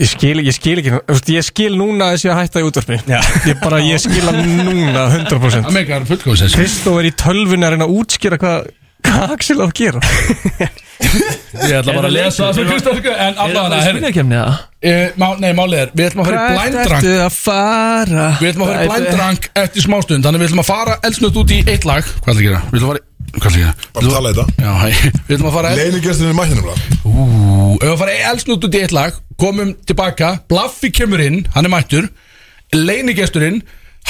Ég skil ekki, ég skil ekki þú veist, Ég skil núna þessi að hætta í útvarpi Ég bara, ég skil hann núna 100%
Það meikar fullkomlega sens.
Kristó er í tölvunni að reyna að útskýra hvað Hvað Axel á að gera
Ég ætla bara að lesa það sem Kristofur sko, En allavega
spurningakefni það?
Eh, má- Nei, málið er, við ætlum að
Hvert
fara í blindrang
ertu að fara?
Við ætlum að fara
Æ,
í blindrang eftir smástund Þannig við ætlum að fara elsnögt út í eitt lag Hvað ætlum að gera? Við ætlum að fara í Hvað ætlum að gera? Bara
tala þetta
Já, hæ Við ætlum að fara
Leinigesturinn er mættinum
Ú, ef við fara í elsnögt út í eitt lag Komum tilbaka Blaffi kemur inn, hann er mættur Leinigesturinn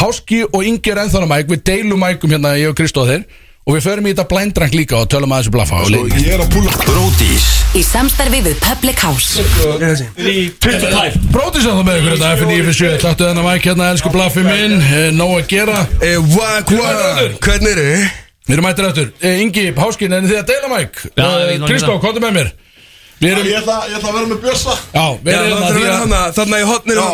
Háski og Inger ennþána mæk Við deilum mækum hérna, ég og Kristóð þeir Og við förum í þetta blindrang líka og tölum að þessu blaffa og Leyni-
Sko, Ég er að púla
Brótis Í samstarfi við Public House
Brótis að það með ykkur þetta F957 Taktu þennan mæk hérna, elsku blaffi minn eh, Nóg að gera Vak, vak, hvernig eru? Við erum mættir aftur Eh, Ingi, Háskin, en þið að deila mæk
Já, við erum
Kristó,
að-
komdu með mér Við erum,
Ég ætla ég ætla að vera með bjössa
já, við erum hérna því að-
Þannig að ég hotnir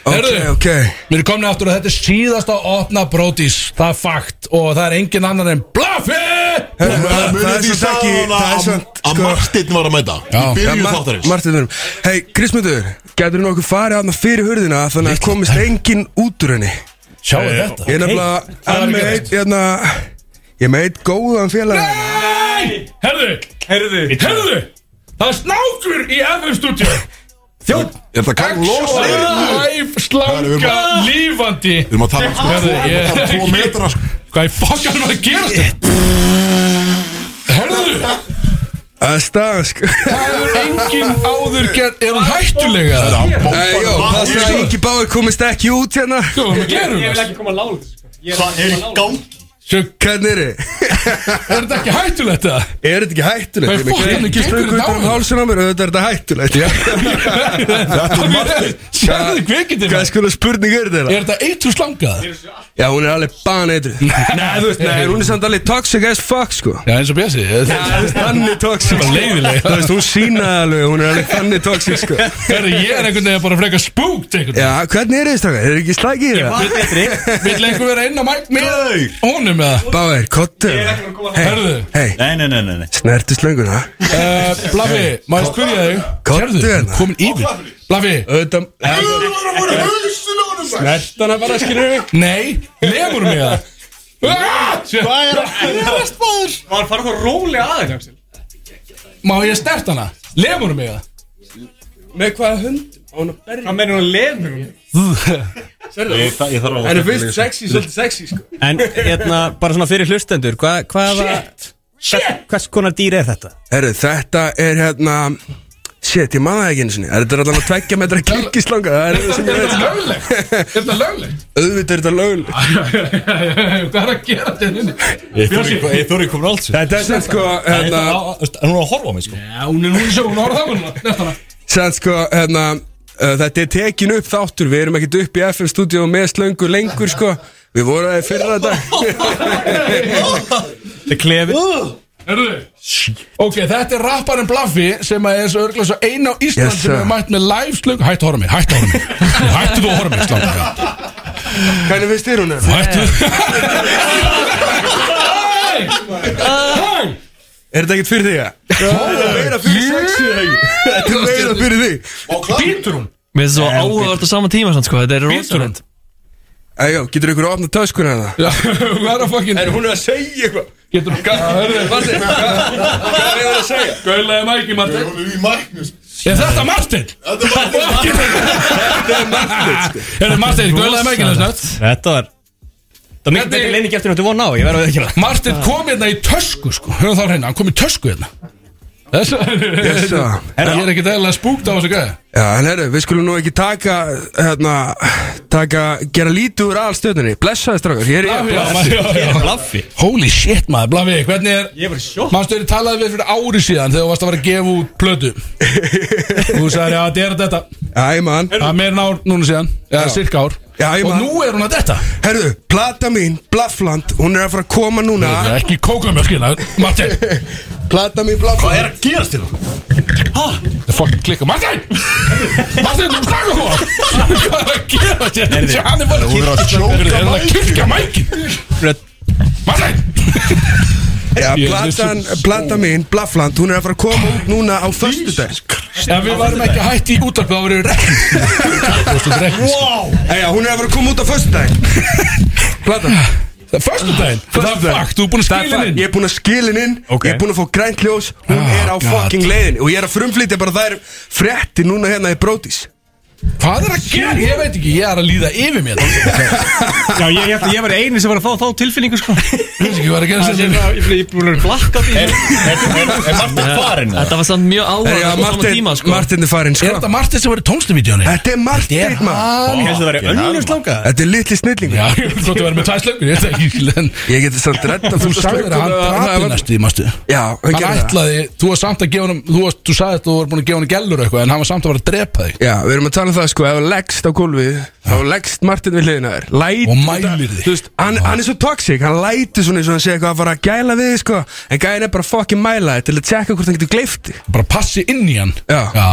Herðu, við erum komin aftur og þetta er síðasta opna brótis Það er fakt og það er engin annar en Blaffi
Munið því staðan Hérna, að- að Martin var að mæta Í byrju þáttarins
Martin, hei, Krismundur, getur nokkuð farið aðna fyrir hurðina þannig að komist enginn út úr henni Eh,
Sjáu þetta.
Ég er
Ok.
nefnilega,
Það er
er með
ekki
eitt, hérna, ég er með eitt góðan félag
Nei, herðu, herðu, herðu Það er snákur í FM stúdíu Þjótt
Er það Karl Lósa?
Live slanga lífandi Við
erum að tala um sko
Herðu,
tvo- við erum að tala um tvo metra sko.
Hvað í fokkan var að gera þetta? Herðu
Það er stansk
Það er engin áður gert Er hún hættulega?
Nei, Eh, jó, það er að Ingi Báir komist ekki út hérna
Sko, Hvað við gerum
Ég vil
ekki koma lág
sko.
Hvað er gang? Hvernig er þið?
Er þetta ekki hættulegt það?
Er þetta ekki hættulegt?
Hvað í
Ég með
fokkanum
ekki
gengur
spröngu
þetta
út
á
um
þér?
hálsina á mér Þetta er þetta hættulegt
Þetta er Martin. Sérðu kvikindin
Hvað skoða spurning er þetta?
Er þetta eitru slangað?
Já, hún er alveg
*laughs*
baneitruð Nei, þú veist, nei, hún er samt alveg toxic as fuck, sko
Já, eins og Bjössi
Þannig toxic sko.
Bara leiðileg.
Þú veist, hún sínaði alveg, hún er alveg þannig toxic, sko
Herðu, ég er einhvern veginn bara frekar spúkt einhvern
Já, hvernig er þið, strákar? Er ekki slækið í það?
Vill einhver vera inn á mæk með honum eða?
Báir, kottu
Herðu
Hei
Nei, nei, nei, nei
Snertu slönguna
Eh, Blaffi, má ég spyrja þig
Kottu hérna
Komin yfir Blaffi Snertan að bara skilur Nei, lemur mig það Hvað er að gerast maður?
Var farið þá rólega aðeins, Axel
Má ég snert hana? Lemur mig það? Með hvaða hund? Hvað
mennir hún að lemur
*laughs*
hún?
Ég þa- ég þarf að-
En þú finnst sexy, svolítið sexy, sko
En,
hérna, bara svona fyrir hlustendur, hvað, hvað
Shit
Shit! Hvers konar dýr er þetta? Herru, þetta er hérna Shit, ég maður það ekki einu sinni Þetta er allavega tveggja metra kirkislanga Það er það sem ég
Er
veit
þetta löglegt? Er þetta löglegt?
Auðvitað er þetta lögulegt
Hvað er að gera þetta hérna?
Ég þóri komin alls
Þetta er sem sko, hérna-
En hún er að horfa á mig sko
Já, hún er hún sjón, hún orða það mér Næstana
Sann sko, hérna uh, Þetta er tekin upp þáttur Við erum ekkert upp í FM stúdíu með slöngu lengur sko Við vorum það í fyrra þetta
Það er klefið
*laughs* Herðu Ok, þetta er rapparinn Blaffi sem að er svo örglega svo eina á Ísland
Yes,
sem
sir.
er mætt með live slöng Hættu að horfa á mig, hættu að horfa á mig Hættu þú að *laughs* horfa á mig, slöng
Hvernig finnst þér hún? um?
Hættu
Er þetta ekkert fyrir þig? að? Þetta er meira fyrir sexið eða ekki? Þetta er meira fyrir þig
Býtur hún?
Mér finnst það svo áhugavert á sama tíma sann, sko, þetta er rosalegt
Æjó, getur ykkur að opna töskuna hérna?
Já, hvað er að fokkin
Er hún að segja eitthvað?
Getur hún gæða Hvað er að segja? Gaulaði mæki, Martin Hún er í mæknus Er þetta Martin? Þetta er Martin Er þetta Martin, gaulaði mækinu snart
Þetta var
Það er mikið betri leining eftir náttu von á, ég verður ekki það Martin
*laughs*
kom hérna í tösku sko, höfum þá hreina, hann kom í tösku hérna Þess að
Yes, sir.
Ég er ekki dægilega spúkt á þessu gæði
Já, en herru, við skulum nú ekki taka, hérna, taka, gera lítið úr aðalstöðunni Blessaði strákar, hér er ég
Blaffi Holy shit maður, Blaffi, hvernig er Ég er bara sjokk Manstu þegar ég talaði við fyrir ári síðan þegar þú varst að vera að gefa út plötu Þú sagði að þetta er þetta
Æ, mann
Það er meira ár núna síðan, eða cirka ár
Já, ég
Og
man.
nú er hún að detta
Herru, plata mín, Blaffland, hún er að fara að koma núna
Það er ekki kókamjölkina, Martin
*laughs* Plata mín, Blaffland
Hvað er að gerast hérna? til þú? Hæ? Það er fokkin klikka, Martin! *laughs* Martin, þú
*laughs*
snakka hvað? Hvað er að gerast til
Heyrðu,
þú? Hann er bara
þú verður að
kirkja-
sjóka
Hann er að kirkja mækin
Já,
Ég er
platan,
þessu-
plata mín, Blaffland, hún er að fara að koma út núna á föstudag
Ef við varum ekki hætt í útarpið þá verður við rekk Wow
Æja, hún er að fara að koma út á föstudag Plata
Það er föstudaginn Það er fakt, þú er búin að
Það er
skilja
fakt,
inn
Ég er búin að skilin inn,
Ok. Ah,
ég er búin að fá grænt ljós Hún er á
God.
fucking leiðin Og ég er að frumflýtja bara þær frétti núna hérna í brótis
Hvað er að gera? Ég veit ekki, ég er að líða yfir mér
*laughs* Já, ég, ég, ég var eini sem var að fá þá tilfinningu sko
Ég veit ekki hvað er að gera sem þetta
hérna,
Ég búin að blakka því Er Martin farin?
Þetta var samt mjög áhugavert á sama tíma, sko
Martin er farin, sko
Er þetta Martin sem var í tónstuvídjóni?
Þetta er Martin, maður
Ég held að það væri önnur
slanga Þetta er litli snillingur
Já, ég þótti að vera með tæslöngur, ég veit ekki en-
Ég geti samt redd að
Þú sagði þér að hann drapi næstu því, mástu
Já, hann
Hann
gerði það
ætlaði, þú var samt að gefa hann Þú, varst- þú sagði að þú var búin að gefa hann gælur eitthvað En hann var samt að vera að drepa þig
Já, við erum að tala um það sko, ef þú leggst á gólfið þá leggst Martin við hliðina á þér Læt,
Og mælir þig.
Þú veist, hann, hann er svo toxic, hann lætur svona eins og hann sé eitthvað að fara að gæla við þig sko En gæðin er bara að fucking mæla þig til að tjekka hvort hann getur gleift þig
Bara passi inn í hann
Já,
Já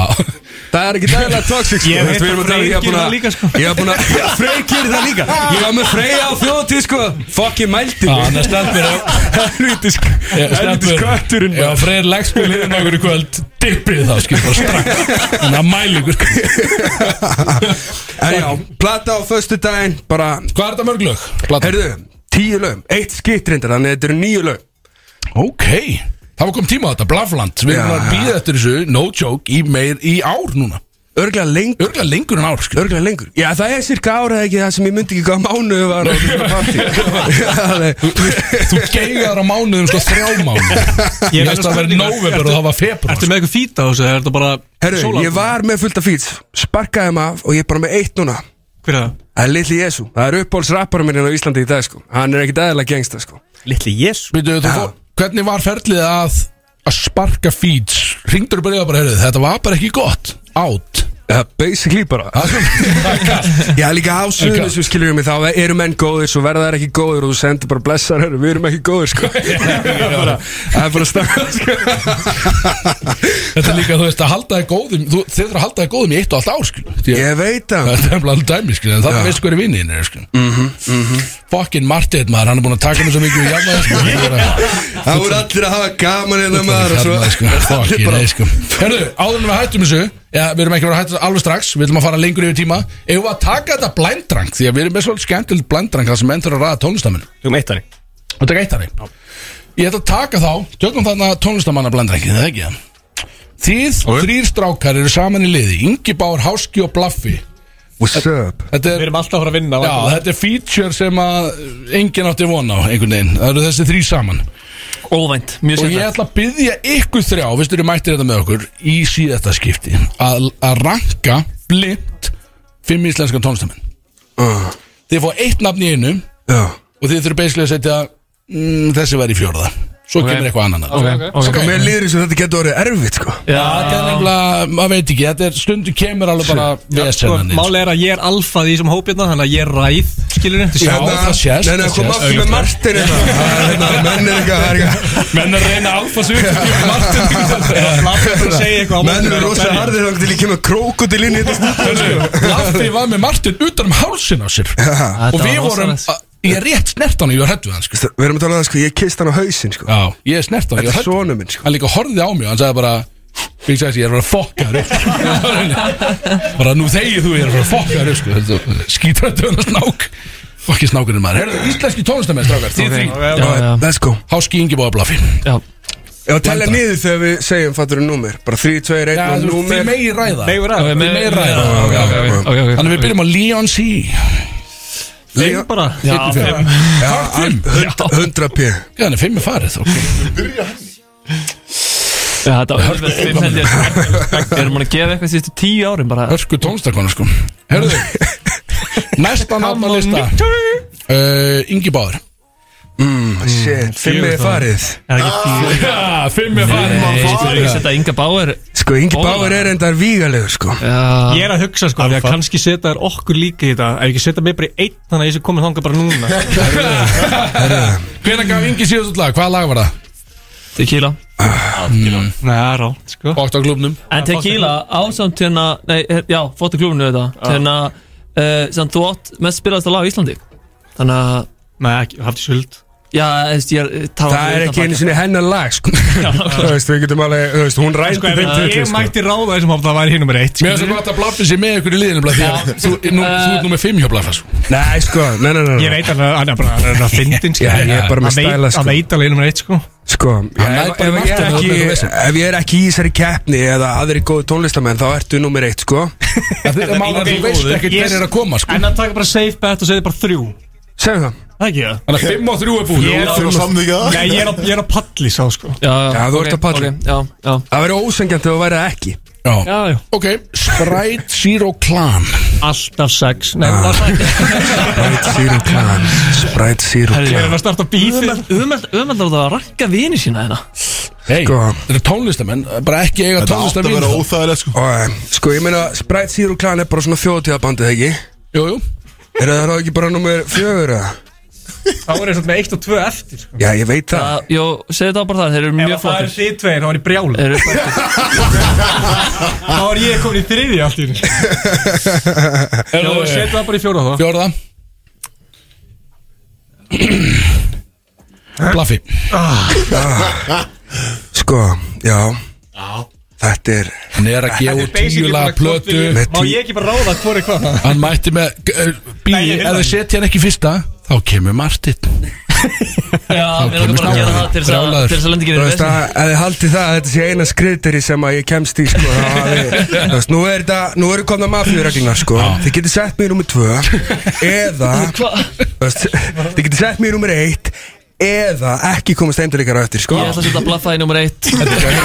það er ekki dægilega toxic sko
Ég
Þú
veit
við erum
að
að tala um-
Freyr gerir
ég er búin að-
það líka, sko.
Ég er
*laughs*
búin að,
*laughs*
já, Freyr gerir það líka Ég var með Freyr á þjóðtíð sko, fucking mældi
Já, hann er stelpur á-
*laughs* Helvítis, helvítis
Stelpur,
kötturinn
já, Freyr leggst með liðin okkur í kvöld Dippið það, skil, bara strax En að mæli ykkur sko.
*laughs* En já, plata á föstu daginn, bara
Hvað er þetta mörg lög? Platan?
Herðu, tíu lögum, eitt skitt reyndar, þannig að þetta eru nýju lög
Ok, það var komið tíma á þetta, Blafland Við erum
Já.
búin að býða eftir þessu, no joke, í, meir, í ár núna
Örglega lengur
Örglega lengur en ár, sko. skil
Örglega lengur Já það er cirka ára ekki það sem ég myndi ekki hvað mánuðu
*laughs*
var á þessu partí Já, það er-
Þú geigar á mánuðum sko þrjá
*laughs*
mánuð
Ég
Ég
með
veist að það verið
spurningu,
nóvember og það var februar
Ertu með eitthvað fýta á þessu, eða er þetta bara
Herru, ég var með fullt af fýts Sparkaði þeim af og ég er bara með eitt núna
Hver er það?
Það er Litli Jesu Það er uppbólsrapparum minn hérna á Íslandi í dag sko Hann er ekkit aðeila gengsta sko
Littli Jésu
Býtu, þú fór, hvernig var ferlið að að sparka feeds Ringdur bara í það bara, heyrðu, þetta var bara ekki gott Out
Já, basically bara
*laughs*
*laughs* Já, líka á suðinu sem skilur mig Þá eru menn góðir, svo verða þær ekki góðir Og þú sendir bara blessar, herru, við erum ekki góðir
*laughs*
sko Bara- Það er bara stakka
Þetta er líka, þú veist, að halda þig góðum þú, Þið þurfa að halda þig góðum í eitt og allt ár, skil Því að-
Ég veit
Það
það
er nefnilega alveg dæmi, skil, en það
Já.
veist hverju vinnin er, sko? skil
Mhm.
Fucking Martin, maður, hann er búin að taka mér svo mikið í jafnvæði, sko Ég er að-
Það voru allir að hafa gaman hérna maður og
Hérna,
*laughs*
sko,
svo-
fucking
bara-
nei, sko Herðu, áður en við hættum þessu Já, við erum ekki að vera að hætta alveg strax Við ætlum að fara lengur yfir tíma Ef við að taka þetta blændrang Því að við erum með svolítið skemmtilegt blændrang Það sem endur að ræða tónlistamenn
Tökum eitt hannig
Og taka eitt aðri Ég ætla að taka þá Tökum þarna tónlistamanna blændrang Það er ekki það Þið þrýr strákar eru saman í liði Ingi Bár, Háski og Blaffi
What's up?
Þetta
Við
er,
erum alltaf að fara að vinna
já, þetta er feature sem að Engin átti von á einhvern veginn Það eru þessi þrý saman
Óvænt, mjög
Og
sérna
ég ætla að byggja ykkur þrjá, viðstu eru mættir þetta með okkur Í síðasta skipti Að, að ranka blind Fimm íslenskan tónstamenn uh. Þið fá eitt nafn í einu uh. Og þið þurfum basically að setja mm, Þessi var í fjórða Svo
Ok.
kemur eitthvað annan
Ok, ok. Sko, mér líður eins og þetta getur orðið erfitt sko.
Já, þetta er nefnilega, maður veit ekki Þetta er stundu *laughs* kemur alveg bara vesennandi
Máli sko, er að ég er alfa í þessum hópirna Þannig að ég er ræð, skilur þið
Já, það sést
Nei, nei, kom aftur með Martin
*laughs*
hérna. Það er hérna, Menn er eitthvað það er eitthvað-
Menn að reyna alfa
*laughs*
sko, svo Martin
Menn eru rosa harðir þá til ég kemur krókudil inn í þetta sko.
Laffi var með Martin utan um hálsin á sér
Þetta
Og við
var
vorum
rosalegt.
að- Ég rétt snert hann, ég var hættu hann sko.
Við erum að tala um það sko, ég kist hann á hausinn sko
Já, ég snert hann, ég
Þetta er
var hræddur.
sonur minn sko
Hann líka horfði á mig, hann sagði bara Big Sexy, ég er að fara að *laughs* fokka þér upp." Bara nú þegið þú, ég er að fara að fokka þér upp, sko. Skítrættu hann að snák Fokki snákurinn maður Herðu, íslenski tónlistamenn strákar, þið
Ok,
þrý
ok, ok. Já, já. Let's go
Háski Ingi bóða blaffi
Já
Ég var að tella niður þegar við segjum fattur um númer Bara 3, 2, 1
Já,
og
þú-
númer
þið megi ræða.
Megið ræða
Þið megi ræða Ok, ok, ok. Þannig *laughs* við byrjum á Leon C Leon bara
Já, fimm.
Fimm
100 p
Já, hann er fimm er farið ok.
Já, þetta var auðvelt fimm held *laughs* ég Við erum búin að gefa eitthvað síðustu tíu árum bara
Hörku tónstakonu sko Herðu Næsta nafn á lista uh, Ingi Báður
mm, Shit, fimm er farið
Er ekki fjögur?
Ah. *laughs* Já, fimm er farið
Nei, þú
farið.
veist þetta Inga Bauer
Sko, Ingi Báður er endar vígalegur sko
Ég er að hugsa sko, því að kannski setja þær okkur líka í þetta Ef ekki setja mig bara í einn, þannig að ég sé komin þangað bara núna
Hvernig gaf Ingi síðast lag? Hvaða lag var það?
Tequila
Ah, hmm.
Mm.
Nei, það er rátt sko
Bótt á klubnum
En tequila ásamt hérna Nei, hér- já, fóttu klúfinu þetta Hérna, uh, sem þú átt mest spilaðast lag í Íslandi Þannig að
Nei, ekki, hafði sjöld
Já, þú veist, ég er tala
Það er ekki einu sinni hennar lag sko Þú veist, við getum alveg, þú veist, hún rændi
Sko, ef
þeim titli,
ég mætti ráða þessum hóp, það væri hinn nummer eitt
Mér er svo gott að Blaffi sé með ykkur í liðinu Blaffi
Já.
Þú þú- nú- þú ert nummer 5 hjá Blaffi sko.
Nei, sko, nei, nei, nei, nei.
Ég veit alveg, hann er bara hann er að fyndin
Já, ég er bara með stæla, sko.
Hann veit alveg nummer eitt sko
Sko, já,
Hann nær
ef,
bara
ef,
markinu,
ég er ekki,
það er vesen.
ef ég er ekki í þessari keppni eða aðri góði tónlistamenn þá ertu nummer eitt sko
Þetta er mála þú veist ekkert hver er að koma sko.
En að taka bara safe bet og segja bara þrjú
Segðu það
Það ekki það
Þannig að 5 og 3 er búin
Ég er að- Nei, ég er að- ég er að palli sá sko
Já, þú ert að palla Það verður ósengjant ef þú værið það ekki
Já, já Ok, Sprite Zero Clan
Alltaf sex Nei,
Ah.
það er
Sprite Zero Clan Sprite Zero Clan
að starta bífið
Umöldar að rakka vini sína hérna
Hei,
Sko.
þetta er tónlistamenn Bara ekki eiga
átti
tónlistamenn
óþægilegt sko Sko, ég meina, Sprite Zero Clan er bara svona fjóðtíðabandið, ekki?
Jú, jú
Er það þá ekki bara nummer fjögur, eða?
Þá er eins og með eitt og tvö eftir sko.
Já, ég veit það
Jó, segðu það bara þar, þeir eru mjög
Ef það er
flottir
þið tveir, þá er ég brjála
Þeir eru flottir
Þá er ég komin í þriði allt
*laughs*
í einu. Já, setja það bara í fjóra þá
Fjórða Blaffi
Ah. Sko, já Þetta er
Hann er að gefa út tíula plötu
Má ég ekki bara ráða hvori hvað
Hann mætti með uh, Bí,
Nei, ég vil
ef þið
það.
setja hann ekki í fyrsta Þá kemur Martin
*laughs* Já, við erum
kemur
bara að gera það til þess að
brjálaður.
Til þess að lendi
Þú
ekki verið
veist að, ef þið haldið það að þetta sé eina skriðderi sem að ég kemst í sko, þá hafi-
*laughs*
þú veist, nú er þetta, nú eru komna mafjörreglunar sko, þið getið sett mér í númer 2 eða
*laughs*
þú veist, þið getið sett mér í númer 1 eða ekki komast heimdalíkar á eftir sko
Ég ætla að setja blaffa í nummer eitt